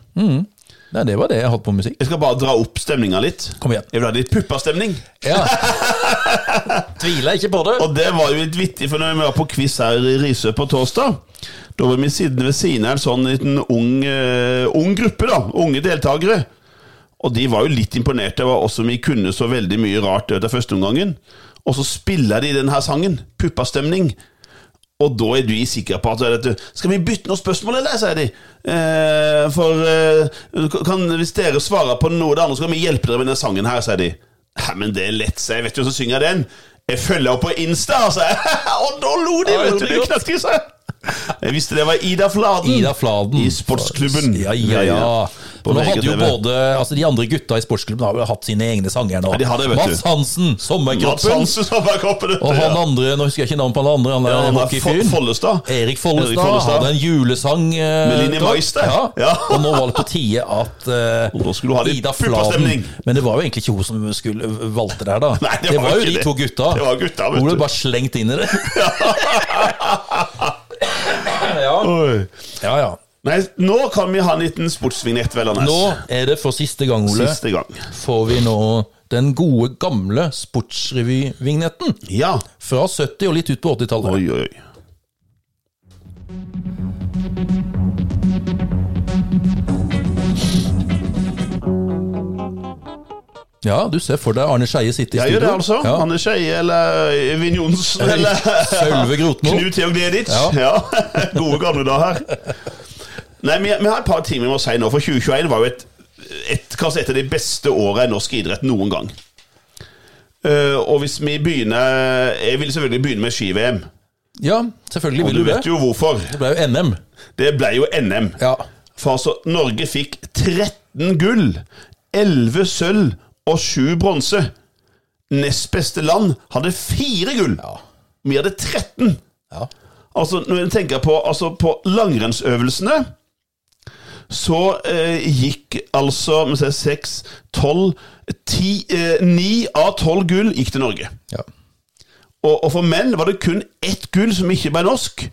Speaker 1: Nei, det var det jeg hadde på musikk.
Speaker 2: Jeg skal bare dra opp stemninga litt.
Speaker 1: Kom igjen.
Speaker 2: Jeg vil ha litt puppastemning.
Speaker 1: Ja. (laughs) Tviler ikke på det.
Speaker 2: Og det var jo litt vittig, for når vi var på quiz her i Risør på torsdag, da var vi siden ved siden av en sånn liten ung, eh, ung gruppe, da. Unge deltakere. Og de var jo litt imponerte over oss som vi kunne så veldig mye rart ut av første omgangen. Og så spiller de denne sangen, 'Puppastemning'. Og da er de sikre på at vet du, Skal vi bytte noen spørsmål, eller? sier de. Eh, for eh, kan, hvis dere svarer på noe av det andre, så kan vi hjelpe dere med denne sangen her, sier de. Nei, men det er lett, sier jeg. Vet du hvem som synger den? Jeg følger henne på Insta, sier jeg. (laughs) Og da lo de,
Speaker 1: Ja,
Speaker 2: vet
Speaker 1: det gjorde
Speaker 2: du.
Speaker 1: de
Speaker 2: De
Speaker 1: godt.
Speaker 2: knakk i seg. Jeg visste det var Ida Fladen.
Speaker 1: Ida Fladen.
Speaker 2: I sportsklubben.
Speaker 1: Ja, ja, ja.
Speaker 2: På
Speaker 1: For nå
Speaker 2: VGTV.
Speaker 1: hadde jo både, altså De andre gutta i sportsklubben har jo hatt sine egne sanger nå.
Speaker 2: de har det, vet du.
Speaker 1: Mats Hansen,
Speaker 2: Mats
Speaker 1: Sommerkroppen.
Speaker 2: Hansen som var kroppen
Speaker 1: Og han
Speaker 2: ja.
Speaker 1: andre, nå husker jeg ikke navnet på han andre, han
Speaker 2: Ja,
Speaker 1: der
Speaker 2: han er
Speaker 1: hockeyfyren.
Speaker 2: Fo- Follestad.
Speaker 1: Erik Follestad,
Speaker 2: Erik Follestad.
Speaker 1: hadde en julesang. eh,
Speaker 2: Med Linni
Speaker 1: da.
Speaker 2: Mais der.
Speaker 1: Ja.
Speaker 2: Ja.
Speaker 1: Og nå var det på tide at eh,
Speaker 2: Og da skulle du ha litt
Speaker 1: Ida Fladen
Speaker 2: puppastemning.
Speaker 1: Men det var jo egentlig ikke hun som skulle, valgte der, da.
Speaker 2: Nei,
Speaker 1: det, var jo
Speaker 2: ikke
Speaker 1: de
Speaker 2: det.
Speaker 1: to gutta.
Speaker 2: Det var gutta,
Speaker 1: Hun
Speaker 2: vet
Speaker 1: ble
Speaker 2: du.
Speaker 1: bare slengt inn
Speaker 2: (laughs)
Speaker 1: i det. ja.
Speaker 2: Oi.
Speaker 1: ja, ja.
Speaker 2: Nei, nå kan vi ha en liten sportsvignett, Vellernes.
Speaker 1: Nå er det for siste gang, Ole,
Speaker 2: Siste gang.
Speaker 1: får vi nå den gode, gamle sportsrevyvignetten.
Speaker 2: Ja.
Speaker 1: Fra 70 og litt ut på 80-tallet.
Speaker 2: Oi, oi, oi.
Speaker 1: Ja, du ser for deg Arne Skeie sitte i
Speaker 2: Jeg
Speaker 1: studio.
Speaker 2: gjør det, altså.
Speaker 1: Ja.
Speaker 2: Anne Skeie eller eh, Evin Johnsen eller
Speaker 1: (laughs) Sølve Grotmo.
Speaker 2: Knut Georg Deditz.
Speaker 1: Ja.
Speaker 2: Ja. (laughs) Gode gamle dager. Nei, vi, vi har et par ting vi må si nå, for 2021 var jo et, et, kanskje et av de beste åra i norsk idrett noen gang. Eh, og hvis vi begynner Jeg vil selvfølgelig begynne med ski-VM.
Speaker 1: Ja, selvfølgelig
Speaker 2: Og
Speaker 1: vil
Speaker 2: du
Speaker 1: du det.
Speaker 2: vet jo hvorfor.
Speaker 1: Det ble jo NM.
Speaker 2: Det ble jo NM.
Speaker 1: Ja.
Speaker 2: For altså, Norge fikk 13 gull, 11 sølv og 7 bronse. Nest beste land hadde 4 gull. Vi hadde 13.
Speaker 1: Ja.
Speaker 2: Altså, når jeg tenker på, altså, på langrennsøvelsene, så eh, gikk altså må jeg se, 6, 12, 10, eh, 9 av 12 gull gikk til Norge.
Speaker 1: Ja.
Speaker 2: Og, og for menn var det kun ett gull som ikke ble norsk.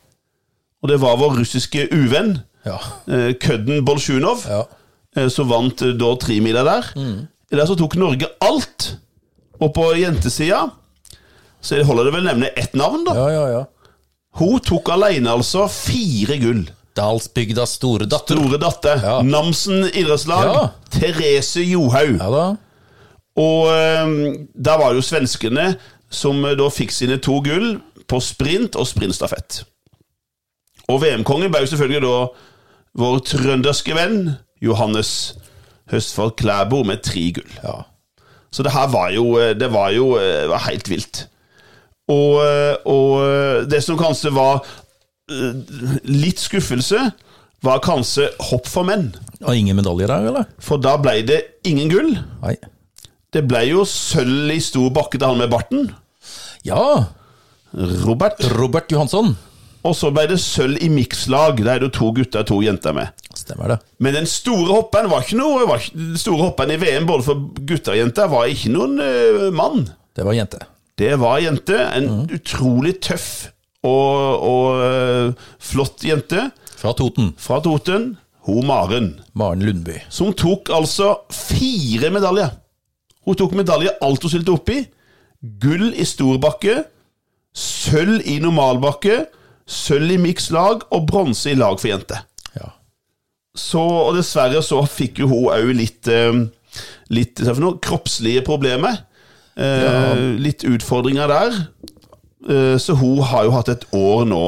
Speaker 2: Og det var vår russiske uvenn,
Speaker 1: Ja.
Speaker 2: eh, kødden Bolsjunov.
Speaker 1: ja.
Speaker 2: Eh, Så vant eh, da tremila der.
Speaker 1: Mm.
Speaker 2: I der så tok Norge alt. Og på jentesida så holder det vel å nevne ett navn, da.
Speaker 1: ja, ja, ja.
Speaker 2: Hun tok alene altså fire gull.
Speaker 1: Dalsbygdas store datter.
Speaker 2: Store datter.
Speaker 1: Ja.
Speaker 2: Namsen idrettslag.
Speaker 1: Ja.
Speaker 2: Therese Johaug.
Speaker 1: Ja da.
Speaker 2: Og eh, der var jo svenskene som eh, da fikk sine to gull på sprint og sprintstafett. Og VM-kongen ble jo selvfølgelig da vår trønderske venn Johannes Høstfold Klæbo med tre gull.
Speaker 1: Ja.
Speaker 2: Så det her var jo eh, Det var jo det var helt vilt. Og, og det som kanskje var eh, litt skuffelse, var kanskje hopp for menn.
Speaker 1: Og ingen medalje der, eller?
Speaker 2: For da ble det ingen gull.
Speaker 1: Nei.
Speaker 2: Det ble jo sølv i stor bakke til han med barten,
Speaker 1: Ja!
Speaker 2: Robert.
Speaker 1: Robert Johansson.
Speaker 2: Og så ble det sølv i mikslag. Der er det jo to gutter og to jenter med.
Speaker 1: Stemmer det.
Speaker 2: Men den store hopperen var ikke noe var ikke, Den store hopperen i VM både for gutter og jenter var ikke noen eh, mann.
Speaker 1: Det var jente.
Speaker 2: Det var ei jente. En utrolig tøff og, og eh, flott jente
Speaker 1: Fra Toten.
Speaker 2: fra Toten. Ho Maren.
Speaker 1: Maren Lundby.
Speaker 2: Som tok altså fire medaljer. Hun tok medalje alt hun stilte opp i. Gull i storbakke, sølv i normalbakke, sølv i miks lag og bronse i lag for jenter.
Speaker 1: Ja.
Speaker 2: Så, og dessverre så fikk jo hun òg litt, eh, litt hva for noe, kroppslige problemer. Eh, Litt utfordringer der. Eh, så hun har jo hatt et år nå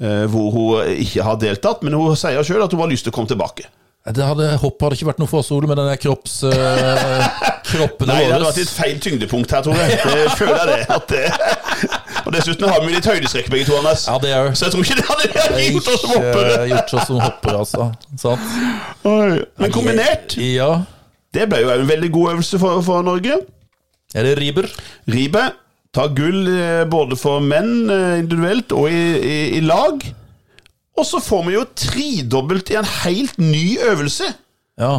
Speaker 2: eh, hvor hun ikke har deltatt, men hun sier sjøl at hun har lyst til å komme tilbake.
Speaker 1: Det hadde, hoppet hadde ikke vært noe for oss, Ole, med den der kropps... (laughs) eh, kroppene
Speaker 2: Nei, det hadde
Speaker 1: våre.
Speaker 2: vært et feil tyngdepunkt her, tror jeg. Det føler jeg det. (laughs) At det. Og dessuten har vi litt høydeskrekk, begge to, Anders.
Speaker 1: Ja, det er jo
Speaker 2: Så jeg tror ikke det hadde
Speaker 1: ikke eh,
Speaker 2: gjort oss som hoppere.
Speaker 1: gjort oss som hoppere, altså. Sant?
Speaker 2: Men kombinert,
Speaker 1: Ja.
Speaker 2: det ble jo en veldig god øvelse for, for Norge.
Speaker 1: Er det Riber?
Speaker 2: Ribe tar gull eh, både for menn eh, individuelt og i, i, i lag. Og så får vi jo tredobbelt i en helt ny øvelse,
Speaker 1: Ja.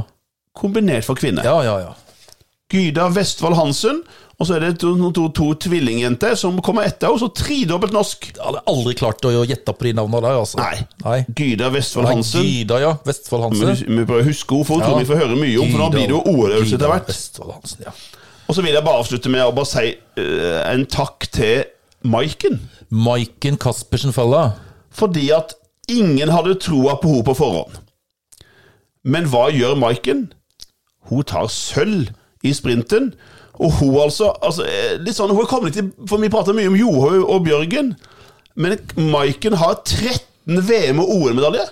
Speaker 2: kombinert for kvinner.
Speaker 1: Ja, ja, ja.
Speaker 2: Gyda Vestfold Hansen. Og så er det to, to, to tvillingjenter som kommer etter henne, så tredobbelt norsk.
Speaker 1: Jeg hadde aldri klart å gjette på de navnene der, altså.
Speaker 2: Nei.
Speaker 1: Nei.
Speaker 2: Gyda Vestfold
Speaker 1: Nei,
Speaker 2: Hansen.
Speaker 1: Gyda, ja. Vestfold
Speaker 2: Men
Speaker 1: Hansen.
Speaker 2: du- vi prøver å huske henne, for hun
Speaker 1: Ja.
Speaker 2: tror vi får høre mye om, for nå
Speaker 1: Gyda-
Speaker 2: blir det jo OL-øvelse
Speaker 1: Gyda
Speaker 2: etter hvert.
Speaker 1: Vestfold Hansen, ja.
Speaker 2: Og så vil jeg bare avslutte med å bare si eh, en takk til Maiken.
Speaker 1: Maiken Caspersen Falla.
Speaker 2: Fordi at ingen hadde troa på henne på forhånd. Men hva gjør Maiken? Hun tar sølv i sprinten. Og hun altså, altså eh, litt sånn, hun er kommet til, For vi prater mye om Johaug og Bjørgen, men Maiken har 13 VM- og OL-medaljer.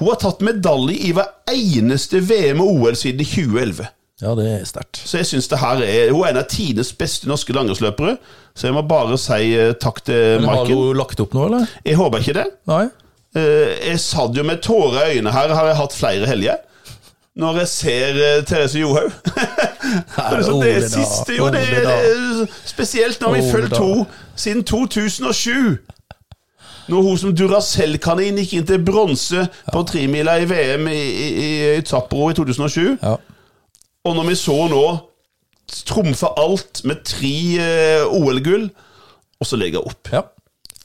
Speaker 2: Hun har tatt medalje i hver eneste VM og OL siden 2011.
Speaker 1: Ja, det er sterkt.
Speaker 2: Så jeg synes det her er, Hun er en av tidenes beste norske langrennsløpere, så jeg må bare si eh, takk til
Speaker 1: Har
Speaker 2: Maiken.
Speaker 1: du lagt opp nå, eller?
Speaker 2: Jeg håper ikke det.
Speaker 1: Nei?
Speaker 2: Eh, Jeg satt jo med tårer i øynene her, har jeg hatt flere helger. Når jeg ser eh, Therese
Speaker 1: (laughs)
Speaker 2: Johaug. Det er sånn, det er
Speaker 1: Ole da,
Speaker 2: siste jo,
Speaker 1: Ole
Speaker 2: det er,
Speaker 1: da.
Speaker 2: det er spesielt når vi
Speaker 1: Ole
Speaker 2: følger
Speaker 1: da.
Speaker 2: to siden 2007. Når hun som Duracell-kanin gikk inn til bronse på tremila i VM i, i, i- i Zapporo i 2007.
Speaker 1: Ja.
Speaker 2: Og når vi så nå trumfe alt med tre eh, OL-gull, og så legger hun opp.
Speaker 1: ja.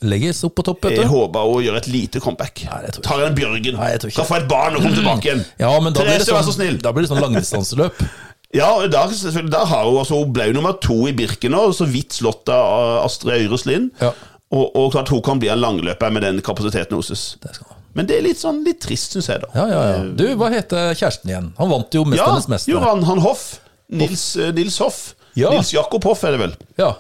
Speaker 1: Legges opp på topp, vet
Speaker 2: Jeg
Speaker 1: du.
Speaker 2: håper hun Eh, gjør et lite comeback.
Speaker 1: Nei, det tror jeg
Speaker 2: Tar en Bjørgen.
Speaker 1: Nei, jeg tror ikke. Mm.
Speaker 2: Kan få et barn og komme tilbake igjen.
Speaker 1: Ja, men da blir det
Speaker 2: Therese, vær så
Speaker 1: sånn,
Speaker 2: snill.
Speaker 1: da blir det sånn langdistanseløp.
Speaker 2: Ja, og der, selvfølgelig, der har Hun altså, hun ble jo nummer to i Birken nå, så vidt slått av Astrid Øyres Lind.
Speaker 1: Ja.
Speaker 2: Og, og klart hun kan bli en langløper med den kapasiteten hennes.
Speaker 1: Det skal han ha.
Speaker 2: Men det er litt sånn litt trist, syns jeg, da.
Speaker 1: Ja, ja, ja. Du, hva heter kjæresten igjen? Han vant jo Mesternes mester.
Speaker 2: Johan Han Hoff. Nils, eh, Nils Hoff.
Speaker 1: Ja.
Speaker 2: Nils Jakob Hoff, er det vel.
Speaker 1: Ja.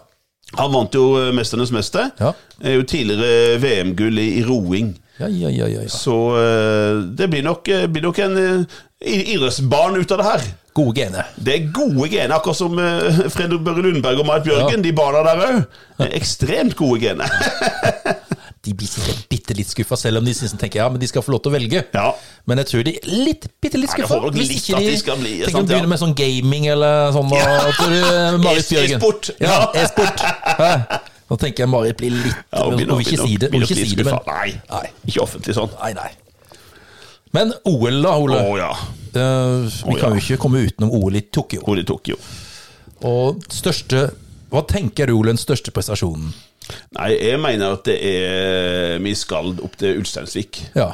Speaker 2: Han vant jo eh, Mesternes mester.
Speaker 1: Ja.
Speaker 2: Er jo tidligere VM-gull i, i roing.
Speaker 1: Ja, ja, ja, ja, ja.
Speaker 2: Så eh, det blir nok, eh, blir nok en eh, i- idrettsbarn ut av det her.
Speaker 1: Gode gener.
Speaker 2: Det er gode gener, akkurat som eh, Fredrik Børre Lundberg og Marit Bjørgen. De barna der òg. Ekstremt gode gener. (laughs)
Speaker 1: De blir sikkert bitte litt skuffa, selv om de synes, tenker ja, men de skal få lov til å velge.
Speaker 2: Ja.
Speaker 1: Men jeg tror de er litt, bitte litt
Speaker 2: Ja, jeg
Speaker 1: skuffa.
Speaker 2: håper nok litt at de skal bli,
Speaker 1: Tenk om
Speaker 2: sant,
Speaker 1: de
Speaker 2: ja.
Speaker 1: begynner med sånn gaming eller sånn. Og,
Speaker 2: Ja.
Speaker 1: at du, eh, Marit Bjørgen.
Speaker 2: (laughs) E-sport.
Speaker 1: Ja,
Speaker 2: Ja.
Speaker 1: e-sport. Hæ? Nå tenker jeg Marit blir litt
Speaker 2: Ja, og
Speaker 1: Hun
Speaker 2: begynner-
Speaker 1: vil ikke
Speaker 2: begynner-
Speaker 1: si det, hun vil
Speaker 2: begynner å
Speaker 1: ikke
Speaker 2: bli
Speaker 1: si det men
Speaker 2: skuffet. Nei,
Speaker 1: Nei.
Speaker 2: ikke offentlig sånn.
Speaker 1: Nei, nei. Men OL, da,
Speaker 2: Å
Speaker 1: Ole.
Speaker 2: ja.
Speaker 1: Eh, vi
Speaker 2: Å,
Speaker 1: kan
Speaker 2: ja.
Speaker 1: jo ikke komme utenom OL i Tokyo.
Speaker 2: Hvor de tok jo.
Speaker 1: Og største Hva tenker du, Ole, den største prestasjonen?
Speaker 2: Nei, jeg mener at det er Vi skal opp til Ulsteinsvik.
Speaker 1: Ja.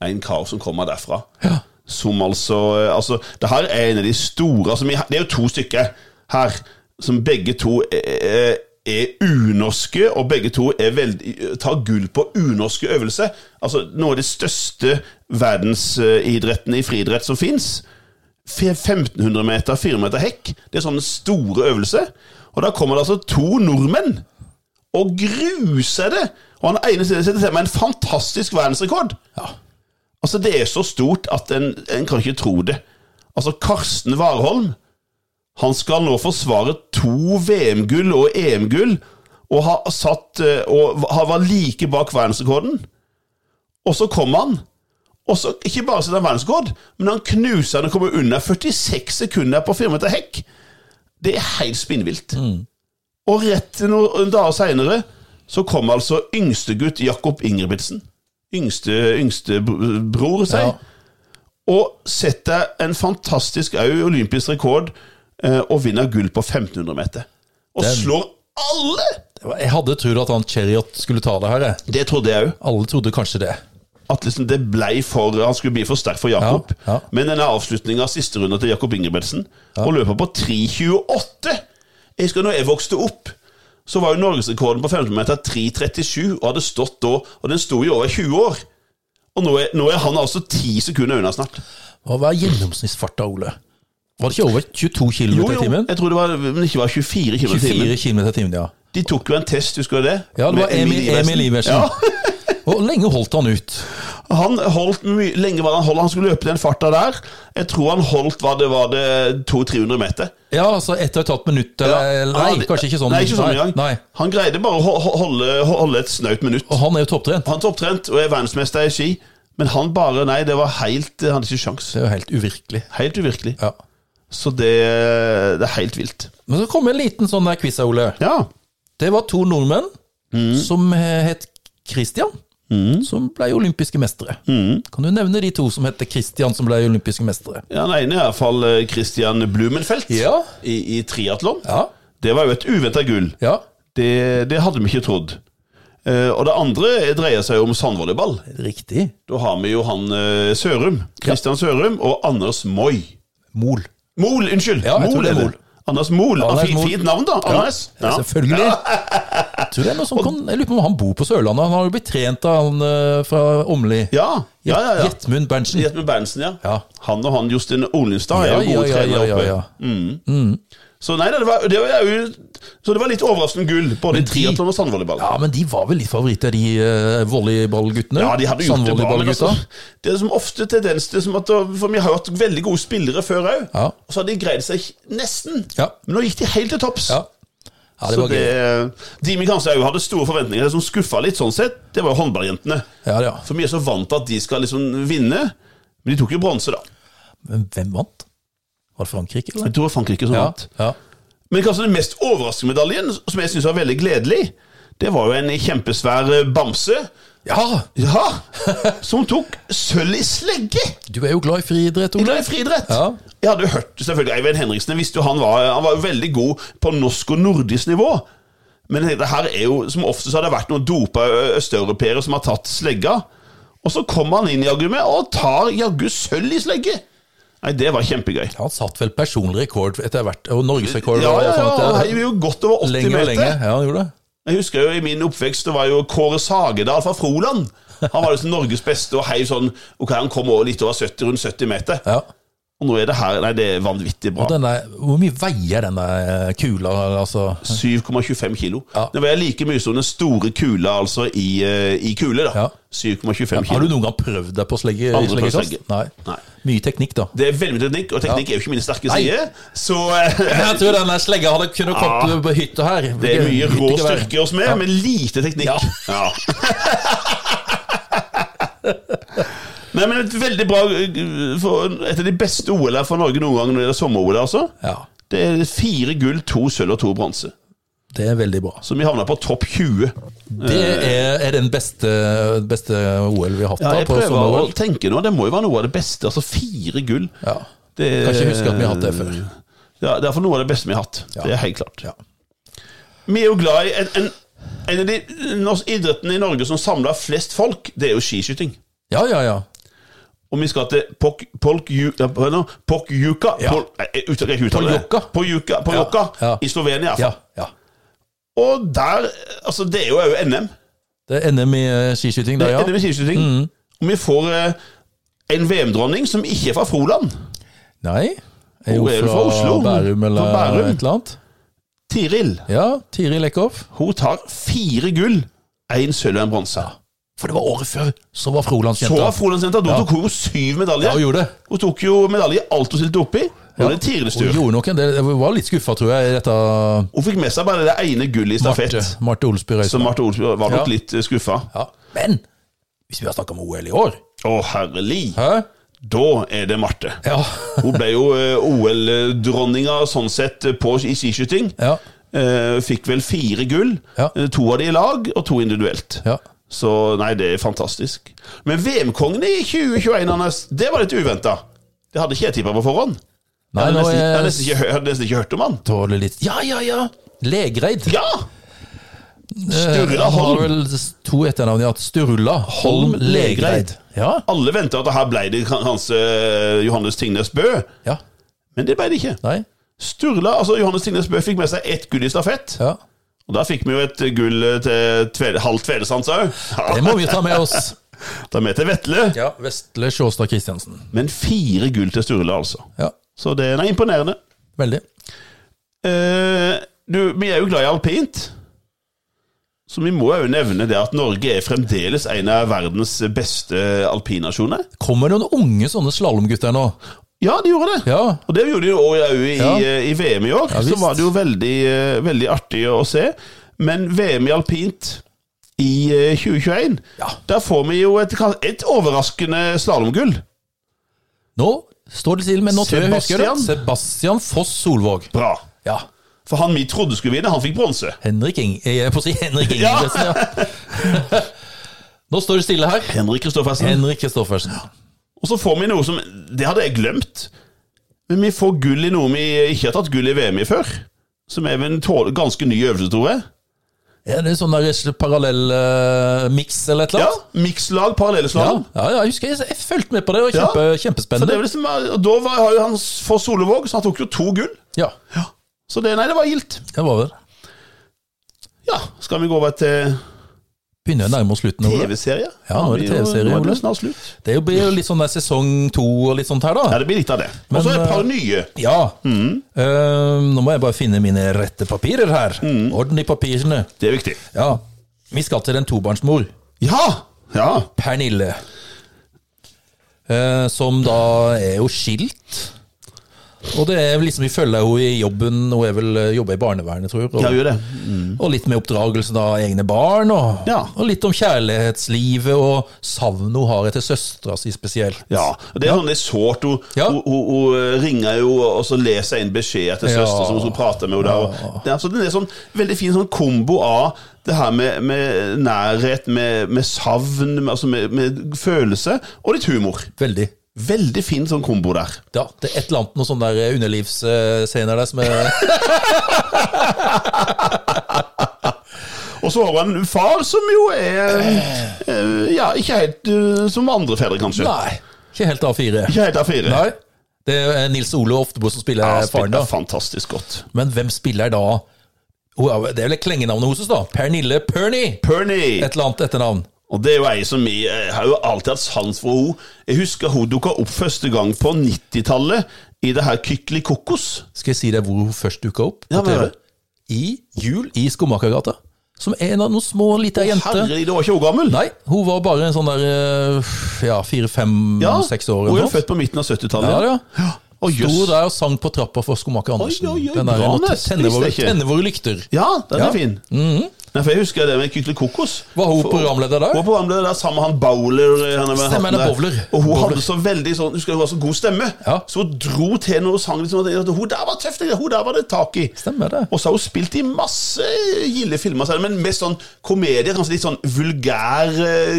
Speaker 2: en kar som kommer derfra.
Speaker 1: Ja.
Speaker 2: Som altså Altså, det her er en av de store altså, vi, Det er jo to stykker her som begge to er, er unorske, og begge to er veldig, tar gull på unorske øvelser. Altså, noe av de største verdensidrettene i friidrett som fins. 1500 meter, 4 meter hekk. Det er sånne store øvelser. Og da kommer det altså to nordmenn og gruser det! Og han ene setter til med en fantastisk verdensrekord.
Speaker 1: ja.
Speaker 2: Altså, det er så stort at en, en kan ikke tro det. Altså, Karsten Warholm han skal nå forsvare to VM-gull og EM-gull, og, har satt, eh, og va- var like bak verdensrekorden. Og så kom han, og så ikke bare setter han verdensrekord, men han knuser den og kommer under 46 sekunder på 4 meter hekk. Det er helt spinnvilt. Og rett til noen dager seinere så kom altså yngstegutt Jakob Ingebrigtsen. Yngste, yngste br- bror, seg.
Speaker 1: Ja.
Speaker 2: Og setter en fantastisk au olympisk rekord eh, og vinner gull på 1500 meter. Og
Speaker 1: Den-
Speaker 2: slår alle!
Speaker 1: Jeg hadde trodd at han Cheriot skulle ta det her. jeg.
Speaker 2: Det trodde jeg òg.
Speaker 1: Alle trodde kanskje det.
Speaker 2: At liksom det blei for Han skulle bli for sterk for Jakob.
Speaker 1: Ja, ja.
Speaker 2: Men denne avslutninga av siste runde til Jakob Ingebrigtsen, og løper på 3,28 Jeg husker når jeg vokste opp, så var jo norgesrekorden på 15 meter 3,37, og hadde stått da, og den sto i over 20 år. Og nå er, nå er han altså 10 sekunder unna snart.
Speaker 1: Hva var gjennomsnittsfarta, Ole? Var det ikke over 22 km
Speaker 2: Jo,
Speaker 1: i
Speaker 2: jo,
Speaker 1: timen?
Speaker 2: jeg tror det var, men ikke var 24 km i timen.
Speaker 1: 24 km i timen, ja.
Speaker 2: De tok jo en test, husker du det?
Speaker 1: Ja, det var
Speaker 2: Med
Speaker 1: Emil, Emil Iversen. Og lenge holdt han ut.
Speaker 2: (laughs) Han holdt mye, lenge var det han holdt, han skulle løpe den farta der. Jeg tror han holdt hva det var det 200-300 meter.
Speaker 1: Ja, altså ett og et halvt minutt
Speaker 2: Ja,
Speaker 1: eller Nei,
Speaker 2: han hadde-
Speaker 1: kanskje ikke sånn.
Speaker 2: Nei, ikke sånn
Speaker 1: nei,
Speaker 2: engang.
Speaker 1: nei.
Speaker 2: Han greide bare å ho- ho- holde, holde et snaut minutt.
Speaker 1: Og han er jo topptrent.
Speaker 2: Han er topptrent og er verdensmester i ski, men han bare Nei, det var helt eh, Han hadde ikke sjans.
Speaker 1: Det er jo helt uvirkelig.
Speaker 2: Helt uvirkelig.
Speaker 1: Ja.
Speaker 2: Så det, det er helt vilt.
Speaker 1: Men så kom en liten sånn der quiz, Ole.
Speaker 2: Ja. Mm.
Speaker 1: Det var to nordmenn som het Christian som ble olympiske mestere.
Speaker 2: Mm.
Speaker 1: Kan du nevne de to som heter Christian, som ble olympiske mestere?
Speaker 2: Ja, Den ene er iallfall eh, Christian Blumenfeldt
Speaker 1: Ja.
Speaker 2: i, i triatlon.
Speaker 1: Ja.
Speaker 2: Det var jo et uventa gull.
Speaker 1: ja.
Speaker 2: Det, det hadde vi ikke trodd. Eh, og det andre dreier seg om sandvolleyball.
Speaker 1: Riktig.
Speaker 2: Da har vi jo han eh, Sørum. Christian Sørum og Anders Moi.
Speaker 1: Mol.
Speaker 2: Mol, unnskyld.
Speaker 1: Ja, jeg tror
Speaker 2: Mol,
Speaker 1: det er
Speaker 2: er det.
Speaker 1: Mol.
Speaker 2: Anders Mol.
Speaker 1: Anders
Speaker 2: Ah, fint,
Speaker 1: Mol.
Speaker 2: fint navn, da. Anders. Ja.
Speaker 1: Eh, Selvfølgelig. Jeg, tror det er noe som kan, jeg lurer på om han bor på Sørlandet. Han har jo blitt trent av han eh, fra Åmli.
Speaker 2: Ja, ja, ja. ja.
Speaker 1: Gjetmund Berntsen.
Speaker 2: Jet med Berntsen, ja.
Speaker 1: Ja.
Speaker 2: Han og han Justin Olinstad er
Speaker 1: Ja,
Speaker 2: jo gode
Speaker 1: ja, ja,
Speaker 2: trenere
Speaker 1: ja,
Speaker 2: oppe.
Speaker 1: ja,
Speaker 2: Så nei, det var, det var jo, så det var litt overraskende gull, både i
Speaker 1: de-
Speaker 2: triatlon og sandvolleyball.
Speaker 1: Ja, men de var vel litt favoritter, de eh, volleyballguttene? Sånn
Speaker 2: Ja, de hadde gjort det bra, men altså,
Speaker 1: Sandvolleyballgutta?
Speaker 2: det er som ofte tendens til som at For vi har jo hatt veldig gode spillere før òg,
Speaker 1: Ja.
Speaker 2: og så hadde de greid seg nesten.
Speaker 1: Ja.
Speaker 2: Men nå gikk de helt til topps.
Speaker 1: Ja. ja, det
Speaker 2: Så
Speaker 1: var gøy.
Speaker 2: det- De vi kanskje også hadde store forventninger Det som skuffa litt, sånn sett, det var jo håndballjentene.
Speaker 1: Ja, ja.
Speaker 2: For vi er så vant til at de skal liksom vinne. Men de tok jo bronse, da.
Speaker 1: Men hvem vant? Var det Frankrike, eller?
Speaker 2: Jeg tror det var Frankrike som
Speaker 1: Ja,
Speaker 2: vant.
Speaker 1: ja.
Speaker 2: Men kanskje den mest overraskende medaljen, som jeg syns var veldig gledelig, det var jo en kjempesvær eh, bamse.
Speaker 1: ja,
Speaker 2: Ja! Som tok sølv i slegge!
Speaker 1: du er jo glad i friidrett,
Speaker 2: Jeg er
Speaker 1: Ole.
Speaker 2: glad i friidrett.
Speaker 1: Ja.
Speaker 2: Jeg hadde jo hørt selvfølgelig Eivind Henriksen. Jeg visste jo han var, han var jo veldig god på norsk og nordisk nivå. Men jeg tenkte, det her er jo, som oftest har det vært noen dopa ø- østeuropeere som har tatt slegga. Og så kommer han inn jaggu med og tar jaggu sølv i slegge! Nei, det var kjempegøy.
Speaker 1: Han satt vel personlig rekord etter hvert, og norgesrekord. sånn
Speaker 2: Ja,
Speaker 1: og
Speaker 2: ja, ja,
Speaker 1: sånt
Speaker 2: han
Speaker 1: der.
Speaker 2: heiv jo godt over 80
Speaker 1: Lenge og
Speaker 2: meter.
Speaker 1: lenge. Ja, han gjorde det.
Speaker 2: Jeg husker jo i min oppvekst, det var jo Kåre Sagedal fra Froland. Han var liksom Norges beste og heiv sånn Ok, han kom over litt over 70, rundt 70 meter.
Speaker 1: Ja.
Speaker 2: Og nå er det her Nei, det er vanvittig bra.
Speaker 1: Og denne, hvor mye veier denne eh, kula? Altså?
Speaker 2: 7,25 kilo.
Speaker 1: Ja.
Speaker 2: Det var like mye som den store kula altså i, eh, i kule. da.
Speaker 1: Ja.
Speaker 2: 7,25
Speaker 1: Har du
Speaker 2: kilo.
Speaker 1: noen gang prøvd deg på slegge,
Speaker 2: Aldri prøvd
Speaker 1: sleggekast?
Speaker 2: slegge.
Speaker 1: Nei.
Speaker 2: Nei.
Speaker 1: Mye teknikk, da.
Speaker 2: Det er veldig mye teknikk, og teknikk er jo ikke min sterke
Speaker 1: Nei.
Speaker 2: side. Så (laughs) eh,
Speaker 1: Jeg tror denne slegga hadde kunnet kommet på hytta her.
Speaker 2: Ah. det er mye rå
Speaker 1: Hyttegevær.
Speaker 2: styrke hos meg, men lite teknikk.
Speaker 1: Ja.
Speaker 2: Ja. (laughs) Nei, men et veldig bra eh, for, Et av de beste OL-ene for Norge noen gang når det gjelder sommer-OL. altså.
Speaker 1: Ja,
Speaker 2: Det er fire gull, to sølv og to bronse.
Speaker 1: det er veldig bra.
Speaker 2: Så vi havna på topp 20.
Speaker 1: Det er, er den beste, beste OL vi har hatt.
Speaker 2: Eh. Ja,
Speaker 1: da,
Speaker 2: jeg
Speaker 1: på
Speaker 2: prøver å
Speaker 1: sommer-OL.
Speaker 2: tenke nå, det må jo være noe av det beste. Altså fire gull.
Speaker 1: Ja.
Speaker 2: Det,
Speaker 1: Kan ikke huske at vi har hatt det før.
Speaker 2: Ja, det er for noe av det beste vi har hatt.
Speaker 1: Ja.
Speaker 2: Det er helt klart.
Speaker 1: Ja.
Speaker 2: Vi er jo glad i en, en, en av de norsk- idrettene i Norge som samler flest folk, det er jo skiskyting.
Speaker 1: ja, ja, ja.
Speaker 2: Og vi skal til Pok, Polk, Ju- ja, hva er det nå? Pokljuka
Speaker 1: Ja.
Speaker 2: Pol, nei, jeg uttaler ikke uttale det.
Speaker 1: Pokljuka.
Speaker 2: Pokljuka- Pokljuka
Speaker 1: Ja. Ja.
Speaker 2: i Slovenia.
Speaker 1: ja, ja.
Speaker 2: Og der Altså, det er jo òg NM.
Speaker 1: Det er NM i eh, skiskyting der, ja.
Speaker 2: Det
Speaker 1: Mm.
Speaker 2: er NM i skiskyting. Og vi får eh, en VM-dronning som ikke er fra Froland.
Speaker 1: Nei. Er jo
Speaker 2: Hvor er du fra Oslo?
Speaker 1: Bærum eller
Speaker 2: Fra Bærum?
Speaker 1: et eller annet.
Speaker 2: Tiril.
Speaker 1: Ja, Tiril Eckhoff.
Speaker 2: Hun tar fire gull, én sølv og en bronse.
Speaker 1: For det var året før, så var
Speaker 2: Så
Speaker 1: Frolandsjenta.
Speaker 2: var Frolandsjenta. Da tok hun jo syv
Speaker 1: Ja, hun
Speaker 2: medaljer.
Speaker 1: gjorde det.
Speaker 2: Hun tok jo medalje i alt hun stilte opp i. Og det er Tirils
Speaker 1: Hun
Speaker 2: tur.
Speaker 1: gjorde nok en del. Jeg var litt skuffa, tror jeg, i dette
Speaker 2: Hun fikk med seg bare det ene gullet i stafett.
Speaker 1: Marte, Marte Olsby
Speaker 2: Så
Speaker 1: Røise.
Speaker 2: Marte Olsby var nok
Speaker 1: Ja.
Speaker 2: litt eh, skuffa.
Speaker 1: Ja. Men hvis vi har snakka om OL i år
Speaker 2: Å, herlig!
Speaker 1: Hæ?
Speaker 2: Da er det Marte.
Speaker 1: Ja.
Speaker 2: Hun ble jo eh, OL-dronninga sånn sett eh, på, i skiskyting.
Speaker 1: ja.
Speaker 2: Eh, fikk vel fire gull.
Speaker 1: Ja.
Speaker 2: Eh, To av de i lag, og to individuelt.
Speaker 1: ja.
Speaker 2: Så nei, det er fantastisk. Men VM-kongen i 2021, Anders, det var litt uventa. Det hadde ikke jeg tippa på forhånd.
Speaker 1: Nei,
Speaker 2: Jeg hadde
Speaker 1: nå
Speaker 2: nesten, jeg hadde
Speaker 1: er
Speaker 2: nesten, ikke, hø- hadde nesten ikke hørt om han.
Speaker 1: tåler litt Ja, ja, ja! Legreid.
Speaker 2: Ja!
Speaker 1: Eh,
Speaker 2: Sturla
Speaker 1: Han har
Speaker 2: Holm.
Speaker 1: vel to etternavn. Ja. Sturla Holm
Speaker 2: Holm
Speaker 1: Legreid.
Speaker 2: Legreid.
Speaker 1: Ja.
Speaker 2: Alle venta at det her ble det kan- kanskje Johannes Tingnes Bø,
Speaker 1: ja.
Speaker 2: men det ble det ikke.
Speaker 1: Nei.
Speaker 2: Sturla, altså Johannes Tingnes Bø fikk med seg ett gull i stafett.
Speaker 1: Ja.
Speaker 2: Og da fikk vi jo et gull eh, til Tvede, halvt Tvedesands òg.
Speaker 1: Det må vi ta med oss.
Speaker 2: Da er vi til Vetle.
Speaker 1: Ja, Vestle Sjåstad Kristiansen.
Speaker 2: Men fire gull til Sturla, altså.
Speaker 1: Ja,
Speaker 2: Så det er imponerende.
Speaker 1: veldig.
Speaker 2: Eh, du, vi er jo glad i alpint. Så vi må jo nevne det at Norge er fremdeles en av verdens beste alpinnasjoner.
Speaker 1: Kommer det noen unge sånne slalåmgutter nå?
Speaker 2: Ja, de gjorde det.
Speaker 1: Ja.
Speaker 2: Og det gjorde de jo også i, eh,
Speaker 1: Ja.
Speaker 2: i, i VM i år.
Speaker 1: Ja, visst.
Speaker 2: så var det jo veldig, eh, veldig artig å se. Men VM i alpint i eh, 2021,
Speaker 1: Ja.
Speaker 2: der får vi jo et, et overraskende slalåmgull.
Speaker 1: Nå står det til, men nå tror jeg jeg husker det.
Speaker 2: Sebastian.
Speaker 1: Sebastian Foss Solvåg.
Speaker 2: Bra.
Speaker 1: Ja.
Speaker 2: For han vi trodde
Speaker 1: eh,
Speaker 2: skulle vinne, han fikk bronse.
Speaker 1: Henrik Ing... Jeg er på å si Henrik Ingebrigtsen, sånn, ja. (laughs) Nå står det stille her.
Speaker 2: Henrik Kristoffersen.
Speaker 1: Henrik Kristoffersen.
Speaker 2: Og så får vi noe som Det hadde jeg glemt. Men vi får gull i noe vi ikke har tatt gull i VM i før. Som er vel en tå- ganske ny øvelse, tror jeg.
Speaker 1: Ja, det er sånn der parallell eh, mix eller et
Speaker 2: Ja,
Speaker 1: eller annet.
Speaker 2: Mikslag,
Speaker 1: Ja,
Speaker 2: parallellslag.
Speaker 1: ja, jeg husker jeg, jeg fulgte med på det. og kjempe,
Speaker 2: Så det
Speaker 1: Kjempespennende.
Speaker 2: er vel liksom, og da var har jo han for Solevåg, så han tok jo to gull.
Speaker 1: Ja,
Speaker 2: Så det, nei, det var gildt.
Speaker 1: det var vel
Speaker 2: Ja, skal vi gå over til
Speaker 1: Begynner å nærme oss slutten. Ole.
Speaker 2: TV-serie?
Speaker 1: Ja, nå er det
Speaker 2: Vi jo-
Speaker 1: TV-serie,
Speaker 2: Nå er
Speaker 1: Ole.
Speaker 2: det snart slutt.
Speaker 1: Det er jo- blir jo litt sånn der sesong to og litt sånt her,
Speaker 2: Ja, Mm.
Speaker 1: da.
Speaker 2: det blir litt av det. Og så
Speaker 1: Men,
Speaker 2: et par nye.
Speaker 1: Ja. Eh, nå må jeg bare finne mine rette papirer her.
Speaker 2: Mm.
Speaker 1: Orden i papirene.
Speaker 2: Det er viktig.
Speaker 1: Ja. Vi skal til en tobarnsmor.
Speaker 2: Ja! Ja.
Speaker 1: Pernille. Eh, som da er jo skilt. Og det er liksom vi følger henne i jobben. Hun er vel eh, jobber i barnevernet, tror jeg.
Speaker 2: Ja, gjør det.
Speaker 1: Og litt med oppdragelsen av egne barn, og,
Speaker 2: Ja.
Speaker 1: og litt om kjærlighetslivet og savnet hun har etter søstera si spesielt.
Speaker 2: Ja, og Det er sånn det er sårt. Hun,
Speaker 1: Ja.
Speaker 2: hun, hun, hun ringer jo, og så leser jeg en beskjed til
Speaker 1: Ja.
Speaker 2: søster som hun skal prate med henne. der, og- Det er, så det er sånn veldig fin sånn kombo av det her med, med nærhet, med, med savn, med, altså med, med følelse, og litt humor.
Speaker 1: Veldig.
Speaker 2: Veldig fin sånn kombo der.
Speaker 1: Ja, det er et eller annet noen sånne der eh, underlivsscener der som er
Speaker 2: (laughs) Og så har han en far som jo er eh, Ja, ikke helt eh, som andre fedre, kanskje.
Speaker 1: Nei, ikke helt A4.
Speaker 2: Ikke helt A4.
Speaker 1: Nei. Det er Nils Ole Oftebro som spiller
Speaker 2: Han
Speaker 1: faren,
Speaker 2: spiller
Speaker 1: da.
Speaker 2: fantastisk godt.
Speaker 1: Men hvem spiller da Hun er- Det er vel klengenavnet hennes, da. Pernille Pernie.
Speaker 2: Pernie.
Speaker 1: Et eller annet etternavn.
Speaker 2: Og det er jo ei som vi jeg har jo alltid hatt sans for henne. Jeg husker hun dukka opp første gang på 90-tallet i det her Kykeli Kokos.
Speaker 1: Skal jeg si deg hvor hun først dukka opp? på
Speaker 2: Ja, men-
Speaker 1: TV? I Jul i Skomakergata. Som en av noen små, lita jenter.
Speaker 2: Herregud, da var ikke hun gammel.
Speaker 1: Nei, hun var bare en sånn der eh, Ja, fire-fem,
Speaker 2: ja,
Speaker 1: seks år.
Speaker 2: Hun
Speaker 1: eller
Speaker 2: er
Speaker 1: noe.
Speaker 2: jo født på midten av
Speaker 1: Ja,
Speaker 2: 70-tallet.
Speaker 1: ja.
Speaker 2: Å, jøss.
Speaker 1: Sto der og sang på trappa for skomaker Andersen.
Speaker 2: Oi, oi, oi,
Speaker 1: den der,
Speaker 2: bra,
Speaker 1: jeg måtte
Speaker 2: Nes.
Speaker 1: tenne,
Speaker 2: Visste
Speaker 1: våre,
Speaker 2: jeg ikke.
Speaker 1: tenne våre lykter.
Speaker 2: Ja, den
Speaker 1: Ja. Mhm.
Speaker 2: er fin. Nei, for Jeg husker det med Kykeli Kokos.
Speaker 1: Var hun
Speaker 2: For-
Speaker 1: programleder der?
Speaker 2: Hun var programleder der sammen med han Bowler. eh, Han er med
Speaker 1: Stemmer,
Speaker 2: hatten
Speaker 1: han er
Speaker 2: der.
Speaker 1: Bowler.
Speaker 2: Og hun
Speaker 1: Bowler.
Speaker 2: hadde så veldig sånn Husker hun har så god stemme.
Speaker 1: Ja.
Speaker 2: Så hun dro til når hun sang liksom, at Hun der var tøff, det, hun der var det tak i.
Speaker 1: Stemmer det.
Speaker 2: Og så har hun spilt i masse gilde filmer, selv, men mest sånn komedier. Kanskje litt sånn vulgær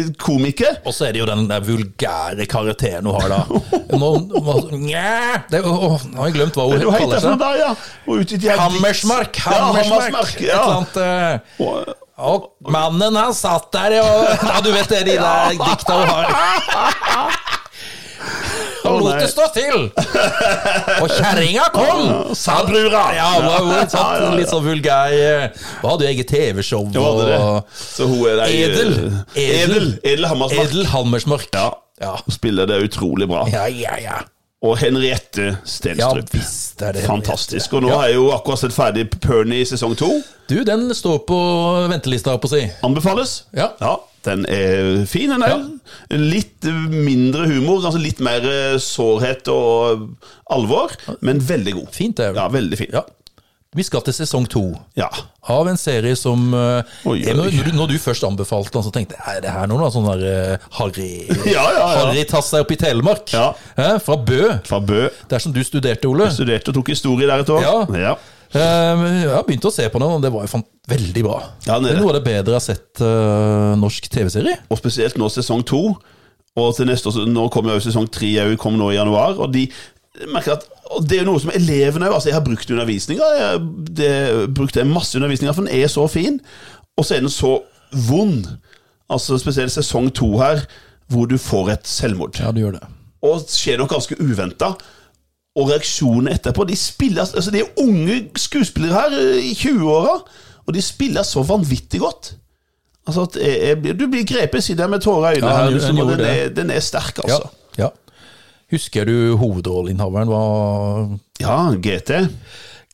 Speaker 2: eh, komiker.
Speaker 1: Og så er det jo den der vulgære karakteren hun har,
Speaker 2: (laughs)
Speaker 1: da. Nå, nå, Nja, det, å, å, nå har jeg glemt hva hun
Speaker 2: Du heter
Speaker 1: kaller
Speaker 2: for noe
Speaker 1: seg.
Speaker 2: der, ja. Og ute i de her
Speaker 1: Hammersmark!
Speaker 2: dikt- Ja,
Speaker 1: Hammersmark!
Speaker 2: Hammersmark
Speaker 1: Et eller
Speaker 2: ja.
Speaker 1: annet eh,
Speaker 2: Og-
Speaker 1: Og mannen han satt der og Ja, du vet
Speaker 2: (laughs)
Speaker 1: det, de der dikta hun har. Og lot det stå til! Og kjerringa kom!
Speaker 2: Sa brura!
Speaker 1: Ja, hun var jo en sånn, litt sånn vulgær eh, Hun hadde jo eget TV-show.
Speaker 2: Det var det.
Speaker 1: og-
Speaker 2: Så hun er der, eh,
Speaker 1: Edel. Edel.
Speaker 2: Edel. Edel Hammersmark.
Speaker 1: Edel Hammersmark.
Speaker 2: Ja.
Speaker 1: Ja,
Speaker 2: Spiller det utrolig bra.
Speaker 1: ja, ja. ja.
Speaker 2: Og Henriette
Speaker 1: ja
Speaker 2: Stenstrup.
Speaker 1: visst er det
Speaker 2: Fantastisk. Og nå har jeg jo akkurat sett ferdig Pernie i sesong to.
Speaker 1: Du, den står på ventelista, holdt på å si.
Speaker 2: Anbefales.
Speaker 1: Ja.
Speaker 2: Den er fin, den der. Litt mindre humor, altså litt mer eh, sårhet og alvor, men veldig god.
Speaker 1: Fint, det.
Speaker 2: Ja, veldig fin.
Speaker 1: Ja. Vi skal til sesong to.
Speaker 2: Ja.
Speaker 1: Av en serie som eh,
Speaker 2: Oi,
Speaker 1: jeg, når,
Speaker 2: oi.
Speaker 1: du- når du først anbefalte den, så tenkte jeg er det her noe da, sånn der eh, Harry
Speaker 2: (laughs) Ja, ja, ja.
Speaker 1: Harry tatt seg opp i Telemark?
Speaker 2: Ja.
Speaker 1: Eh, fra Bø,
Speaker 2: Fra Bø.
Speaker 1: der som du studerte, Ole.
Speaker 2: Studerte og tok historie der et år.
Speaker 1: Ja.
Speaker 2: ja.
Speaker 1: Eh, men jeg har begynt å se på den, og det var jo fan- veldig bra.
Speaker 2: Ja, det er
Speaker 1: det er
Speaker 2: det.
Speaker 1: noe av det bedre jeg har sett eh, norsk TV-serie.
Speaker 2: Og spesielt nå sesong to. Og til neste år, så- nå kommer jo sesong tre jeg kom nå i januar. Og de jeg merker at og det er jo noe som elevene altså Jeg har brukt undervisninga. Jeg det, brukte masse undervisninga, for den er så fin. Og så er den så vond. Altså Spesielt sesong to her, hvor du får et selvmord.
Speaker 1: Ja, du gjør det.
Speaker 2: Og skjer noe ganske uventa. Og reaksjonene etterpå De spiller, altså det er unge skuespillere her eh, i 20-åra, og de spiller så vanvittig godt. Altså at jeg, jeg, blir- Du blir grepet, sitter jeg med tårer i øynene.
Speaker 1: Ja,
Speaker 2: her,
Speaker 1: han-
Speaker 2: liksom,
Speaker 1: han
Speaker 2: og
Speaker 1: gjorde
Speaker 2: den, er,
Speaker 1: det.
Speaker 2: den er sterk,
Speaker 1: Ja.
Speaker 2: altså.
Speaker 1: ja. Husker du hovedrolleinnehaveren var
Speaker 2: Ja, GT.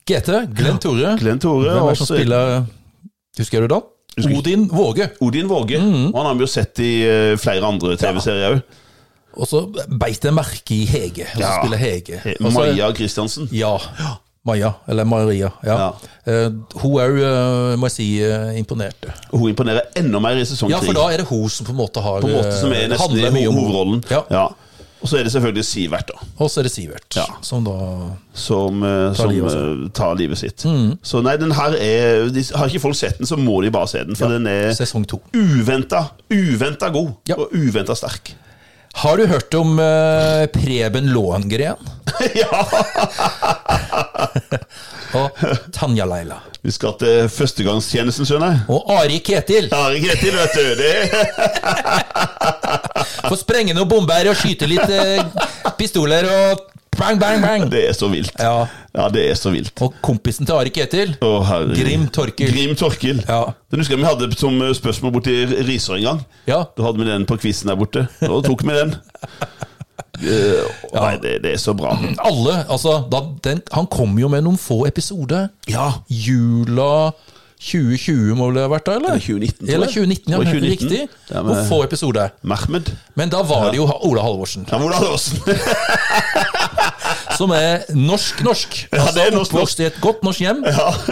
Speaker 1: GT? Glenn Tore?
Speaker 2: Glenn Tore.
Speaker 1: Hvem er
Speaker 2: og
Speaker 1: det som
Speaker 2: så-
Speaker 1: spiller Husker du da? Odin Våge.
Speaker 2: Odin Våge.
Speaker 1: Mhm.
Speaker 2: Og han har vi jo sett i eh, flere andre TV-serier òg.
Speaker 1: Og så beit jeg merke i Hege, og så
Speaker 2: Ja.
Speaker 1: spiller Hege. Og så-
Speaker 2: Maja Christiansen.
Speaker 1: Ja. Maja, eller Maria. Ja.
Speaker 2: Ja.
Speaker 1: Eh, hun er jo, eh, må jeg si, eh, imponerte.
Speaker 2: Og Hun imponerer enda mer i sesong
Speaker 1: Ja,
Speaker 2: tre.
Speaker 1: for da er det hun som på en måte har
Speaker 2: på en måte som er
Speaker 1: eh,
Speaker 2: nesten
Speaker 1: handler
Speaker 2: i
Speaker 1: mye om-
Speaker 2: hovedrollen.
Speaker 1: Ja.
Speaker 2: Ja. Og så er det selvfølgelig Sivert, da.
Speaker 1: Og så er det Sivert,
Speaker 2: Ja.
Speaker 1: som da
Speaker 2: Som, eh, som
Speaker 1: livet Mm.
Speaker 2: eh, tar livet sitt. Så nei, den her er de, Har ikke folk sett den, så må de bare se den. For den er
Speaker 1: Sesong to.
Speaker 2: uventa, uventa god.
Speaker 1: Ja.
Speaker 2: Og uventa sterk.
Speaker 1: Har du hørt om eh, Preben (laughs) Låengren
Speaker 2: ja!
Speaker 1: og Tanja Leila?
Speaker 2: Vi skal til førstegangstjenesten, skjønner jeg.
Speaker 1: Og Ari Ketil!
Speaker 2: Are Ketil, vet du.
Speaker 1: (laughs)
Speaker 2: Det,
Speaker 1: Få sprenge noen bomber og skyte litt eh, pistoler og bang, bang, bang!
Speaker 2: det er så vilt.
Speaker 1: Ja.
Speaker 2: Ja, det er så vilt.
Speaker 1: Og kompisen til Ari Ketil,
Speaker 2: Å, herre.
Speaker 1: Grim Torkil.
Speaker 2: Grim Torkil.
Speaker 1: Ja.
Speaker 2: Den husker jeg vi hadde som eh, spørsmål borti Risør en gang.
Speaker 1: Ja.
Speaker 2: Da hadde vi den på quizen der borte. Da tok vi
Speaker 1: (laughs)
Speaker 2: den. Eh, Nei, det, det er så bra.
Speaker 1: alle altså, da, den, Han kom jo med noen få episoder.
Speaker 2: Ja.
Speaker 1: Jula 2020 må vel det ha vært da, eller?
Speaker 2: Eller 2019, tror jeg.
Speaker 1: Eller 2019, ja,
Speaker 2: Det var 2019.
Speaker 1: riktig.
Speaker 2: Ja, men-
Speaker 1: Noen få episoder.
Speaker 2: Mahmed.
Speaker 1: Men da var det jo Ola Halvorsen,
Speaker 2: Ja, Ola Halvorsen.
Speaker 1: som er norsk-norsk.
Speaker 2: Ja, det er norsk-norsk.
Speaker 1: Oppvokst i et godt norsk hjem,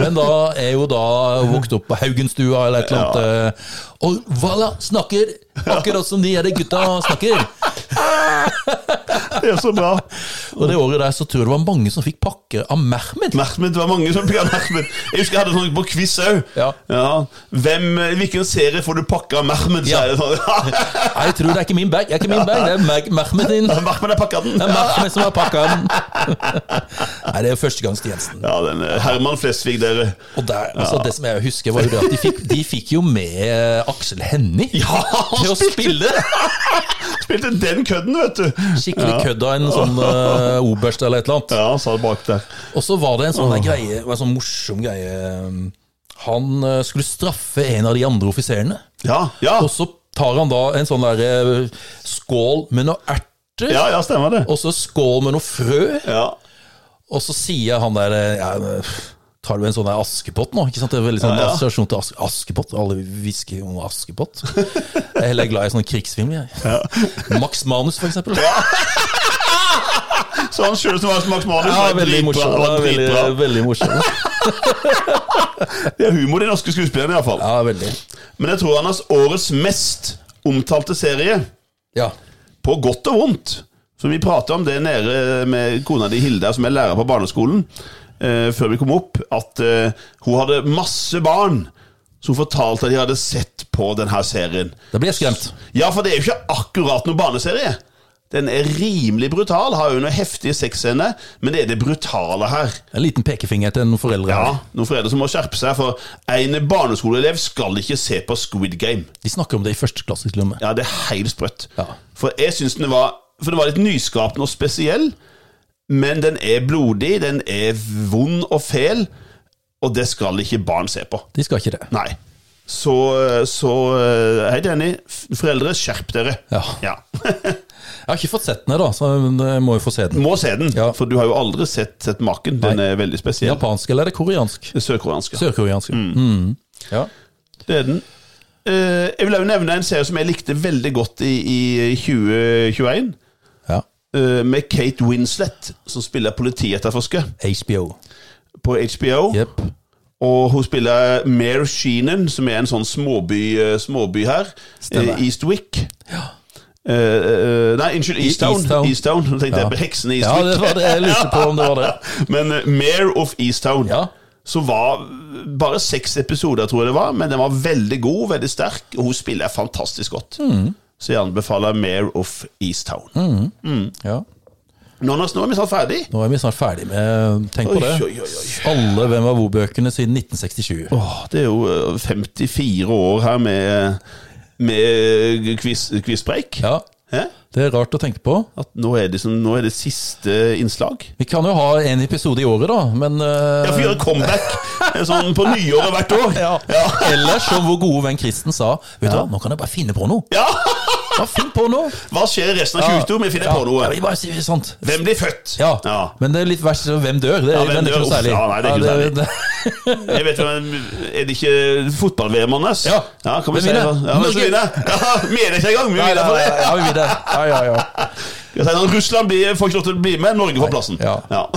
Speaker 1: men da er jo da vokst opp på Haugenstua eller et eller annet. eh, Og voilà, snakker akkurat som de her gutta snakker.
Speaker 2: Det er så bra.
Speaker 1: Og det året der så tror jeg det var mange som fikk pakker av Mehmed.
Speaker 2: Mahmed, det var mange som plukka Mahmed. Jeg husker jeg hadde sånn på quiz òg.
Speaker 1: Ja.
Speaker 2: Hvem, hvilken serie får du pakka av Mahmed?
Speaker 1: Ja.
Speaker 2: Ja. Sånn.
Speaker 1: Nei, Jeg tror det er ikke min bag, det er ikke min bag, det er Meg- Mehmed din.
Speaker 2: Mahmed har pakka den.
Speaker 1: Det er Mehmed som har pakka den. Nei, det er førstegangstjenesten.
Speaker 2: Ja, den er Herman Flesvig, dere.
Speaker 1: Og der, altså, det som jeg husker, var jo det at de fikk, de fikk jo med eh, Aksel Hennie
Speaker 2: (laughs) Ja, han
Speaker 1: til å spille.
Speaker 2: spilte den kødden, vet du.
Speaker 1: Skikkelig kødd av en sånn eh, oberst eller et eller annet.
Speaker 2: Ja, han sa det bak der.
Speaker 1: Og så var det en sånn der greie, det var en sånn morsom greie. Han eh, skulle straffe en av de andre offiserene.
Speaker 2: Ja, ja.
Speaker 1: Og så tar han da en sånn der eh, skål med noe erter,
Speaker 2: Ja, ja, stemmer det.
Speaker 1: og så skål med noe frø,
Speaker 2: Ja.
Speaker 1: og så sier han der eh, ja, pff, Tar du en sånn der askepott nå? Ikke sant? Det er veldig sånn
Speaker 2: Ja, ja.
Speaker 1: assosiasjon til aske, askepott. Alle hvisker jo om askepott. Jeg er heller glad i sånne krigsfilmer, jeg. Max Manus, for eksempel. Ja,
Speaker 2: Så han sjøl som var Max Manus. var
Speaker 1: veldig
Speaker 2: dritbra,
Speaker 1: morsom.
Speaker 2: var
Speaker 1: Ja, veldig,
Speaker 2: dritbra.
Speaker 1: veldig morsom.
Speaker 2: Det er humor, de norske skuespillerne, iallfall.
Speaker 1: Ja, veldig.
Speaker 2: Men jeg tror han har årets mest omtalte serie,
Speaker 1: Ja.
Speaker 2: på godt og vondt, som vi pratet om det nede med kona di Hilda, som er lærer på barneskolen, eh, før vi kom opp, at eh, hun hadde masse barn som fortalte at de hadde sett på denne serien.
Speaker 1: Da blir jeg skremt.
Speaker 2: Ja, for det er jo ikke akkurat noen barneserie. Den er rimelig brutal, har jo noen heftige sexscener, men det er det brutale her.
Speaker 1: En liten pekefinger til noen foreldre.
Speaker 2: Ja,
Speaker 1: her.
Speaker 2: noen foreldre som må skjerpe seg, for en barneskoleelev skal ikke se på Squid Game.
Speaker 1: De snakker om det i første klasse, til og med.
Speaker 2: Ja, det er helt sprøtt.
Speaker 1: Ja.
Speaker 2: For jeg syns den var For den var litt nyskapende og spesiell, men den er blodig, den er vond og fæl, og det skal ikke barn se på.
Speaker 1: De skal ikke det.
Speaker 2: Nei. Så, så jeg er helt enig. F- Foreldre, skjerp dere.
Speaker 1: Ja. Jeg har ikke fått sett den her, da, så jeg må jo få se den.
Speaker 2: (laughs) Må se den,
Speaker 1: Ja.
Speaker 2: for du har jo aldri sett, sett maken. Den er veldig spesiell.
Speaker 1: Japansk eller er det koreansk?
Speaker 2: Det Sørkoreanske.
Speaker 1: Sørkoreansk. ja. Mm. Ja.
Speaker 2: Det er den. Eh, jeg vil også nevne en serie som jeg likte veldig godt i, i 2021.
Speaker 1: ja.
Speaker 2: eh, med Kate Winslet, som spiller politietterforsker
Speaker 1: HBO.
Speaker 2: på HBO.
Speaker 1: Jepp.
Speaker 2: Og hun spiller Mare Sheenan, som er en sånn småby, eh, småby her.
Speaker 1: Stemmer.
Speaker 2: eh, Eastwick. Eh, eh, nei, unnskyld, Easttown.
Speaker 1: Easttown.
Speaker 2: Easttown. Nå tenkte jeg på heksen i
Speaker 1: Ja,
Speaker 2: Eastwick.
Speaker 1: det var det jeg lurte på om det var det.
Speaker 2: Men eh, Mare of Easttown.
Speaker 1: Ja.
Speaker 2: Som var bare seks episoder, tror jeg det var, men den var veldig god, veldig sterk, og hun spiller fantastisk godt.
Speaker 1: Mm.
Speaker 2: Så jeg anbefaler Mare of Easttown.
Speaker 1: Ja.
Speaker 2: Nå, nå nå er vi snart ferdig.
Speaker 1: Nå er vi snart ferdig med Tenk på
Speaker 2: Oi,
Speaker 1: det.
Speaker 2: oi, oi, oi.
Speaker 1: Alle Hvem var hvor-bøkene siden 1967.
Speaker 2: Åh, det er jo eh, 54 år her med, med quiz, quizpreik.
Speaker 1: Ja,
Speaker 2: Hæ?
Speaker 1: det er rart å tenke på.
Speaker 2: At nå er, det som, nå er det siste innslag.
Speaker 1: Vi kan jo ha en episode i året, da, men eh,
Speaker 2: Jeg får gjøre comeback eh, sånn på nyåret hvert år.
Speaker 1: ja. eh, (laughs) Ellers, som vår gode venn Kristen sa, vet du hva, nå kan jeg bare finne på noe.
Speaker 2: Ja!
Speaker 1: Bare finn på noe!
Speaker 2: Hva skjer resten av 22? Vi finner
Speaker 1: Ja,
Speaker 2: på noe.
Speaker 1: Ja, vi bare sier sant.
Speaker 2: Hvem blir født?
Speaker 1: Ja.
Speaker 2: Ja.
Speaker 1: men det er litt verst hvem dør. Det,
Speaker 2: Ja,
Speaker 1: men
Speaker 2: hvem
Speaker 1: det er ikke
Speaker 2: dør?
Speaker 1: noe særlig.
Speaker 2: Uff, ja, nei, det er ikke noe
Speaker 1: det- (laughs)
Speaker 2: Jeg vet hvem, Er det ikke fotball-VM hans?
Speaker 1: Ja.
Speaker 2: kan
Speaker 1: Hvem
Speaker 2: vi si det?
Speaker 1: vinner?
Speaker 2: Ja, hvem som
Speaker 1: Norge.
Speaker 2: vinner? Ja, vi er det ikke engang, vi
Speaker 1: Nei,
Speaker 2: vinner
Speaker 1: nei,
Speaker 2: for
Speaker 1: nei,
Speaker 2: det.
Speaker 1: ja, vi vil det. Ja, ja, ja.
Speaker 2: Jeg sier, Russland blir, får ikke lov til å bli med, Norge får plassen.
Speaker 1: Ja.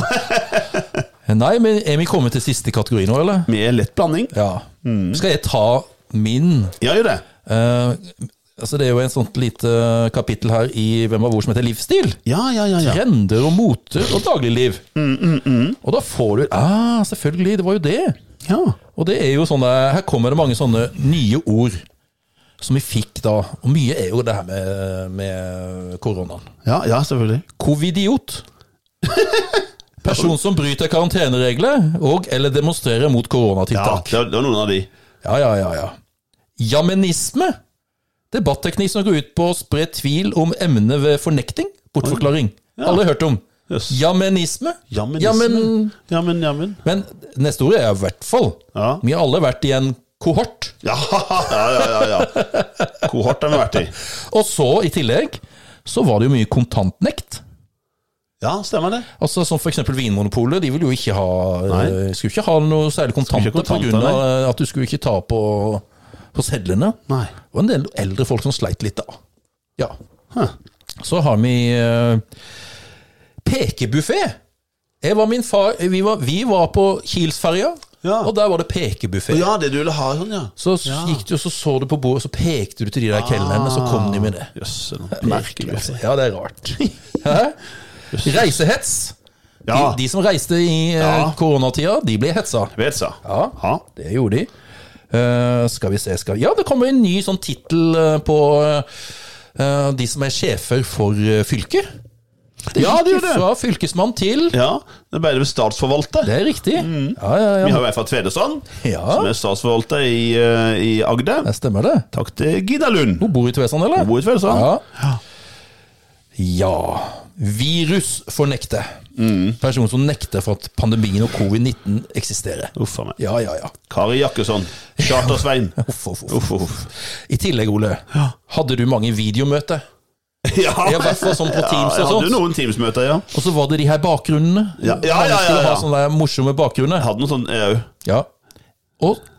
Speaker 1: Nei, men er vi kommet til siste kategori nå, eller?
Speaker 2: Med lett blanding.
Speaker 1: Ja. Skal jeg ta min
Speaker 2: Ja, gjør det.
Speaker 1: eh, Altså, det er jo en sånt lite kapittel her i Hvem var hvor som heter Livsstil.
Speaker 2: Ja, ja, ja. ja.
Speaker 1: Trender og moter og dagligliv.
Speaker 2: Mm,
Speaker 1: Og da får du Ah, selvfølgelig, det var jo det.
Speaker 2: ja.
Speaker 1: Og det er jo sånne Her kommer det mange sånne nye ord som vi fikk da. Og mye er jo det her med, med koronaen.
Speaker 2: ja, ja selvfølgelig. (laughs)
Speaker 1: Covidiot. Person som bryter karanteneregler og eller demonstrerer mot
Speaker 2: Ja,
Speaker 1: koronatiltak.
Speaker 2: det var, det var noen av de.
Speaker 1: Ja, ja, ja, ja. Jamenisme. Debatteknikk som går ut på å spre tvil om emnet ved fornekting. Bortforklaring. Alle har hørt om.
Speaker 2: Jøss.
Speaker 1: Jamenisme.
Speaker 2: Jammen,
Speaker 1: Jamen-
Speaker 2: jammen, jammen.
Speaker 1: Men neste ord er i hvert fall.
Speaker 2: Ja.
Speaker 1: Vi har alle vært i en kohort.
Speaker 2: Ja, ja, ja, ja, ja. Kohort har vi vært i.
Speaker 1: Og så, i tillegg, så var det jo mye kontantnekt.
Speaker 2: (laughs) Ja, stemmer det.
Speaker 1: Altså Som f.eks. Vinmonopolet. De ville jo ikke ha
Speaker 2: Nei.
Speaker 1: eh, skulle ikke ha noe særlig kontanter
Speaker 2: ikke kontanter,
Speaker 1: pga. at du skulle ikke ta på, på sedlene.
Speaker 2: Nei.
Speaker 1: Det var en del eldre folk som sleit litt da. Ja.
Speaker 2: Huh.
Speaker 1: Så har vi eh, pekebuffé. Jeg var min far, vi, var, vi var på Kielsferja,
Speaker 2: Ja.
Speaker 1: og der var det pekebuffé.
Speaker 2: Ja, det du ville ha sånn, ja.
Speaker 1: Så gikk du og så, så du på bordet, så pekte du til de der kelnerne, så kom de med det.
Speaker 2: Jøss,
Speaker 1: Merkelig, altså. Ja, det er
Speaker 2: (laughs)
Speaker 1: rart. Hæ? Reisehets.
Speaker 2: Ja,
Speaker 1: De, de som reiste i eh,
Speaker 2: Ja.
Speaker 1: koronatida, de ble hetsa.
Speaker 2: vet sa.
Speaker 1: Ja.
Speaker 2: Ja.
Speaker 1: Det gjorde de. Eh, skal vi se skal vi... Ja, det kommer en ny sånn tittel eh, på eh, de som er sjefer for eh, fylket.
Speaker 2: Ja, det gjør det.
Speaker 1: Fra fylkesmann til
Speaker 2: ja. Det ble det ved statsforvalter.
Speaker 1: Det er riktig. Ja, ja,
Speaker 2: Vi
Speaker 1: ja.
Speaker 2: har jo en fra Tvedestrand,
Speaker 1: Ja.
Speaker 2: som er statsforvalter i, eh, i Agder.
Speaker 1: Det stemmer, det.
Speaker 2: Takk til Gina Lund.
Speaker 1: Hun bor i Tvedestrand, eller?
Speaker 2: Hun bor i Tvedestrand.
Speaker 1: Ja. ja. Virus fornekte.
Speaker 2: Mm.
Speaker 1: Person som nekter for at pandemien og covid-19 eksisterer.
Speaker 2: Uff a meg.
Speaker 1: Ja, ja, ja.
Speaker 2: Kari Jakkesson. Charter-Svein.
Speaker 1: Uff, uff, uff.
Speaker 2: Uff, uff.
Speaker 1: I tillegg, Ole, hadde du mange videomøter?
Speaker 2: Ja,
Speaker 1: (laughs) Ja, i hvert fall sånn på Teams og
Speaker 2: jeg hadde
Speaker 1: sånt.
Speaker 2: jo noen Teams-møter, ja.
Speaker 1: Og så var det de her bakgrunnene.
Speaker 2: Ja, ja, ja,
Speaker 1: Mange skulle
Speaker 2: ja, ja.
Speaker 1: ha sånne der morsomme
Speaker 2: Jeg
Speaker 1: bakgrunner.
Speaker 2: hadde sånn, eh, noen sånne, jeg òg.
Speaker 1: Ja.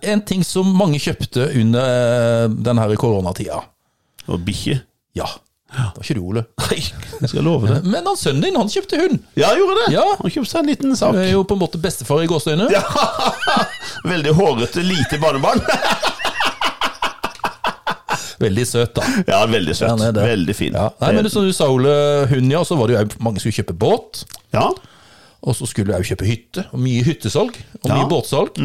Speaker 1: Og en ting som mange kjøpte under eh, den her koronatida.
Speaker 2: Og bikkje.
Speaker 1: Ja. Det var ikke du, Ole.
Speaker 2: Nei, jeg skal love det.
Speaker 1: Men han sønnen din, han kjøpte hund.
Speaker 2: Ja, jeg gjorde det.
Speaker 1: Ja.
Speaker 2: Han kjøpte seg en liten
Speaker 1: Du
Speaker 2: sak.
Speaker 1: er jo på en måte bestefar i gåseøyne.
Speaker 2: Ja. Veldig hårete, lite barnebarn. (laughs)
Speaker 1: Veldig søt,
Speaker 2: (laughs)
Speaker 1: da.
Speaker 2: Ja, veldig
Speaker 1: Ja,
Speaker 2: søtt.
Speaker 1: han er det.
Speaker 2: veldig fin.
Speaker 1: Ja. Nei, men som du sa, Ole, hund, ja. Så var det jo også mange som skulle kjøpe båt.
Speaker 2: ja.
Speaker 1: Og så skulle jeg jo kjøpe hytte. Og mye hyttesalg. Og
Speaker 2: Ja. Mm,
Speaker 1: mye båtsalg.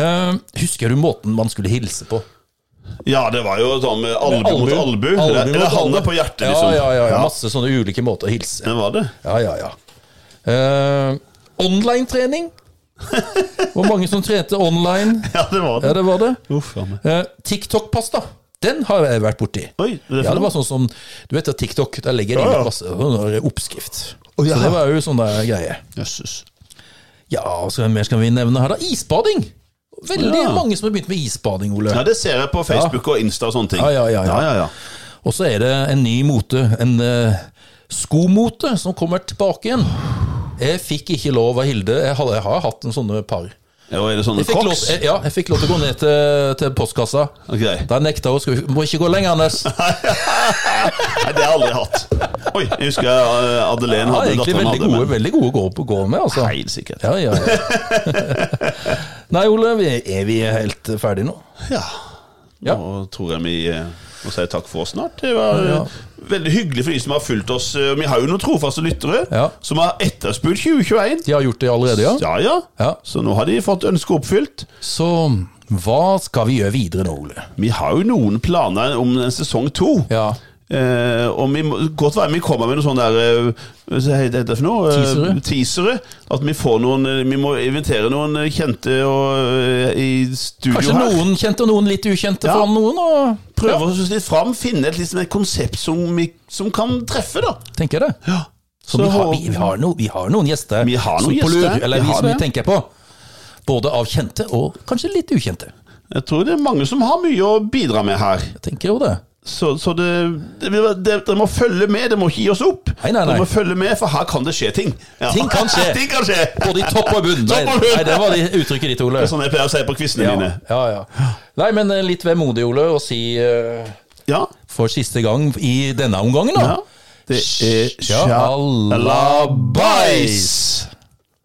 Speaker 1: Eh, husker du måten man skulle hilse på?
Speaker 2: ja, det var jo sånn med albu mot albu. Eller-
Speaker 1: mot
Speaker 2: Eller
Speaker 1: albu.
Speaker 2: handa på hjertet, liksom.
Speaker 1: Ja, ja, ja, ja. Masse sånne ulike måter å hilse.
Speaker 2: Det var det. (laughs)
Speaker 1: Ja, ja, ja. Eh,
Speaker 2: (laughs)
Speaker 1: Online-trening. Det var mange som trente online.
Speaker 2: Ja, det var
Speaker 1: Ja,
Speaker 2: det.
Speaker 1: det var det.
Speaker 2: Uff a meg.
Speaker 1: Eh, TikTok-pasta. Den har jeg vært borti.
Speaker 2: Oi, hva er det
Speaker 1: Ja,
Speaker 2: for
Speaker 1: det var
Speaker 2: noe?
Speaker 1: sånn som Du vet at TikTok, der legger de
Speaker 2: Ja, ja.
Speaker 1: inn masse sånn der oppskrift.
Speaker 2: Å, ja.
Speaker 1: Så det var jo sånn der greie.
Speaker 2: Jøsses.
Speaker 1: Ja, så hva mer skal vi nevne her, da? Isbading! Veldig
Speaker 2: Ja.
Speaker 1: mange som har begynt med isbading, Ole.
Speaker 2: Ja, det ser jeg på Facebook og Insta og sånne ting.
Speaker 1: Ja, ja, ja, ja.
Speaker 2: ja, ja.
Speaker 1: Og så er det en ny mote, en eh, skomote, som kommer tilbake igjen. Jeg fikk ikke lov av Hilde. Jeg har, jeg har hatt en sånne par.
Speaker 2: Ja, og er det sånne
Speaker 1: Jeg fikk, lov,
Speaker 2: crocs?
Speaker 1: jeg, ja, jeg fikk lov til å gå ned til, til postkassa.
Speaker 2: Ok. (laughs) Nei,
Speaker 1: Da nekta hun. Skal vi, må ikke gå lenger, Anders. Ja,
Speaker 2: det har jeg aldri hatt. Oi, jeg husker eh, Madeleine hadde
Speaker 1: egentlig veldig
Speaker 2: datteren hadde,
Speaker 1: gode,
Speaker 2: men
Speaker 1: veldig gode å gå, på- gå med, altså.
Speaker 2: Helt sikkert.
Speaker 1: Ja, ja, ja. (laughs) Nei, Ole, vi, er vi helt ferdige nå?
Speaker 2: Ja.
Speaker 1: Ja.
Speaker 2: Nå tror jeg vi eh, må si takk for oss snart. Det var eh,
Speaker 1: Ja.
Speaker 2: veldig hyggelig for de som har fulgt oss. Eh, Vi har jo noen trofaste lyttere
Speaker 1: Ja.
Speaker 2: som har etterspurt 2021.
Speaker 1: De har gjort det allerede, ja?
Speaker 2: Ja, ja.
Speaker 1: Ja.
Speaker 2: Så nå har de fått ønsket oppfylt.
Speaker 1: Så hva skal vi gjøre videre nå, Ole?
Speaker 2: Vi har jo noen planer om en sesong to.
Speaker 1: Ja.
Speaker 2: Eh, og vi må, godt være vi kommer med noen sånne der eh, Hva heter det for noe? Eh,
Speaker 1: Teasere.
Speaker 2: Teasere. At vi får noen eh, Vi må invitere noen eh, kjente og, eh, i studio
Speaker 1: Kanskje
Speaker 2: her.
Speaker 1: noen kjente og noen litt ukjente
Speaker 2: Ja.
Speaker 1: foran noen, og
Speaker 2: Prøve
Speaker 1: prøve,
Speaker 2: oss litt fram, finne et, liksom, et konsept som, vi, som kan treffe, da.
Speaker 1: tenker jeg det.
Speaker 2: Ja.
Speaker 1: Så vi har, vi, vi, har no, vi har noen gjester
Speaker 2: Vi har noen
Speaker 1: som på
Speaker 2: gjester.
Speaker 1: lur, eller
Speaker 2: Vi
Speaker 1: vi
Speaker 2: har
Speaker 1: som vi
Speaker 2: det.
Speaker 1: tenker på. Både av kjente og kanskje litt ukjente.
Speaker 2: Jeg tror det er mange som har mye å bidra med her.
Speaker 1: Jeg tenker jo det.
Speaker 2: Så, så det, det, det, dere må følge med, dere må ikke gi oss opp.
Speaker 1: Nei, nei, nei.
Speaker 2: Dere må følge med, for her kan det skje ting. Ja.
Speaker 1: Ting kan skje.
Speaker 2: (laughs) ting kan skje.
Speaker 1: Både i topp og bunn. Nei,
Speaker 2: Topp og bunn.
Speaker 1: nei, det var det uttrykket ditt, Ole.
Speaker 2: Det er sånn jeg pleier å si på quizene
Speaker 1: Ja,
Speaker 2: mine.
Speaker 1: ja, ja. Nei, men eh, litt vemodig, Ole, å si eh,
Speaker 2: Ja.
Speaker 1: for siste gang i denne omgangen, da.
Speaker 2: ja. Det er
Speaker 1: Sjalabais!